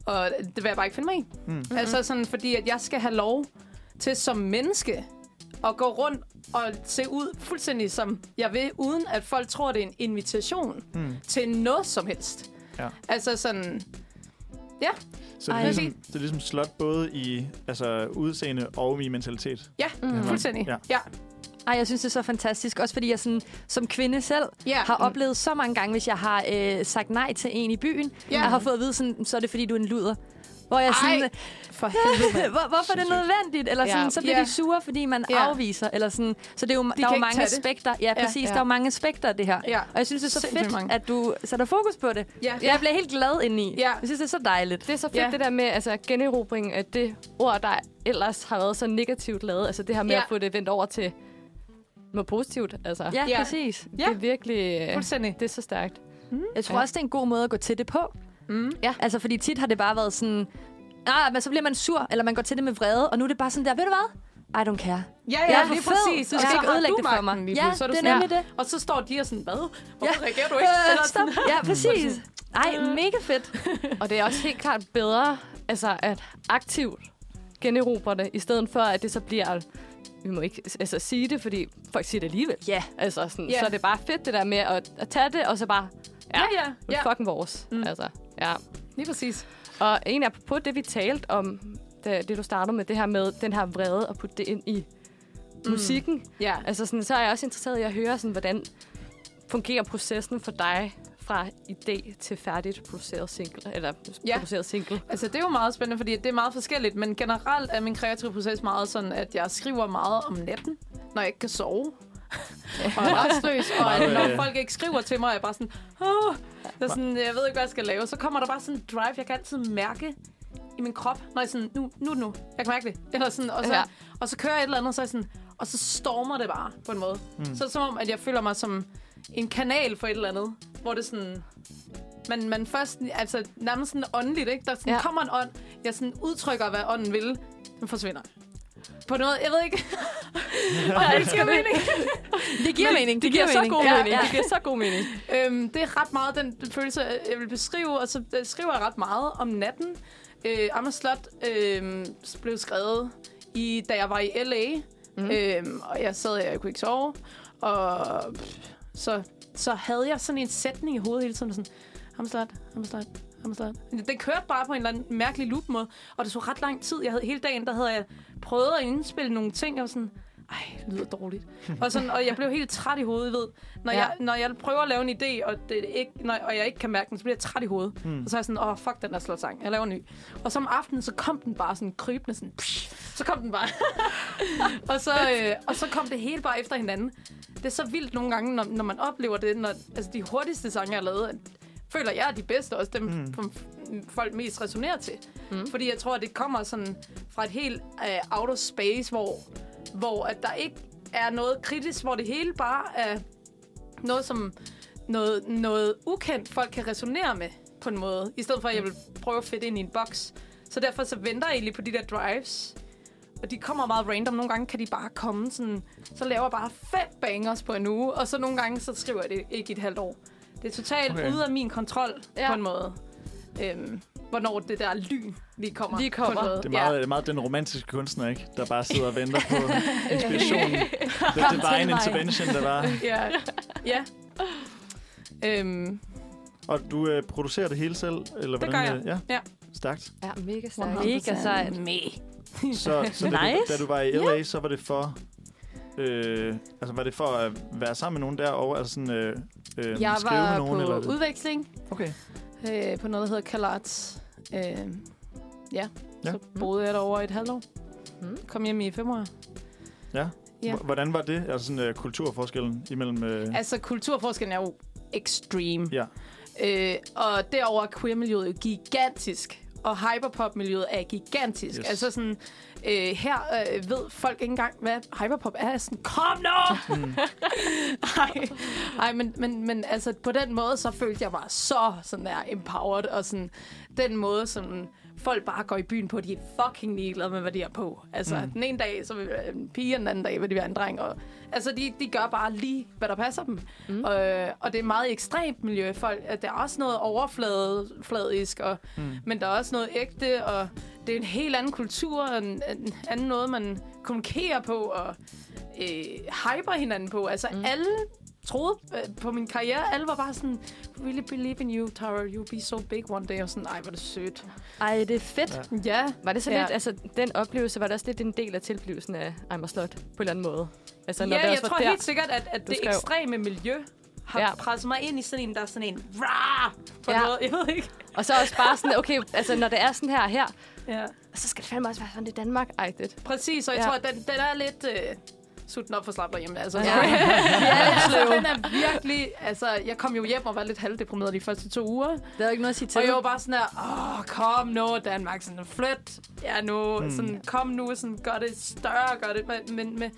og det vil jeg bare ikke finde mig i. Mm. Altså sådan, fordi at jeg skal have lov til som menneske at gå rundt og se ud fuldstændig som jeg vil, uden at folk tror, det er en invitation mm. til noget som helst.
Ja.
Altså sådan, ja,
Så det er,
Ej.
ligesom, det er ligesom slot både i altså, udseende og i mentalitet.
ja, mm. fuldstændig.
Ja.
Ja. ja.
Ej, jeg synes, det er så fantastisk. Også fordi jeg sådan, som kvinde selv
Ja.
har
Mm.
oplevet så mange gange, hvis jeg har øh, sagt nej til en i byen,
Ja.
og har fået at vide, sådan, så er det fordi, du er en luder. Hvor jeg
Ej,
sådan,
For helvede.
(laughs) Hvor, hvorfor er det nødvendigt? Eller sådan,
Ja.
så bliver
Ja.
de sure, fordi man
Ja.
afviser. Eller sådan. Så det er jo, der
kan
er jo
ikke
mange
tage det.
aspekter. Ja,
Ja.
præcis.
Ja.
Der er jo mange aspekter af det her.
Ja.
Og jeg synes, det er så
Sindssygt
fedt,
mange.
at du sætter fokus på det.
Ja.
Jeg bliver helt glad indeni.
Ja.
Jeg synes, det er så dejligt.
Det er så fedt
Ja.
ja. det der med altså, generobring af det ord, der ellers har været så negativt lavet. Altså det her med
Ja.
ja. at få det vendt over til noget positivt. Altså,
Ja,
Ja.
ja, præcis.
Det er virkelig... øh,
Fuldstændig.
Det er så stærkt.
Jeg tror ja. også, det er en god måde at gå til det på. Mm.
Ja.
Altså, fordi tit har det bare været sådan... Ah, men så bliver man sur, eller man går til det med vrede, og nu er det bare sådan der, ved du hvad? I don't care.
Ja,
Jeg
ja,
er
lige
fed,
præcis.
og skal
Ja. Så
ikke
har
ødelægge
du
det for
magten
mig.
lige
Ja,
pludselig, så
det er
sådan,
nemlig
Og så står de og sådan, hvad? Hvorfor
Ja.
reagerer du ikke?
Øh,
Eller
stop.
sådan,
Ja, præcis. Ej,
Øh.
mega fedt.
Og det er også helt klart bedre altså, at aktivt generobre det, i stedet for at det så bliver... Vi må ikke altså, sige det, fordi folk siger det alligevel.
Ja.
Altså, sådan,
Ja.
yeah. Så er det er bare fedt det der med at, at tage det, og så bare...
Ja, ja,
Det
ja.
er fucking vores. Mm. Altså, ja.
Lige præcis.
Og egentlig apropos det, vi talte om, det, det du startede med, det her med den her vrede, og putte det ind i mm. musikken.
Ja.
Altså, sådan, så er jeg også interesseret i at høre, sådan, hvordan fungerer processen for dig fra idé til færdigt produceret single, eller
Ja.
ja. produceret single.
Altså, det er jo meget spændende, fordi det er meget forskelligt, men generelt er min kreative proces meget sådan, at jeg skriver meget om natten, når jeg ikke kan sove. og er restløs, og
Meget,
når
øh,
folk ikke skriver til mig, er jeg bare sådan, oh, jeg, er sådan, jeg ved ikke, hvad jeg skal lave. Så kommer der bare sådan en drive, jeg kan altid mærke i min krop, når jeg er sådan, nu, nu, er det nu, jeg kan mærke det. (laughs) Eller sådan, og, så,
Ja.
og så kører jeg et eller andet, og så er jeg sådan, og så stormer det bare på en måde. Mm. Så er det som om, at jeg føler mig som en kanal for et eller andet, hvor det sådan, man, man først, altså nærmest sådan åndeligt, ikke? Der sådan, ja.
Ja.
kommer en ånd, jeg sådan udtrykker, hvad ånden vil, den forsvinder. På noget, jeg ved ikke. og jeg elsker mening.
Det giver mening.
Det giver, så god
Ja,
mening.
ja.
Det giver så god mening.
Øhm, det er ret meget den følelse, jeg vil beskrive, og så øh, skriver jeg ret meget om natten. Øh, Amager Slot øh, blev skrevet, i, da jeg var i L.A., mm. øhm, og jeg sad, og jeg kunne ikke sove, og pff, så, så havde jeg sådan en sætning i hovedet hele tiden, sådan, Amager Slot, Amager Slot, Amager Slot. Det kørte bare på en eller anden mærkelig loop måde, og det tog ret lang tid. Jeg havde, hele dagen, der havde jeg prøvet at indspille nogle ting, og var sådan, ej, det lyder dårligt. og, sådan, og jeg blev helt træt i hovedet, ved. Når, ja.
Ja.
jeg, når jeg prøver at lave en idé, og, det ikke, når, og jeg ikke kan mærke den, så bliver jeg træt i hovedet. Mm. Og så er jeg sådan, åh, fuck den der slår sang. Jeg laver en ny. Og så om aftenen, så kom den bare sådan krybende, sådan, psh, så kom den bare. (laughs) og, så, øh, og så kom det hele bare efter hinanden. Det er så vildt nogle gange, når, når man oplever det. Når, altså, de hurtigste sange, jeg har lavet, føler jeg er de bedste også. Dem, mm. m- folk mest resonerer til. Mm. Fordi jeg tror, at det kommer sådan fra et helt øh, outer space, hvor, hvor at der ikke er noget kritisk, hvor det hele bare er noget, som noget, noget ukendt folk kan resonere med på en måde, i stedet for at jeg vil prøve at fitte ind i en boks. Så derfor så venter jeg egentlig på de der drives, og de kommer meget random. Nogle gange kan de bare komme sådan, så laver jeg bare fem bangers på en uge, og så nogle gange så skriver jeg det ikke i et halvt år. Det er totalt
Okay.
okay. ude af min kontrol
Ja.
ja. på en måde. Øhm, hvornår det der lyn lige kommer.
Lige
På
kommer.
en måde.
Det er meget, ja. meget den romantiske kunstner, ikke? Der bare sidder og venter
(laughs)
på inspirationen. det, det var
til
en
mig.
intervention, der var.
Ja. ja. Øhm,
Og du øh, producerer det hele selv? Eller
det
hvordan,
gør jeg.
øh, Ja,
ja.
stærkt.
Ja, mega stærkt.
Mega sejt.
(laughs)
Så, så da, du,
Nice.
da du var i LA, yeah. så var det for... Øh, altså, var det for at være sammen med nogen derovre? Altså sådan, øh, øh,
Jeg
skrive
var
med nogen?
på
eller? hvad?
udveksling
Okay.
øh, på noget, der hedder Kalarts. Øh, ja.
Ja.
ja, så boede jeg derovre i et halvt år.
Mm.
Kom hjem i februar. Ja.
H- Hvordan var det? Altså sådan øh, kulturforskellen imellem... Øh,
Altså, kulturforskellen er jo ekstrem.
Ja.
Øh, og derover er queer-miljøet jo gigantisk. Og hyperpop-miljøet er gigantisk.
Yes.
Yes. Altså sådan, øh, her øh, ved folk ikke engang, hvad hyperpop er. Jeg er Sådan, kom nu!
Mm.
(laughs) Ej, ej men, men, men altså, på den måde, så følte jeg mig så sådan der empowered. Og sådan, den måde, som folk bare går i byen på, de er fucking ligeglade med, hvad de har på. Altså, mm. den ene dag, så vil det være en pige, og den anden dag vil det være en dreng. Og, altså, de, de gør bare lige, hvad der passer dem. Mm. Og, og det er et meget ekstremt miljø. Folk, at der er også noget overfladisk, og, mm. men der er også noget ægte, og det er en helt anden kultur, og en, en anden måde, man kommunikerer på, og øh, hyper hinanden på. Altså, mm. alle troede øh, på min karriere. Alle var bare sådan, "We really believe in you, Tara. You'll be so big one day. Og sådan, ej, hvor er det sødt.
Ej, det er fedt. Ja.
Ja,
Var det så
Ja.
lidt, altså den oplevelse, var det også lidt en del af tilblivelsen af I'm a slut, på en eller anden måde? Altså, når
ja
det
jeg
også var
tror
der.
helt sikkert, at, at det
skrev.
ekstreme miljø har
Ja.
ja. presset mig ind i sådan en, der er sådan en rah, på
Ja.
ja. noget. Jeg ved ikke.
Og så også bare sådan, okay, altså når det er sådan her og her,
Ja.
så skal det fandme også være sådan i Danmark. Ej, det.
Præcis, og jeg
Ja.
ja. tror, at den, den er lidt øh, sutten op for slapper hjemme. Altså,
Ja.
ja.
(laughs)
altså, den er virkelig... Altså, jeg kom jo hjem og var lidt halvdeprimeret de første to uger.
Der er jo ikke noget at sige til.
Og jeg var bare sådan der, åh, kom nu, Danmark, sådan, flyt, ja nu, mm. sådan, kom nu, sådan, gør det større, gør det, men, men, men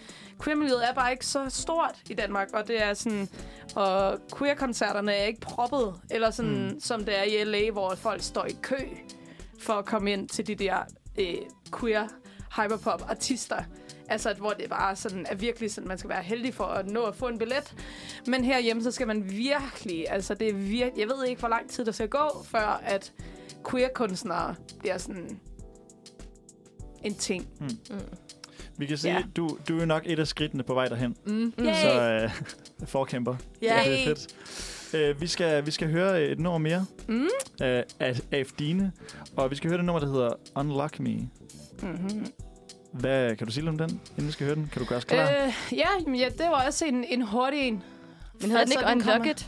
queer-miljøet er bare ikke så stort i Danmark, og det er sådan, og queer-koncerterne er ikke proppet, eller sådan, mm. som det er i LA, hvor folk står i kø for at komme ind til de der øh, queer hyperpop-artister. Altså, at, hvor det bare sådan, er virkelig sådan, man skal være heldig for at nå at få en billet. Men herhjemme, så skal man virkelig, altså det er virkelig, jeg ved ikke, hvor lang tid der skal gå, før at queer-kunstnere bliver sådan en ting.
vi kan sige,
ja.
du, du er jo nok et af skridtene på vej derhen.
Mm. Yay.
Så øh, (laughs) forkæmper.
Yay.
Det er fedt. Øh, vi, skal, vi skal høre et nummer mere
Mm.
øh, af, af Dine, og vi skal høre det nummer, der hedder Unlock Me.
Mm-hmm.
Hvad kan du sige lidt om den, inden vi skal høre den? Kan du gøre os klar? Øh,
Øh, ja, jamen, ja, det var også en, en hurtig en.
Men hedder den
Altså,
ikke
den
Unlock
kommer-
It?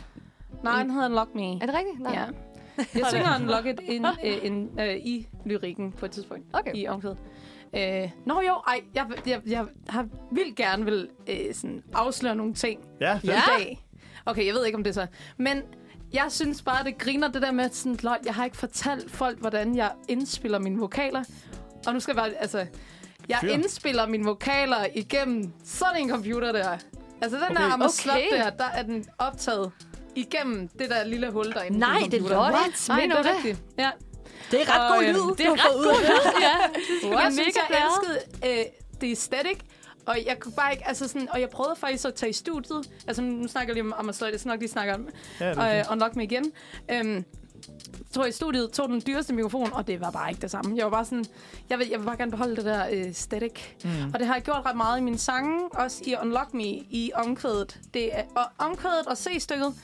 Nej, den hedder Unlock Me.
Er det rigtigt? Nej.
Ja. (laughs) Jeg synger Unlock It (laughs) in, øh, in, øh, i lyrikken på et tidspunkt.
Okay.
i omkvædet. Øh, nå jo, ej, jeg, jeg, jeg har vildt gerne vil øh, sådan afsløre nogle ting
ja, fedt.
ja. i dag. Okay, jeg ved ikke, om det er så. Men jeg synes bare, det griner det der med, at sådan, lol, jeg har ikke fortalt folk, hvordan jeg indspiller mine vokaler. Og nu skal jeg bare, altså, jeg
Fyr.
indspiller mine vokaler igennem sådan en computer der. Altså, den okay. der Amerslot
Okay.
okay. der, der er den optaget igennem det der lille hul derinde.
Nej, det er lort.
Nej, det
Mener du
er
det?
rigtigt. Ja.
Det er ret
Og,
god
øhm,
lyd.
Det er ret god lyd, (laughs) ja.
Wow, jeg synes,
mega
jeg
glade.
elskede øh, det æstetik, og jeg kunne bare ikke, altså sådan, og jeg prøvede faktisk at tage i studiet, altså nu snakker jeg lige om Amazon, det er sådan nok, de snakker om
Ja, det er
og,
fint.
øh, Unlock Me igen. Øhm, tog i studiet, tog den dyreste mikrofon, og det var bare ikke det samme. Jeg var bare sådan, jeg vil, jeg vil bare gerne beholde det der øh, static. Mm. Og det har jeg gjort ret meget i mine sange, også i Unlock Me, i omkvædet. Det er, og omkvædet og C-stykket,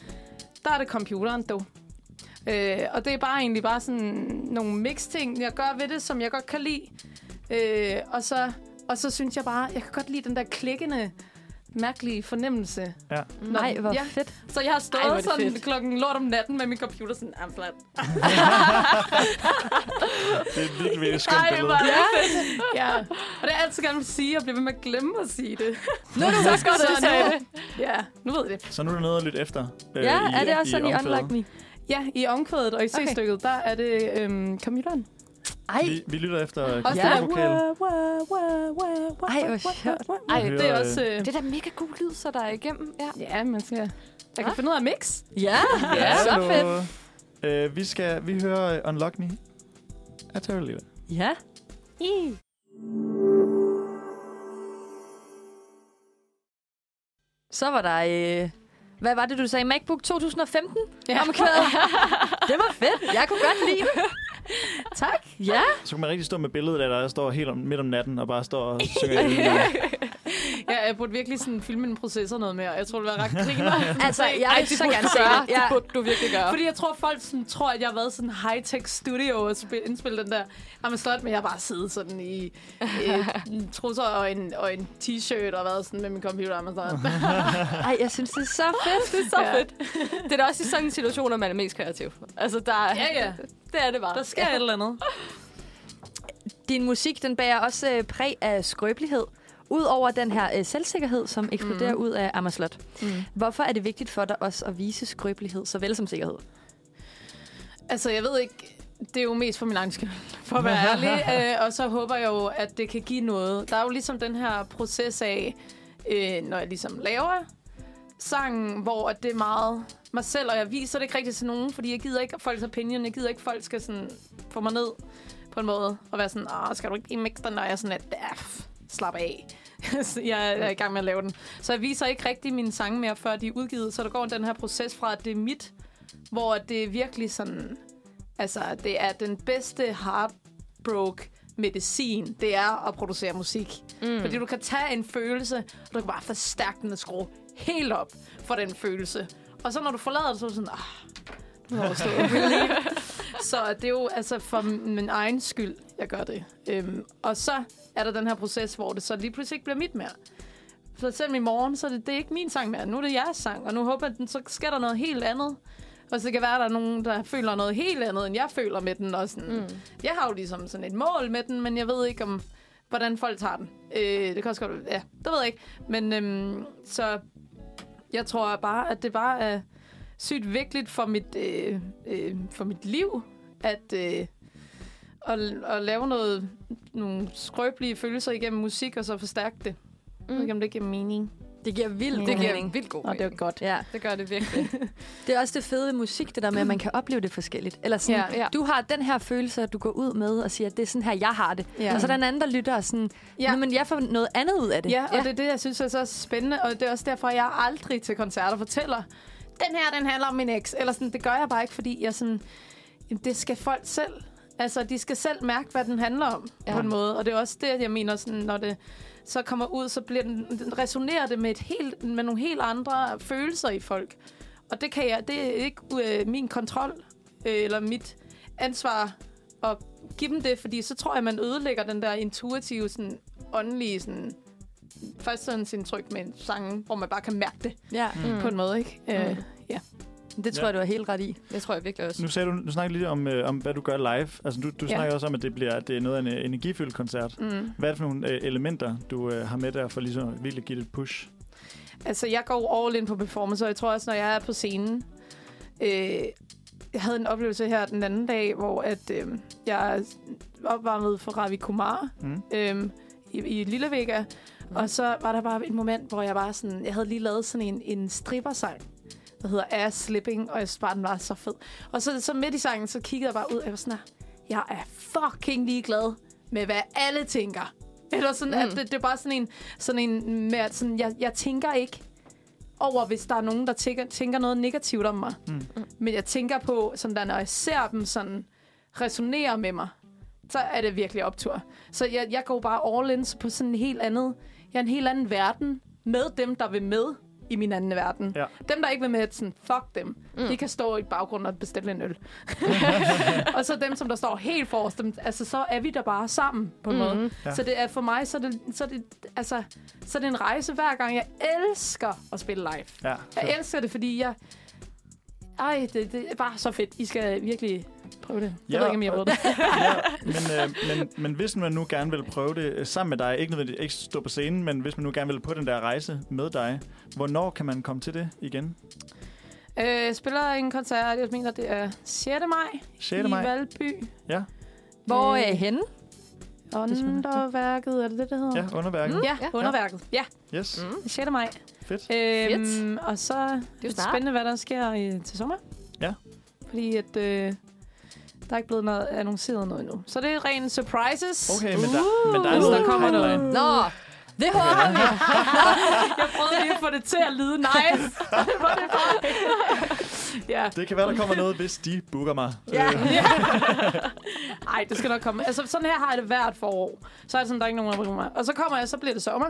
der er det computeren, dog. Øh, og det er bare egentlig bare sådan nogle mix-ting, jeg gør ved det, som jeg godt kan lide. Øh, og, så, og så synes jeg bare, jeg kan godt lide den der klikkende, mærkelige fornemmelse.
Ja.
Når-
Nej, hvor
ja.
fedt.
Så jeg har stået
Ej, hvor er
Ej,
det
sådan
fedt.
fedt. klokken lort om natten med min computer sådan, "Ah, I'm flat.
Det er et virkelig, virkelig skønt
Ej,
billede.
hvor er det fedt. ja. Og det er jeg altid gerne vil sige, og bliver ved med at glemme at sige det.
Nu er du husker,
Så
du sagde det.
Ja, nu ved jeg det.
Så nu er der noget at lytte efter. øh,
Ja, er det også
i
sådan i
omkvædet.
Unlock Me?
Ja, i omkvædet og i
Okay.
C-stykket, der er det øhm, computeren.
Ej,
Vi, vi lytter efter øh,
Også
Ja.
ja.
kvindelokale.
Ej, hvor sjovt.
Ej,
Ej,
det er
hører,
også... Øh,
det er da mega god lyd, så der er igennem. Ja,
ja, man skal... Jeg kan finde ud af mix.
ja, ja. så
Hallo.
fedt.
Øh, vi, skal, vi hører øh, Unlock Me af Terry Lewis.
Ja. I.
Så var der... Øh, hvad var det, du sagde? MacBook 2015?
Ja.
Omkvædet. det var fedt. Jeg kunne godt lide det. Tak. Ja.
Så kan man rigtig stå med billedet af dig, der står helt om, midt om natten og bare står og synger. i øjnene.
Ja, jeg burde virkelig sådan filme en proces og noget mere. Jeg tror, det var ret (laughs) griner.
Altså, jeg vil så gerne se det. Ja.
burde du virkelig gøre.
Fordi jeg tror, folk sådan, tror, at jeg har været i sådan en high-tech studio og spil, indspillet den der Amazon, men jeg har bare siddet sådan i øh,
(laughs)
trusser og en, og en t-shirt og været sådan med min computer Amazon.
Ej, jeg synes, det er så fedt.
Det er så
Ja.
fedt. Det er da også i sådan en situation, at man er mest kreativ. Altså, der,
ja, ja.
det er det bare.
Der sker et eller andet.
Din musik, den bærer også øh, præg af skrøbelighed. Udover den her øh, selvsikkerhed, som eksploderer mm. ud af Amerslot. Mm. Hvorfor er det vigtigt for dig også at vise skrøbelighed, såvel som sikkerhed?
Altså, jeg ved ikke, det er jo mest for min egen skyld, (laughs) for at være ærlig. Øh, og så håber jeg jo, at det kan give noget. Der er jo ligesom den her proces af, øh, når jeg ligesom laver sangen, hvor at det er meget mig selv, og jeg viser det ikke rigtigt til nogen, fordi jeg gider ikke folks opinion, jeg gider ikke, folk skal sådan få mig ned på en måde, og være sådan, ah, skal du ikke lige mixe den, og jeg er sådan, at slap af. (laughs) Så jeg er i gang med at lave den. Så jeg viser ikke rigtig mine sange mere, før de er udgivet, så der går den her proces fra, at det er mit, hvor det er virkelig sådan, altså det er den bedste heartbroke medicin, det er at producere musik. Mm. Fordi du kan tage en følelse, og du kan bare forstærke den og skrue helt op for den følelse. Og så når du forlader det, så er du sådan, ah, nu er det overstået." Really? Så det er jo altså for min egen skyld, jeg gør det. Øhm, og så er der den her proces, hvor det så lige pludselig ikke bliver mit mere. Så selv i morgen, så er det, det er ikke min sang mere. Nu er det jeres sang, og nu håber jeg, at den, så sker der noget helt andet. Og så kan være, at der er nogen, der føler noget helt andet, end jeg føler med den. Og sådan, mm. Jeg har jo ligesom sådan et mål med den, men jeg ved ikke, om hvordan folk tager den. Øh, det kan også godt Ja, det ved jeg ikke. Men øhm, så jeg tror bare, at det bare er sygt vigtigt for mit, øh, øh, for mit liv, at, øh, at, at lave noget, nogle skrøbelige følelser igennem musik, og så forstærke det. Mm. Jeg ved ikke, om det giver mening.
Det giver vildt
Det giver vildt god
Nå, det er
mening.
jo godt.
Ja.
(laughs) Det gør det virkelig.
Det er også det fede ved musik, det der med, at man kan opleve det forskelligt. Eller sådan, ja,
Ja.
ja. du har den her følelse, at du går ud med og siger, at det er sådan her, jeg har det. Ja.
Ja.
Og så er der en anden, der lytter og sådan, ja.
Ja.
men jeg får noget andet ud af det.
Ja, og det er det, jeg synes er så spændende, og det er også derfor, jeg aldrig til koncerter fortæller, den her, den handler om min eks. Eller sådan, det gør jeg bare ikke, fordi jeg sådan, jamen, det skal folk selv. Altså, de skal selv mærke, hvad den handler om, ja. på en måde. Og det er også det, jeg mener, sådan, når det så kommer ud, så bliver den, den resonerer det med, et helt, med nogle helt andre følelser i folk. Og det kan jeg, det er ikke øh, min kontrol, øh, eller mit ansvar at give dem det, fordi så tror jeg, man ødelægger den der intuitive, sådan, åndelige sådan, førstehåndsindtryk med en sang, hvor man bare kan mærke det
ja. Mm.
mm. på en måde, ikke? Mm. Øh, ja.
Det tror
Ja.
jeg, du har helt ret i.
Mm.
Det tror jeg virkelig også.
Nu sagde du, du snakkede lidt om, øh, om, hvad du gør live. Altså, du, du
Ja.
snakker også om, at det, bliver, at det er noget af en øh, energifyldt koncert.
Mm.
Hvad er det for nogle øh, elementer, du øh, har med der for ligesom at virkelig give det et push?
Altså, jeg går jo all in på performance, og jeg tror også, når jeg er på scenen... Øh, jeg havde en oplevelse her den anden dag, hvor at, øh, jeg opvarmede for Ravi Kumar
Mm.
øh, i, i Lille Vega. Mm. Og så var der bare et moment, hvor jeg bare sådan... Jeg havde lige lavet sådan en, en strippersang der hedder Ass Slipping, og jeg synes bare, den var så fed. Og så, så midt i sangen, så kiggede jeg bare ud, og jeg var sådan her, jeg er fucking ligeglad med, hvad alle tænker. Eller sådan, mm. at det, det, er bare sådan en, sådan en med, at sådan, jeg, jeg tænker ikke over, hvis der er nogen, der tænker, tænker noget negativt om mig. Mm. Men jeg tænker på, sådan der, når jeg ser dem sådan resonere med mig, så er det virkelig optur. Så jeg, jeg går bare all in på sådan en helt andet, jeg er en helt anden verden med dem, der vil med i min anden verden.
Ja.
Dem, der ikke vil med, er sådan, fuck dem. Mm. De kan stå i baggrunden og
(laughs)
bestille en øl. og så dem, som der står helt forrest, dem, altså, så er vi der bare sammen på en mm. måde.
Ja.
Ja. Så det er for mig, så er det, så er det, altså, så er det en rejse hver gang. Jeg elsker at spille live.
Ja.
Øh,
Jeg elsker det, fordi jeg... Ej, det, det er bare så fedt. I skal virkelig prøve det. Jeg
Ja,
ved ikke, om I har prøvet det.
ja, men, øh, men, men hvis man nu gerne vil prøve det øh, sammen med dig, ikke nødvendigvis ikke stå på scenen, men hvis man nu gerne vil på den der rejse med dig, hvornår kan man komme til det igen? (laughs)
Øh, spiller en koncert, jeg mener, det er 6. maj
6.
i
maj.
Valby.
Ja.
Hvor
Øh,
er henne?
Underværket, er det det, det hedder?
Ja, underværket. Mm.
Ja,
Ja.
underværket. Ja,
Yes, mm.
6. maj.
fedt.
Øhm, og så det er
jo
det
snart.
spændende, hvad der sker i, til sommer.
Ja.
Fordi at, øh, der er ikke blevet noget annonceret noget endnu. Så det er rent surprises.
Okay, men der, men der er
Uh, Hvis
noget
der
i
kommer noget.
pipeline.
Nå, det håber vi.
Jeg prøvede lige at få det til at lyde
(laughs)
nice. Det var det bare. ja.
Det kan være, der kommer noget, hvis de booker mig.
Ja. Ej, det skal nok komme. Altså, sådan her har jeg det hvert forår. Så er det sådan, der er ikke nogen, der mig. Og så kommer jeg, så bliver det sommer.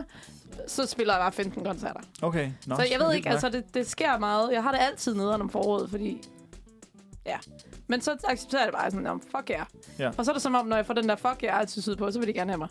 Så spiller jeg bare 15 koncerter.
Okay. Nå,
Så jeg ved
vildt
ikke,
nok.
altså det, det sker meget. Jeg har det altid nederen om foråret, fordi... Ja. Men så accepterer jeg det bare sådan, "Nå, fuck jer.
Ja.
Yeah. Og så er det som om, når jeg får den der fuck jer attitude på, så vil de gerne have mig.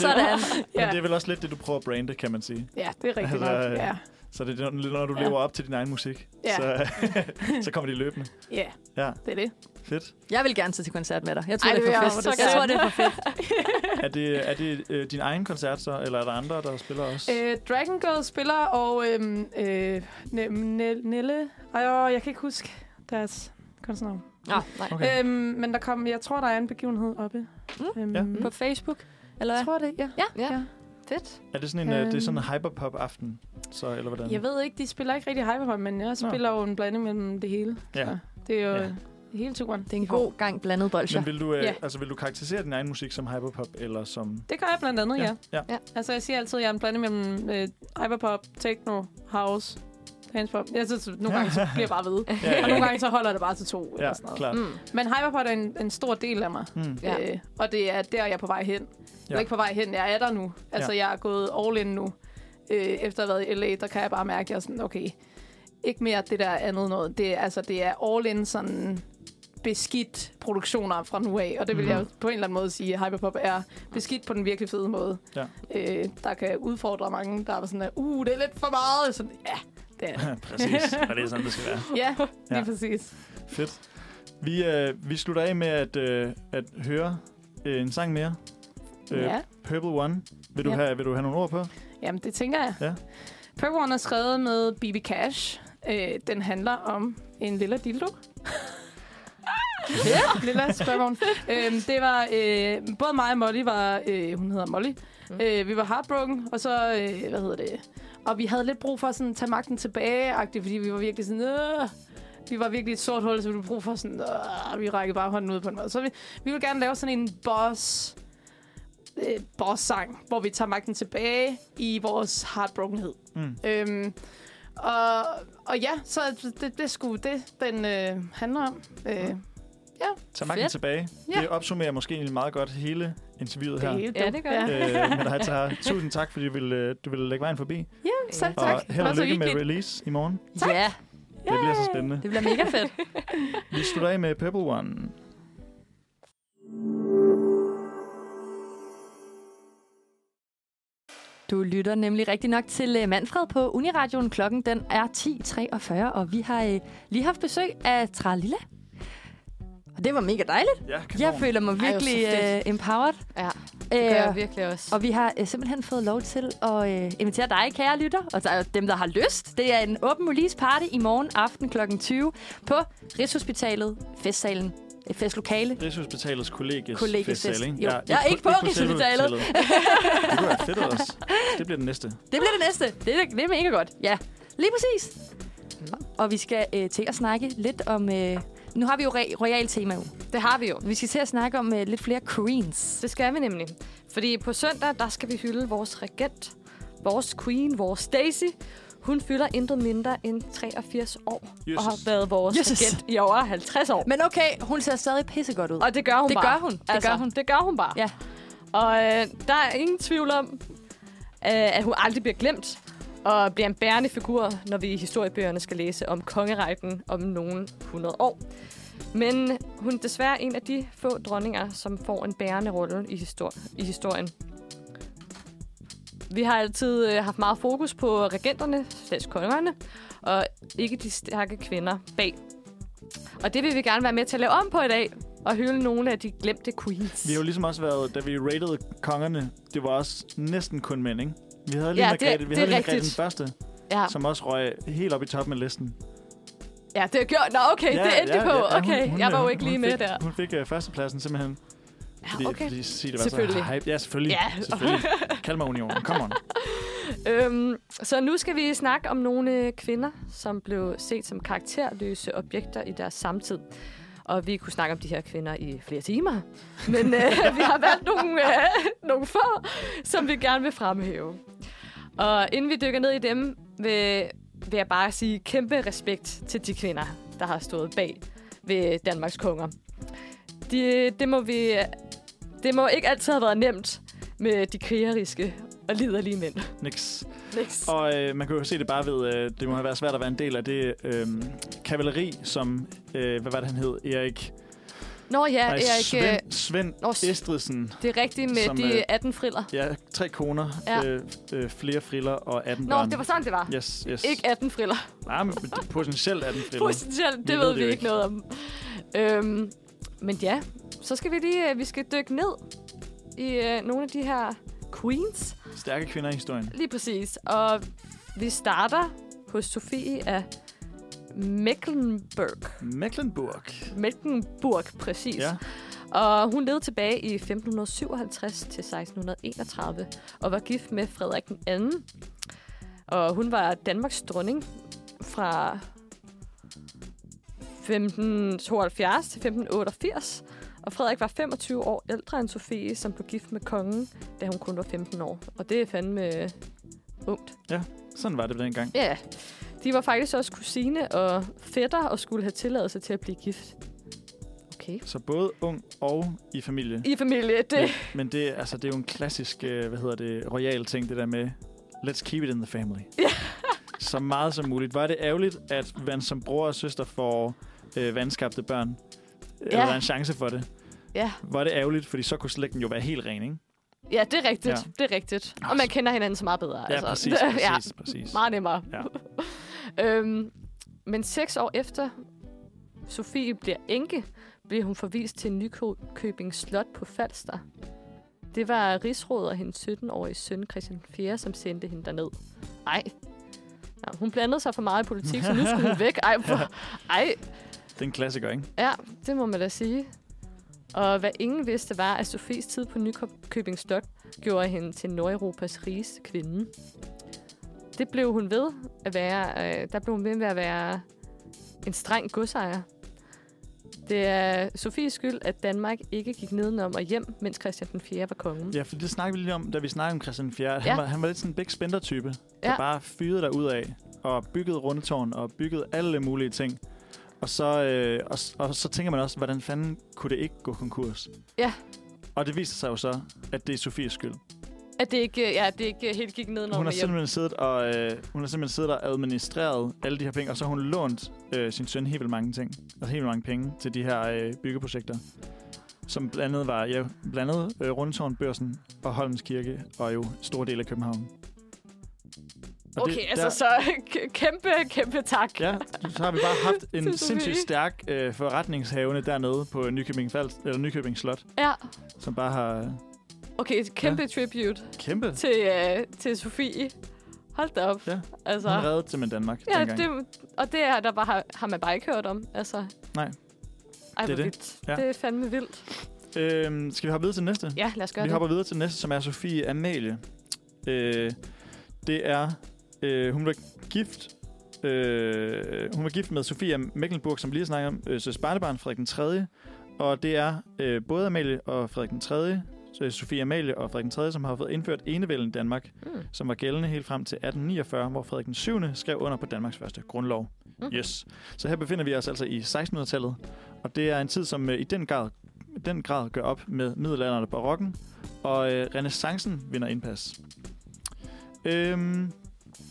Sådan.
Men
Ja,
det er vel også lidt det, du prøver at brande, kan man sige.
ja det er rigtigt
Altså,
nok. Ja.
Så det er, når- når du
Ja.
lever op til din egen musik,
Ja.
så, (laughs) så kommer de løbende.
ja,
Ja,
det er det.
fedt.
Jeg vil gerne til koncert med dig. Jeg tror,
Ej,
det
det
er
vil
for
jeg
fedt.
også så
Jeg
gerne.
tror, det er for fedt.
Er det, er det øh, din egen koncert så, eller er der andre, der spiller også?
Øh, Dragon Girl spiller, og øhm, øh, ne, ne, Nelle... Ej, åh, jeg kan ikke huske deres kunstnavn.
Nå, nej.
Okay.
Øhm, men der kom, jeg tror, der er en begivenhed oppe. Mm, øhm,
ja.
På Facebook, eller
Jeg
hvad?
tror det, ja.
Ja, ja.
Ja.
Fedt.
Er det sådan en, øh, det er sådan en
øhm.
hyperpop-aften, så, eller hvordan?
Jeg ved ikke, de spiller ikke rigtig hyperpop, men jeg spiller jo en blanding mellem det hele.
Ja.
Så Det er jo
Ja.
ja. hele turen.
Det er en god gang blandet bolsjer.
Men vil du, øh,
Ja.
altså, vil du karakterisere din egen musik som hyperpop, eller som...
(laughs) Det gør jeg blandt andet, ja. ja.
ja.
Altså, jeg siger altid, at jeg er en blanding mellem øh, hyperpop, techno, house, dancepop. Jeg synes, nogle gange så bliver jeg bare
(laughs)
ved.
Ja, ja,
Og nogle gange så holder det bare til to. Ja,
ja,
eller sådan noget.
klart.
Mm.
Men hyperpop er en, en stor del af mig.
Mm.
Ja.
Øh, og det er der, jeg er på vej hen. Ja. Jeg
Ja.
er ikke på vej hen, jeg er der nu. Altså, ja. jeg er gået all in nu. Øh, efter at have været i LA, der kan jeg bare mærke, at jeg er sådan, okay, ikke mere det der andet noget. Det, er- altså, det er all in sådan beskidt produktioner fra nu af, og det vil
Mhm.
jeg jo på en eller anden måde sige, at hyperpop er beskidt på den virkelig fede måde.
Ja.
Øh, der kan udfordre mange, der er sådan, at, uh, det er lidt for meget. Sådan, ja, det er det.
Præcis, og det er sådan, det skal være.
Ja, lige
(laughs) Ja.
ja. præcis.
Fedt. Vi, øh, vi slutter af med at, øh, at høre øh, en sang mere. Øh,
Ja.
Purple One. Vil du,
Ja.
have, vil du have nogle ord på?
Jamen, det tænker jeg.
Ja.
Purple One er skrevet med BB Cash. Øh, den handler om en lille dildo. (laughs) ja, lille spørgsmål. øhm, det var, øh, både mig og Molly var, øh, hun hedder Molly, øh, vi var heartbroken, og så, øh, hvad hedder det, og vi havde lidt brug for sådan at tage magten tilbage, fordi vi var virkelig sådan, øh, vi var virkelig et sort hul, så vi havde brug for sådan, øh, vi rækkede bare hånden ud på en måde. Så vi, vi ville gerne lave sådan en boss, øh, boss-sang, hvor vi tager magten tilbage i vores heartbrokenhed.
Mm.
Øhm, og, og ja, så det, det skulle det, den øh, handler om. Øh, det
Tag magten
Fedt.
tilbage.
Ja.
Det opsummerer måske egentlig meget godt hele interviewet her.
hele
Ja, det gør jeg.
øh, men der tager, tusind tak, fordi du ville, øh, du ville lægge vejen forbi.
Ja, selv
Og
tak.
held og
Det var så
lykke med
hyggeligt.
release i morgen.
Ja,
Det bliver så spændende.
det bliver mega fedt.
Vi slutter af med Purple One.
Du lytter nemlig rigtig nok til øh, Manfred på Uniradioen. Klokken den er 10.43, og vi har øh, lige haft besøg af Tralilla. Og det var mega dejligt.
Ja,
Jeg føler mig
Ej,
virkelig
hvor så
øh, empowered.
Ja,
det
gør jeg virkelig også.
Og vi har øh, simpelthen fået lov til at øh, invitere dig, kære lytter, og der er dem, der har lyst. Det er en åben release party i morgen aften kl. 20 på Rigshospitalet, festsalen, øh, festlokale.
Rigshospitalets kollegies
Kollegiefest,
festsal, ikke?
jo. Jeg er ikke på
selve
Rigshospitalet.
hospitalet. det kunne være fedt også. Det bliver den næste.
Det bliver det næste. Det er, det er mega godt. Ja, lige præcis. Og vi skal øh, til at snakke lidt om... Øh, nu har vi jo re- royal tema uge.
Det har vi jo.
Vi skal til at snakke om øh, lidt flere queens.
Det skal vi nemlig. Fordi på søndag, der skal vi hylde vores regent, vores queen, vores Daisy. Hun fylder intet mindre end 83 år Jesus. og har
Jesus.
været vores
Jesus.
Jesus. regent i over 50 år.
Men okay, hun ser stadig pissegodt ud. Og
Og det gør hun
Det
bare. Altså,
gør hun. Det gør hun.
Det gør hun bare.
Ja.
Og øh, der er ingen tvivl om, øh, at hun aldrig bliver glemt og bliver en bærende figur, når vi i historiebøgerne skal læse om kongerækken om nogle 100 år. Men hun er desværre en af de få dronninger, som får en bærende rolle i, histor- i historien. Vi har altid øh, haft meget fokus på regenterne, slags kongerne, og ikke de stærke kvinder bag. Og det vil vi gerne være med til at lave om på i dag, og hylde nogle af de glemte queens.
Vi har jo ligesom også været, da vi rated kongerne, det var også næsten kun mænd, ikke? Vi havde lige
Ja,
Margrethe,
det-
vi
det
havde
er
lige Margrethe den
rigtigt.
første,
ja. (laughs)
som også røg helt op i toppen af listen.
Ja, det er gjort. Nå, okay, det endte på. Okay, jeg var jo ikke lige
hun
med
fik,
der.
Hun fik uh, førstepladsen simpelthen. Fordi,
okay.
fordi Sille var
Selvfølgelig.
så hype. Ja, selvfølgelig.
Ja. (laughs)
selvfølgelig. Kald mig Union. Come on.
Øhm, så nu skal vi snakke om nogle øh, kvinder, som blev set som karakterløse objekter i deres samtid. Og vi kunne snakke om de her kvinder i flere timer. Men øh, (laughs) vi har valgt nogle, øh, nogle få, som vi gerne vil fremhæve. Og inden vi dykker ned i dem, vil, vil jeg bare sige kæmpe respekt til de kvinder, der har stået bag ved Danmarks konger. De, det, må vi, det må ikke altid have været nemt med de krigeriske og liderlige mænd.
Niks.
Niks.
Og øh, man kan jo se det bare ved, øh, det må have været svært at være en del af det øh, kavaleri, som, øh, hvad var det han hed, Erik?
Nå ja,
nej,
Erik, øh,
Svend, Svend
Nå, s-
Estridsen.
det er rigtigt med
som,
de
øh,
18 friller.
Ja, tre koner,
Ja.
ja. Øh, øh, flere friller og 18
Nå,
børn.
det var sådan, det var.
Yes, yes.
Ikke 18 friller.
Nej, men potentielt
(laughs)
18 friller.
Potentielt, det
Vi
ved,
ved det
vi
jo
ikke
ikke.
noget om. Øhm, men ja, så skal vi lige øh, vi skal dykke ned i øh, nogle af de her queens.
Stærke kvinder i historien.
Lige præcis. Og vi starter hos Sofie af Mecklenburg.
Mecklenburg.
Mecklenburg, præcis.
Ja.
Og hun levede tilbage i 1557 til 1631 og var gift med Frederik den anden. Og hun var Danmarks dronning fra 1572 til 1588. Og Frederik var 25 år ældre end Sofie, som blev gift med kongen, da hun kun var 15 år. Og det er fandme øh, ungt.
Sådan var det dengang.
Ja, de var faktisk også kusine og fætter og skulle have tilladelse til at blive gift. Okay.
Så både ung og i familie.
I familie, det...
Men, men det, altså, det er jo en klassisk, øh, hvad hedder det, royal ting, det der med, let's keep it in the family.
Ja.
(laughs) Så meget som muligt. Var det ærgerligt, at man som bror og søster får øh, vandskabte børn? Ja. Eller
Ja.
der er en chance for det?
Ja.
Var det ærgerligt, fordi så kunne slægten jo være helt ren, ikke?
Ja, det er rigtigt. Ja.
Ja.
Det er rigtigt. Og man kender hinanden så meget bedre.
Ja, altså, præcis, præcis,
(laughs) ja,
ja. præcis.
meget nemmere.
Ja.
(laughs) øhm, men seks år efter Sofie bliver enke, bliver hun forvist til Nykøbing Slot på Falster. Det var rigsrådet og hendes 17-årige søn Christian 4, som sendte hende derned. Ej. Ja, hun blandede sig for meget i politik, så nu skulle hun væk. Ej,
(laughs)
hvor, ej,
Det er en klassiker, ikke?
Ja, det må man da sige. Og hvad ingen vidste var, at Sofies tid på Nykøbing Slot gjorde hende til Nordeuropas rigeste kvinde. Det blev hun ved at være, øh, der blev hun ved med at være en streng godsejer. Det er Sofies skyld, at Danmark ikke gik nedenom og hjem, mens Christian den 4. var kongen.
Ja, for det snakkede vi lige om, da vi snakkede om Christian 4. Ja.
Ja.
Han, var, han var lidt sådan en big spender-type, der
Ja.
ja. bare fyrede dig ud af og byggede rundetårn og byggede alle mulige ting. Og så, øh, og, s- og så tænker man også, hvordan fanden kunne det ikke gå konkurs?
Ja.
Og det viser sig jo så, at det er Sofies skyld.
At det ikke, ja, det ikke helt gik nedenom
hun, har
og hjem.
simpelthen siddet og, øh, hun har simpelthen siddet og administreret alle de her penge, og så har hun lånt øh, sin søn helt vildt mange ting. Altså helt vildt mange penge til de her øh, byggeprojekter. Som blandt andet var ja, blandt andet, øh, Rundetårnbørsen og Holmens Kirke, og jo store dele af København. Og
Okay, det, altså så (laughs) k- kæmpe, kæmpe tak.
Ja, så har vi bare
(laughs)
haft
Det er
en
så
sindssygt
vildt.
stærk øh, forretningshavende dernede på Nykøbing, Fals, eller Nykøbing Slot,
ja.
som bare har øh,
Okay, et kæmpe ja. tribute.
kæmpe.
til, øh, til Sofie. Hold da op.
Ja,
altså,
Hun reddede simpelthen Danmark
ja
dengang.
det, og det er, der bare har, har man bare ikke hørt om. Altså,
Nej.
Ej,
Det
det,
er det.
vildt.
Ja.
det er fandme vildt.
Øhm, skal vi hoppe videre til næste?
Ja, lad os gøre
Vi
det.
hopper videre til næste, som er Sofie Amalie. Øh, det er... Øh, hun var gift... Øh, hun var gift med Sofie af Mecklenburg, som vi lige snakkede om, øh, søs barnebarn, Frederik den 3. Og det er øh, både Amalie og Frederik den 3., så Sofie Amalie og Frederik den 3., som har fået indført enevælden i Danmark,
Mm.
mm. som var gældende helt frem til 1849, hvor Frederik den 7. skrev under på Danmarks første grundlov.
Mm.
Mm. Yes. Så her befinder vi os altså i 1600-tallet, og det er en tid, som øh, i den grad, den grad gør op med middelalderen og barokken, og øh, renaissancen vinder indpas. Øhm,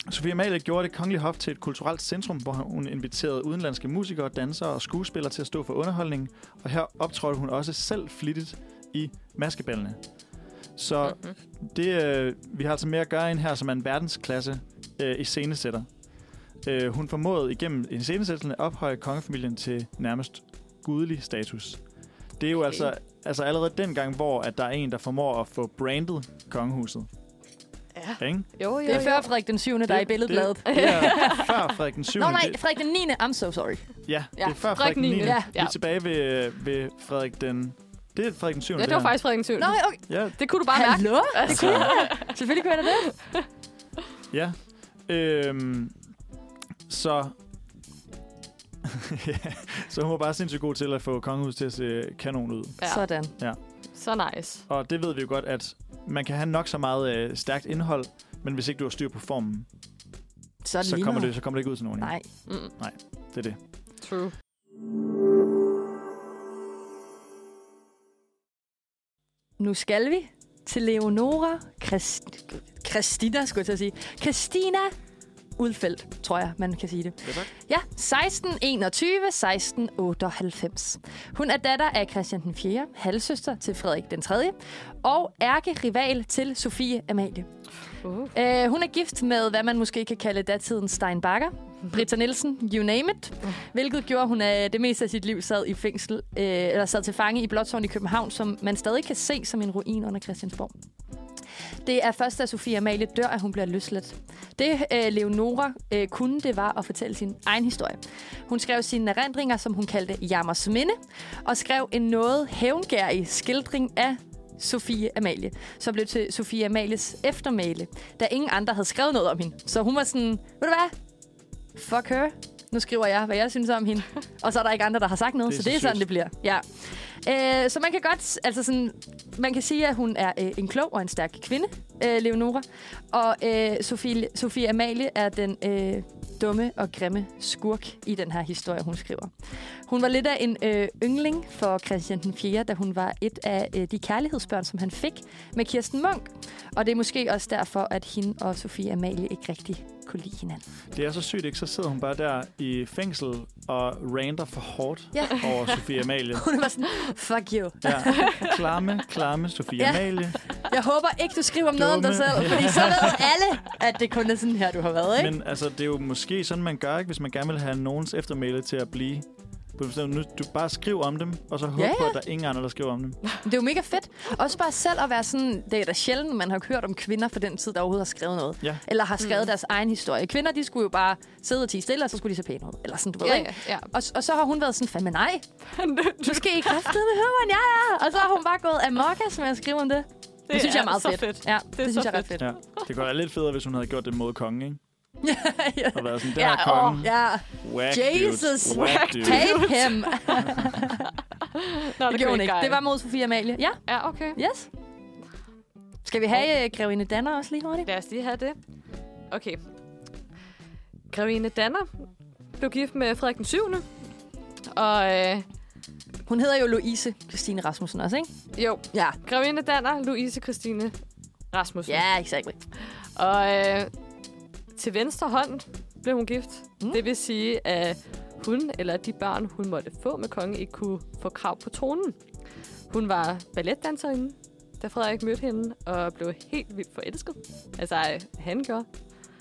Sofie Amalie gjorde det kongelige hof til et kulturelt centrum, hvor hun inviterede udenlandske musikere, dansere og skuespillere til at stå for underholdningen, og her optrådte hun også selv flittigt i maskeballene. Så
Mhm.
det, øh, vi har altså med at gøre en her, som er en verdensklasse øh, i scenesætter. Øh, hun formåede igennem en scenesættelsen at ophøje kongefamilien til nærmest gudelig status. Det er jo okay. altså, altså allerede dengang, hvor at der er en, der formår at få brandet kongehuset.
Ja,
Ja. Ikke?
Jo, jo,
Det er
jo.
før Frederik den 7. der er i billedbladet.
Det, det er før Frederik den 7.
Nå nej, Frederik den 9. I'm so sorry.
Ja, det
Ja,
er før Frederik
Frederik
den 9.
niende.
Ja.
Ja.
Vi er tilbage ved, øh, ved Frederik den... Det er Frederik den 7.
Ja, det var faktisk Frederik den 7.
Nå, okay.
Ja,
Det kunne du bare (laughs) mærke.
Hallo?
det kunne
Selvfølgelig kunne jeg da det.
Ja. Øhm, så... (laughs) ja, så hun var bare sindssygt god til at få kongehuset til at se kanon ud.
Ja.
Sådan.
Så nice.
Og det ved vi jo godt, at man kan have nok så meget øh, stærkt indhold, men hvis ikke du har styr på formen,
Så, er
så
lige
kommer,
meget.
det, så kommer det ikke ud til nogen.
Nej.
Mm,
Det er det.
true.
Nu skal vi til Leonora Christ... Christina, skulle jeg til at sige. Christina Udfeldt, tror jeg, man kan sige det.
Ja, tak.
Ja, 1621, 1698. Hun er datter af Christian den 4., halvsøster til Frederik den 3., og ærkerival til Sofie Amalie. Uh.
Uh.
Øh, hun er gift med, hvad man måske kan kalde datidens Stein Bakker, Britta Nielsen, you name it, hvilket gjorde, at hun øh, det meste af sit liv sad i fængsel, øh, eller sad til fange i Blåtårn i København, som man stadig kan se som en ruin under Christiansborg. Det er først, da Sofie Amalie dør, at hun bliver løsladt. Det øh, Leonora øh, kunne, det var at fortælle sin egen historie. Hun skrev sine erindringer, som hun kaldte Jammers Minde, og skrev en noget hævngærig skildring af Sofie Amalie, som blev til Sofie Amalies eftermæle, da ingen andre havde skrevet noget om hende. Så hun var sådan, ved du hvad? Fuck her. Nu skriver jeg, hvad jeg synes om hende. Og så er der ikke andre, der har sagt noget,
Det
det
er
så det
så
er sådan,
sygt.
det bliver. Ja. Øh, så man kan godt, altså sådan, man kan sige, at hun er øh, en klog og en stærk kvinde, øh, Leonora. Og øh, Sofie, Sofie Amalie er den øh, dumme og grimme skurk i den her historie, hun skriver. Hun var lidt af en øh, yndling for Christian den 4., da hun var et af øh, de kærlighedsbørn, som han fik med Kirsten Munk. Og det er måske også derfor, at hende og Sofie Amalie ikke rigtig kunne lide hinanden.
Det er så sygt, ikke? Så sidder hun bare der i fængsel og rander for hårdt
Ja.
over Sofie
(laughs)
Amalie.
Hun var sådan, fuck you.
Ja. Klamme, klamme Sofie
Ja.
Amalie.
Jeg håber ikke, du skriver om noget om dig
Dumme.
selv, fordi så ved alle, at det kun er sådan her, du har været, ikke?
Men altså, det er jo måske sådan, man gør, ikke? Hvis man gerne vil have nogens eftermæle til at blive... på en bestemt- Nu, du bare skriv om dem, og så håb ja,
Ja,
ja. på,
ja.
at der er ingen andre, der skriver om dem.
Det er jo mega fedt. Også bare selv at være sådan, det er da sjældent, man har hørt om kvinder for den tid, der overhovedet har skrevet noget.
Ja.
Eller har skrevet mm. deres egen historie. Kvinder, de skulle jo bare sidde og tige stille, og så skulle de se pæne ud. Eller sådan, du ved,
Ja,
ikke?
ja, ja.
Og, og, så har hun været sådan, fandme nej. Du skal ikke kræfte med høren, ja, ja. Og så har hun bare gået amokas med at skrive om det. Det, det synes jeg er
er
meget
så
fedt.
fedt.
Ja, det, det
så
synes jeg er ret fedt.
fedt.
Ja. Det kunne være lidt federe, hvis hun havde gjort det mod kongen, ikke?
(laughs) ja.
Og været sådan, der
Ja,
er kongen.
åh, ja.
Whack,
Jesus,
dude. Whack, dude.
Take (laughs) him.
Nå,
Det gjorde hun ikke. Det var mod Sofie Amalie. Ja,
Ja, okay.
yes. Skal vi have øh, Grevinde Danner også lige hurtigt?
Lad os lige have det. Okay. Grevinde Danner blev gift med Frederik den 7. Og øh,
Hun hedder jo Louise Christine Rasmussen også, ikke?
jo,
Ja.
Grevinde Danner, Louise Christine Rasmussen.
Ja, exakt.
Og øh, til venstre hånd blev hun gift.
Mm.
Mm. Det vil sige, at hun eller de børn, hun måtte få med kongen, ikke kunne få krav på tronen. Hun var balletdanserinde, da Frederik mødte hende, og blev helt vildt forelsket. Altså, øh, han gjorde,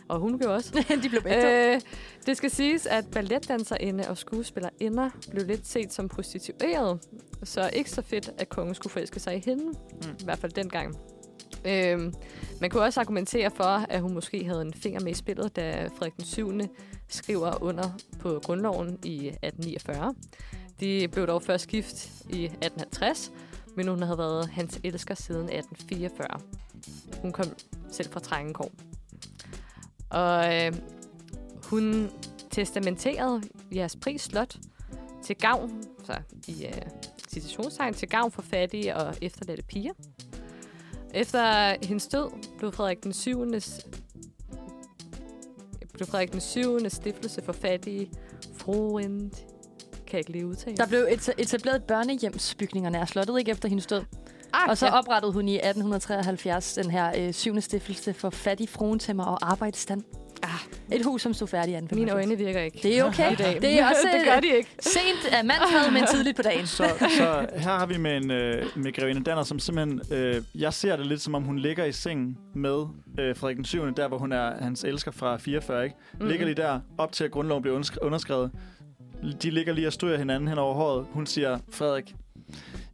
og hun gjorde også.
(laughs) De blev bedre.
Øh, det skal siges, at balletdanserinde og skuespillerinder blev lidt set som prostitueret, så ikke så fedt, at kongen skulle forelske sig i hende, mm. i hvert fald dengang. Øhm, man kunne også argumentere for, at hun måske havde en finger med i spillet, da Frederik den 7. skriver under på grundloven i 1849. De blev dog først gift i 1850, men hun havde været hans elsker siden 1844. Hun kom selv fra Trængenkår. Og øh, hun testamenterede jeres pris slot til gavn, så i uh, citationstegn, til gavn for fattige og efterladte piger. Efter hendes død blev Frederik den 7. blev Frederik den 7. stiftelse for fattige Froend. Kan jeg ikke lige udtale.
Der blev eta- etableret børnehjemsbygninger nær slottet, ikke efter hendes død.
ah,
(laughs) Og så
ja.
oprettede hun i 1873 den her øh, syvende stiftelse for fattig fruentemmer og arbejdsstand. Ah. Et hus, som stod færdigt i 1875.
Mine øjne virker ikke.
Det er okay.
i dag.
Det er også
(laughs)
øh,
det gør de ikke.
sent af mandsmad, men tidligt på dagen.
Så, så her har vi med, en, øh, med Grevinde Danner, som simpelthen... Øh, jeg ser det lidt, som om hun ligger i sengen med øh, Frederik den 7., der hvor hun er hans elsker fra 44, ikke? Mm.
Mm-hmm.
Ligger lige der, op til at grundloven bliver undersk- underskrevet. De ligger lige og stryger hinanden hen over håret. Hun siger, Frederik,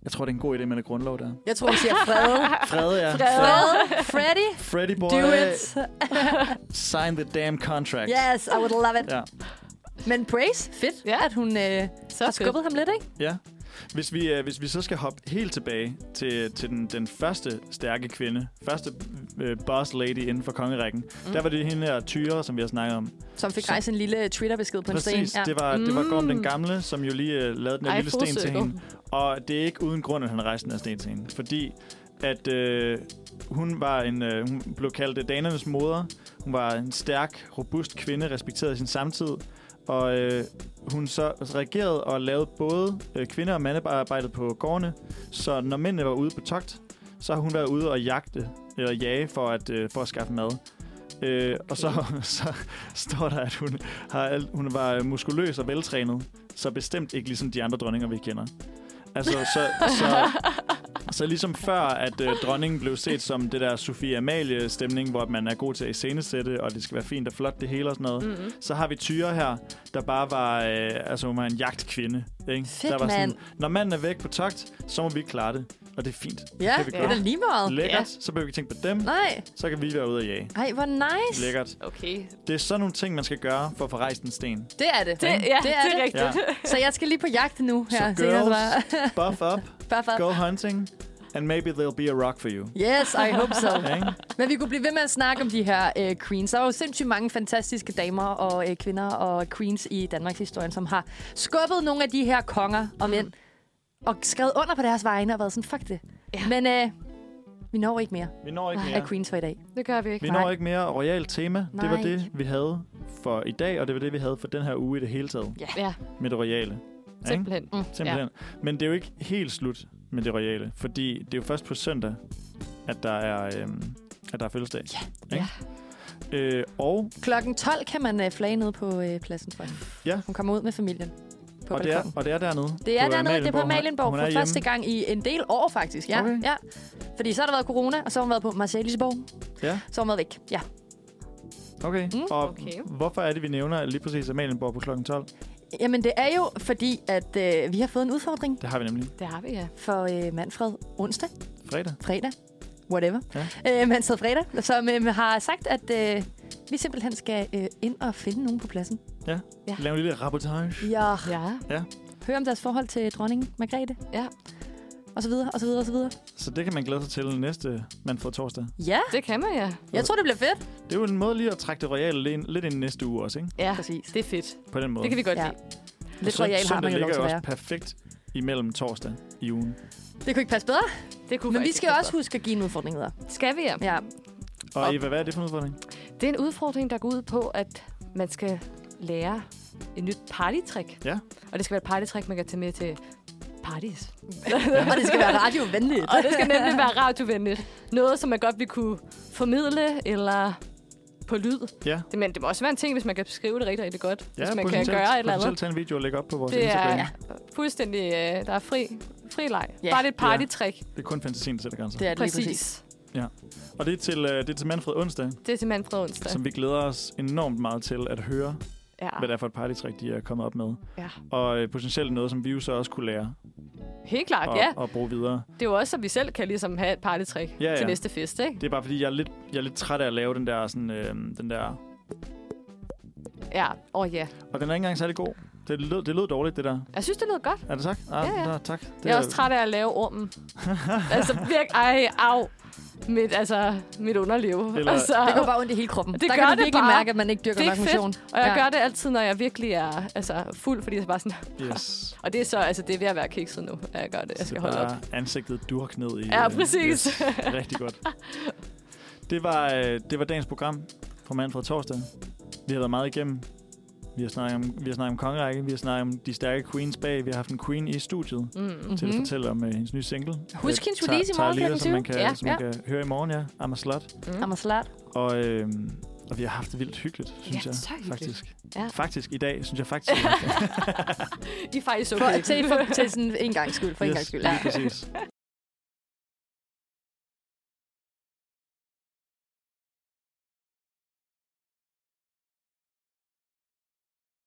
Jeg tror, det er en god idé med en grundlov der.
Jeg tror, vi (laughs) siger Frede.
Fred, ja.
Frede. Freddy.
Freddy boy.
Do it.
Sign the damn contract.
Yes, I would love it.
Ja.
Men Brace, fedt,
Ja.
at hun øh,
Så
har
fedt.
skubbet ham lidt, ikke?
Ja. Hvis vi, øh, hvis vi så skal hoppe helt tilbage til, til den, den første stærke kvinde, første øh, boss lady inden for kongerækken, mm. der var det hende her Tyre, som vi har snakket om.
Som fik
Så-
rejst en lille Twitter-besked på en sten.
Præcis, det var, det var Gorm den
Mm.
Gamle, som jo lige øh, lavede den her
Ej,
lille
full
sten til
circle.
hende. Og det er ikke uden grund, at han rejste den her sten til hende. Fordi at øh, hun var en, øh, hun blev kaldt øh, danernes moder. Hun var en stærk, robust kvinde, respekteret i sin samtid. Og øh, hun så reagerede og lavede både øh, kvinder- og mandearbejdet på gårdene. Så når mændene var ude på togt, så har hun været ude og jagte eller jage for at, øh, for at skaffe mad. Øh, okay. Og så, (laughs) så står der, at hun, har, alt- hun var muskuløs og veltrænet, så bestemt ikke ligesom de andre dronninger, vi kender. Altså, så, så, så ligesom før, at øh, dronningen blev set som det der Sofie Amalie-stemning, hvor man er god til at iscenesætte, og det skal være fint og flot det hele og sådan noget,
Mm-hmm.
så har vi Tyre her, der bare var, øh, altså, hun var en jagtkvinde. Ikke?
Fedt,
der var
mand.
Når manden er væk på togt, så må vi klare det. Og det er fint.
Ja,
kan vi
det er da
godt.
lige meget.
Lækkert. Så behøver vi ikke tænke på dem.
Nej.
Så kan vi være ude og jage.
Ej, hvor nice.
Lækkert.
Okay.
Det er sådan nogle ting, man skal gøre for at få rejst en sten.
Det er det.
Det, ja, det er, det er rigtigt.
Ja.
Så jeg skal lige på jagt nu
Så
her. senere,
girls,
bare.
buff up,
Bare for.
go hunting, and maybe there'll be a rock for you.
Yes, I hope so.
(laughs) Ikke?
Men vi kunne blive ved med at snakke om de her øh, queens. Der er jo sindssygt mange fantastiske damer og øh, kvinder og queens i Danmarks historie, som har skubbet nogle af de her konger
Mm.
og mænd. Og skrevet under på deres vegne og været sådan, fuck det.
Ja.
Men øh, vi når ikke mere
Vi når ikke
ja. af
mere.
queens for i dag.
Det gør vi ikke.
Vi når ikke mere royal tema. Det var
Nej.
det, vi havde for i dag, og det var det, vi havde for den her uge i det hele taget.
Ja,
Med det royale. Ikke?
simpelthen. Mm.
Simpelthen. Ja. Men det er jo ikke helt slut med det royale, fordi det er jo først på søndag, at der er, øhm, at der er fødselsdag. Ja. ja. Øh, og,
Klokken 12 kan man øh, flage ned på øh, pladsen for hende.
Ja.
Hun kommer ud med familien på
og, det er,
balkonen.
og det er dernede.
Det er
på
dernede, det er på
Amalienborg. Hun-
Malienborg
hun
for
er
første gang i en del år, faktisk. Ja,
Okay.
ja. Fordi så har der været corona, og så har hun været på Marcellisborg.
Ja.
Så har hun været væk. Ja.
Okay.
Mm.
Mm, og
Okay.
okay. hvorfor er det, vi nævner lige præcis Amalienborg på klokken 12?
Jamen, det er jo fordi, at øh, vi har fået en udfordring
Det har vi nemlig
Det har vi, ja.
for øh, Manfred onsdag,
fredag.
fredag, whatever. Ja. Øh, Manfred fredag, som øh, har sagt, at øh, vi simpelthen skal øh, ind og finde nogen på pladsen.
Ja. Lave en lille rapportage.
Ja.
Ja,
Høre om deres forhold til dronningen Margrethe.
Ja.
Og så videre, og så videre, og så videre.
Så det kan man glæde sig til næste mand for torsdag.
Ja,
det kan man, ja.
jeg tror, det bliver fedt.
Det er jo en måde lige at trække det royale lidt ind- lidt ind i næste uge også, ikke?
Ja,
Præcis.
det er fedt.
På den måde.
Det kan vi godt
Ja.
ja. lide.
Lidt royal har man jo lov
ligger
til at
jo også
være.
perfekt imellem torsdag i ugen.
Det kunne ikke passe bedre.
Det kunne
Men vi
faktisk
skal
være
også huske at give en udfordring videre.
godt. Skal vi, ja.
Ja.
Og
Og-
Eva, hvad er det for en udfordring?
Det er en udfordring, der går ud på, at man skal lære et nyt partytrick.
Ja.
Og det skal være et partytrick, man kan tage med til parties.
og det skal være radiovenligt.
Og det skal nemlig
(laughs)
være radiovenligt. Noget, som man godt vil kunne formidle eller på lyd.
Ja.
Det, men det må også være en ting, hvis man kan beskrive det rigtig, rigtig godt.
Ja,
hvis man kan
potentielt-
gøre et eller andet.
potentielt tage en video og lægge op på vores
Det er
Instagram.
ja. fuldstændig... Øh, der er fri, fri leg.
Ja.
Yeah. Bare det er et partytrick.
Det er kun fantasien, der sætter grænser.
Det er det lige
Præcis.
præcis.
Og det er til, øh, det er til Manfred onsdag,
Det er til Manfred onsdag.
som vi glæder os enormt meget til at høre,
Ja.
hvad det er for et partytrick, de er kommet op med.
Ah. Ja.
Og øh, potentielt noget, som vi jo så også kunne lære
Helt klart,
og,
Ah, ja.
og bruge videre.
Det er jo også, at vi selv kan ligesom have et partytrick
Ja,
til
ja.
næste fest, ikke?
Det er bare fordi, jeg er lidt, jeg er lidt træt af at lave den der, sådan, øh, den der...
Ja, åh oh, ja.
Og den er ikke engang særlig god. Det lød, det lød dårligt, det der.
Jeg synes, det lød godt.
Er det sagt? Ah,
Ja, ja.
Nå, tak. Det
Jeg er også træt af at lave
(laughs)
ormen. altså, virk, ej, au. Mit, altså, mit underliv.
Eller-
altså,
Det går bare ondt i hele kroppen.
Det
der
gør
kan du
det
virkelig
bare.
mærke, at man ikke dyrker
Det er
nok
fedt.
motion.
og jeg
ja.
gør det altid, når jeg virkelig er altså, fuld, fordi jeg bare sådan...
Yes.
Og det er så, altså, det er ved at være kikset nu, at jeg gør det. Jeg skal
Så
holde op.
bare ansigtet durk ned i...
Ja,
øh,
præcis.
Yes. (laughs) Rigtig godt. Det var, øh, det var dagens program fra Manfred Torsdag. Vi har været meget igennem. Vi har snakket om, vi har snakket om kongerække, vi har snakket om de stærke queens bag. Vi har haft en queen i studiet mm.
Mm.
til at
Mhm.
fortælle om øh, hendes nye single.
Husk
Øh,
hendes
Ta-
release i morgen
Tager
klokken
Lira, Som man
20.
kan,
Ja,
ja, som man
ja.
kan høre i morgen, ja. I'm a slut.
Mm.
I'm a slut.
Og, øh, og vi har haft det vildt hyggeligt, synes
Ja,
jeg.
så hyggeligt.
Faktisk.
Ja.
faktisk i dag, synes jeg faktisk. (laughs) at vi har haft det.
I er
(laughs)
faktisk
For,
okay.
til, for, til sådan en gang skyld. For yes. en gang skyld. Ja.
Lige præcis.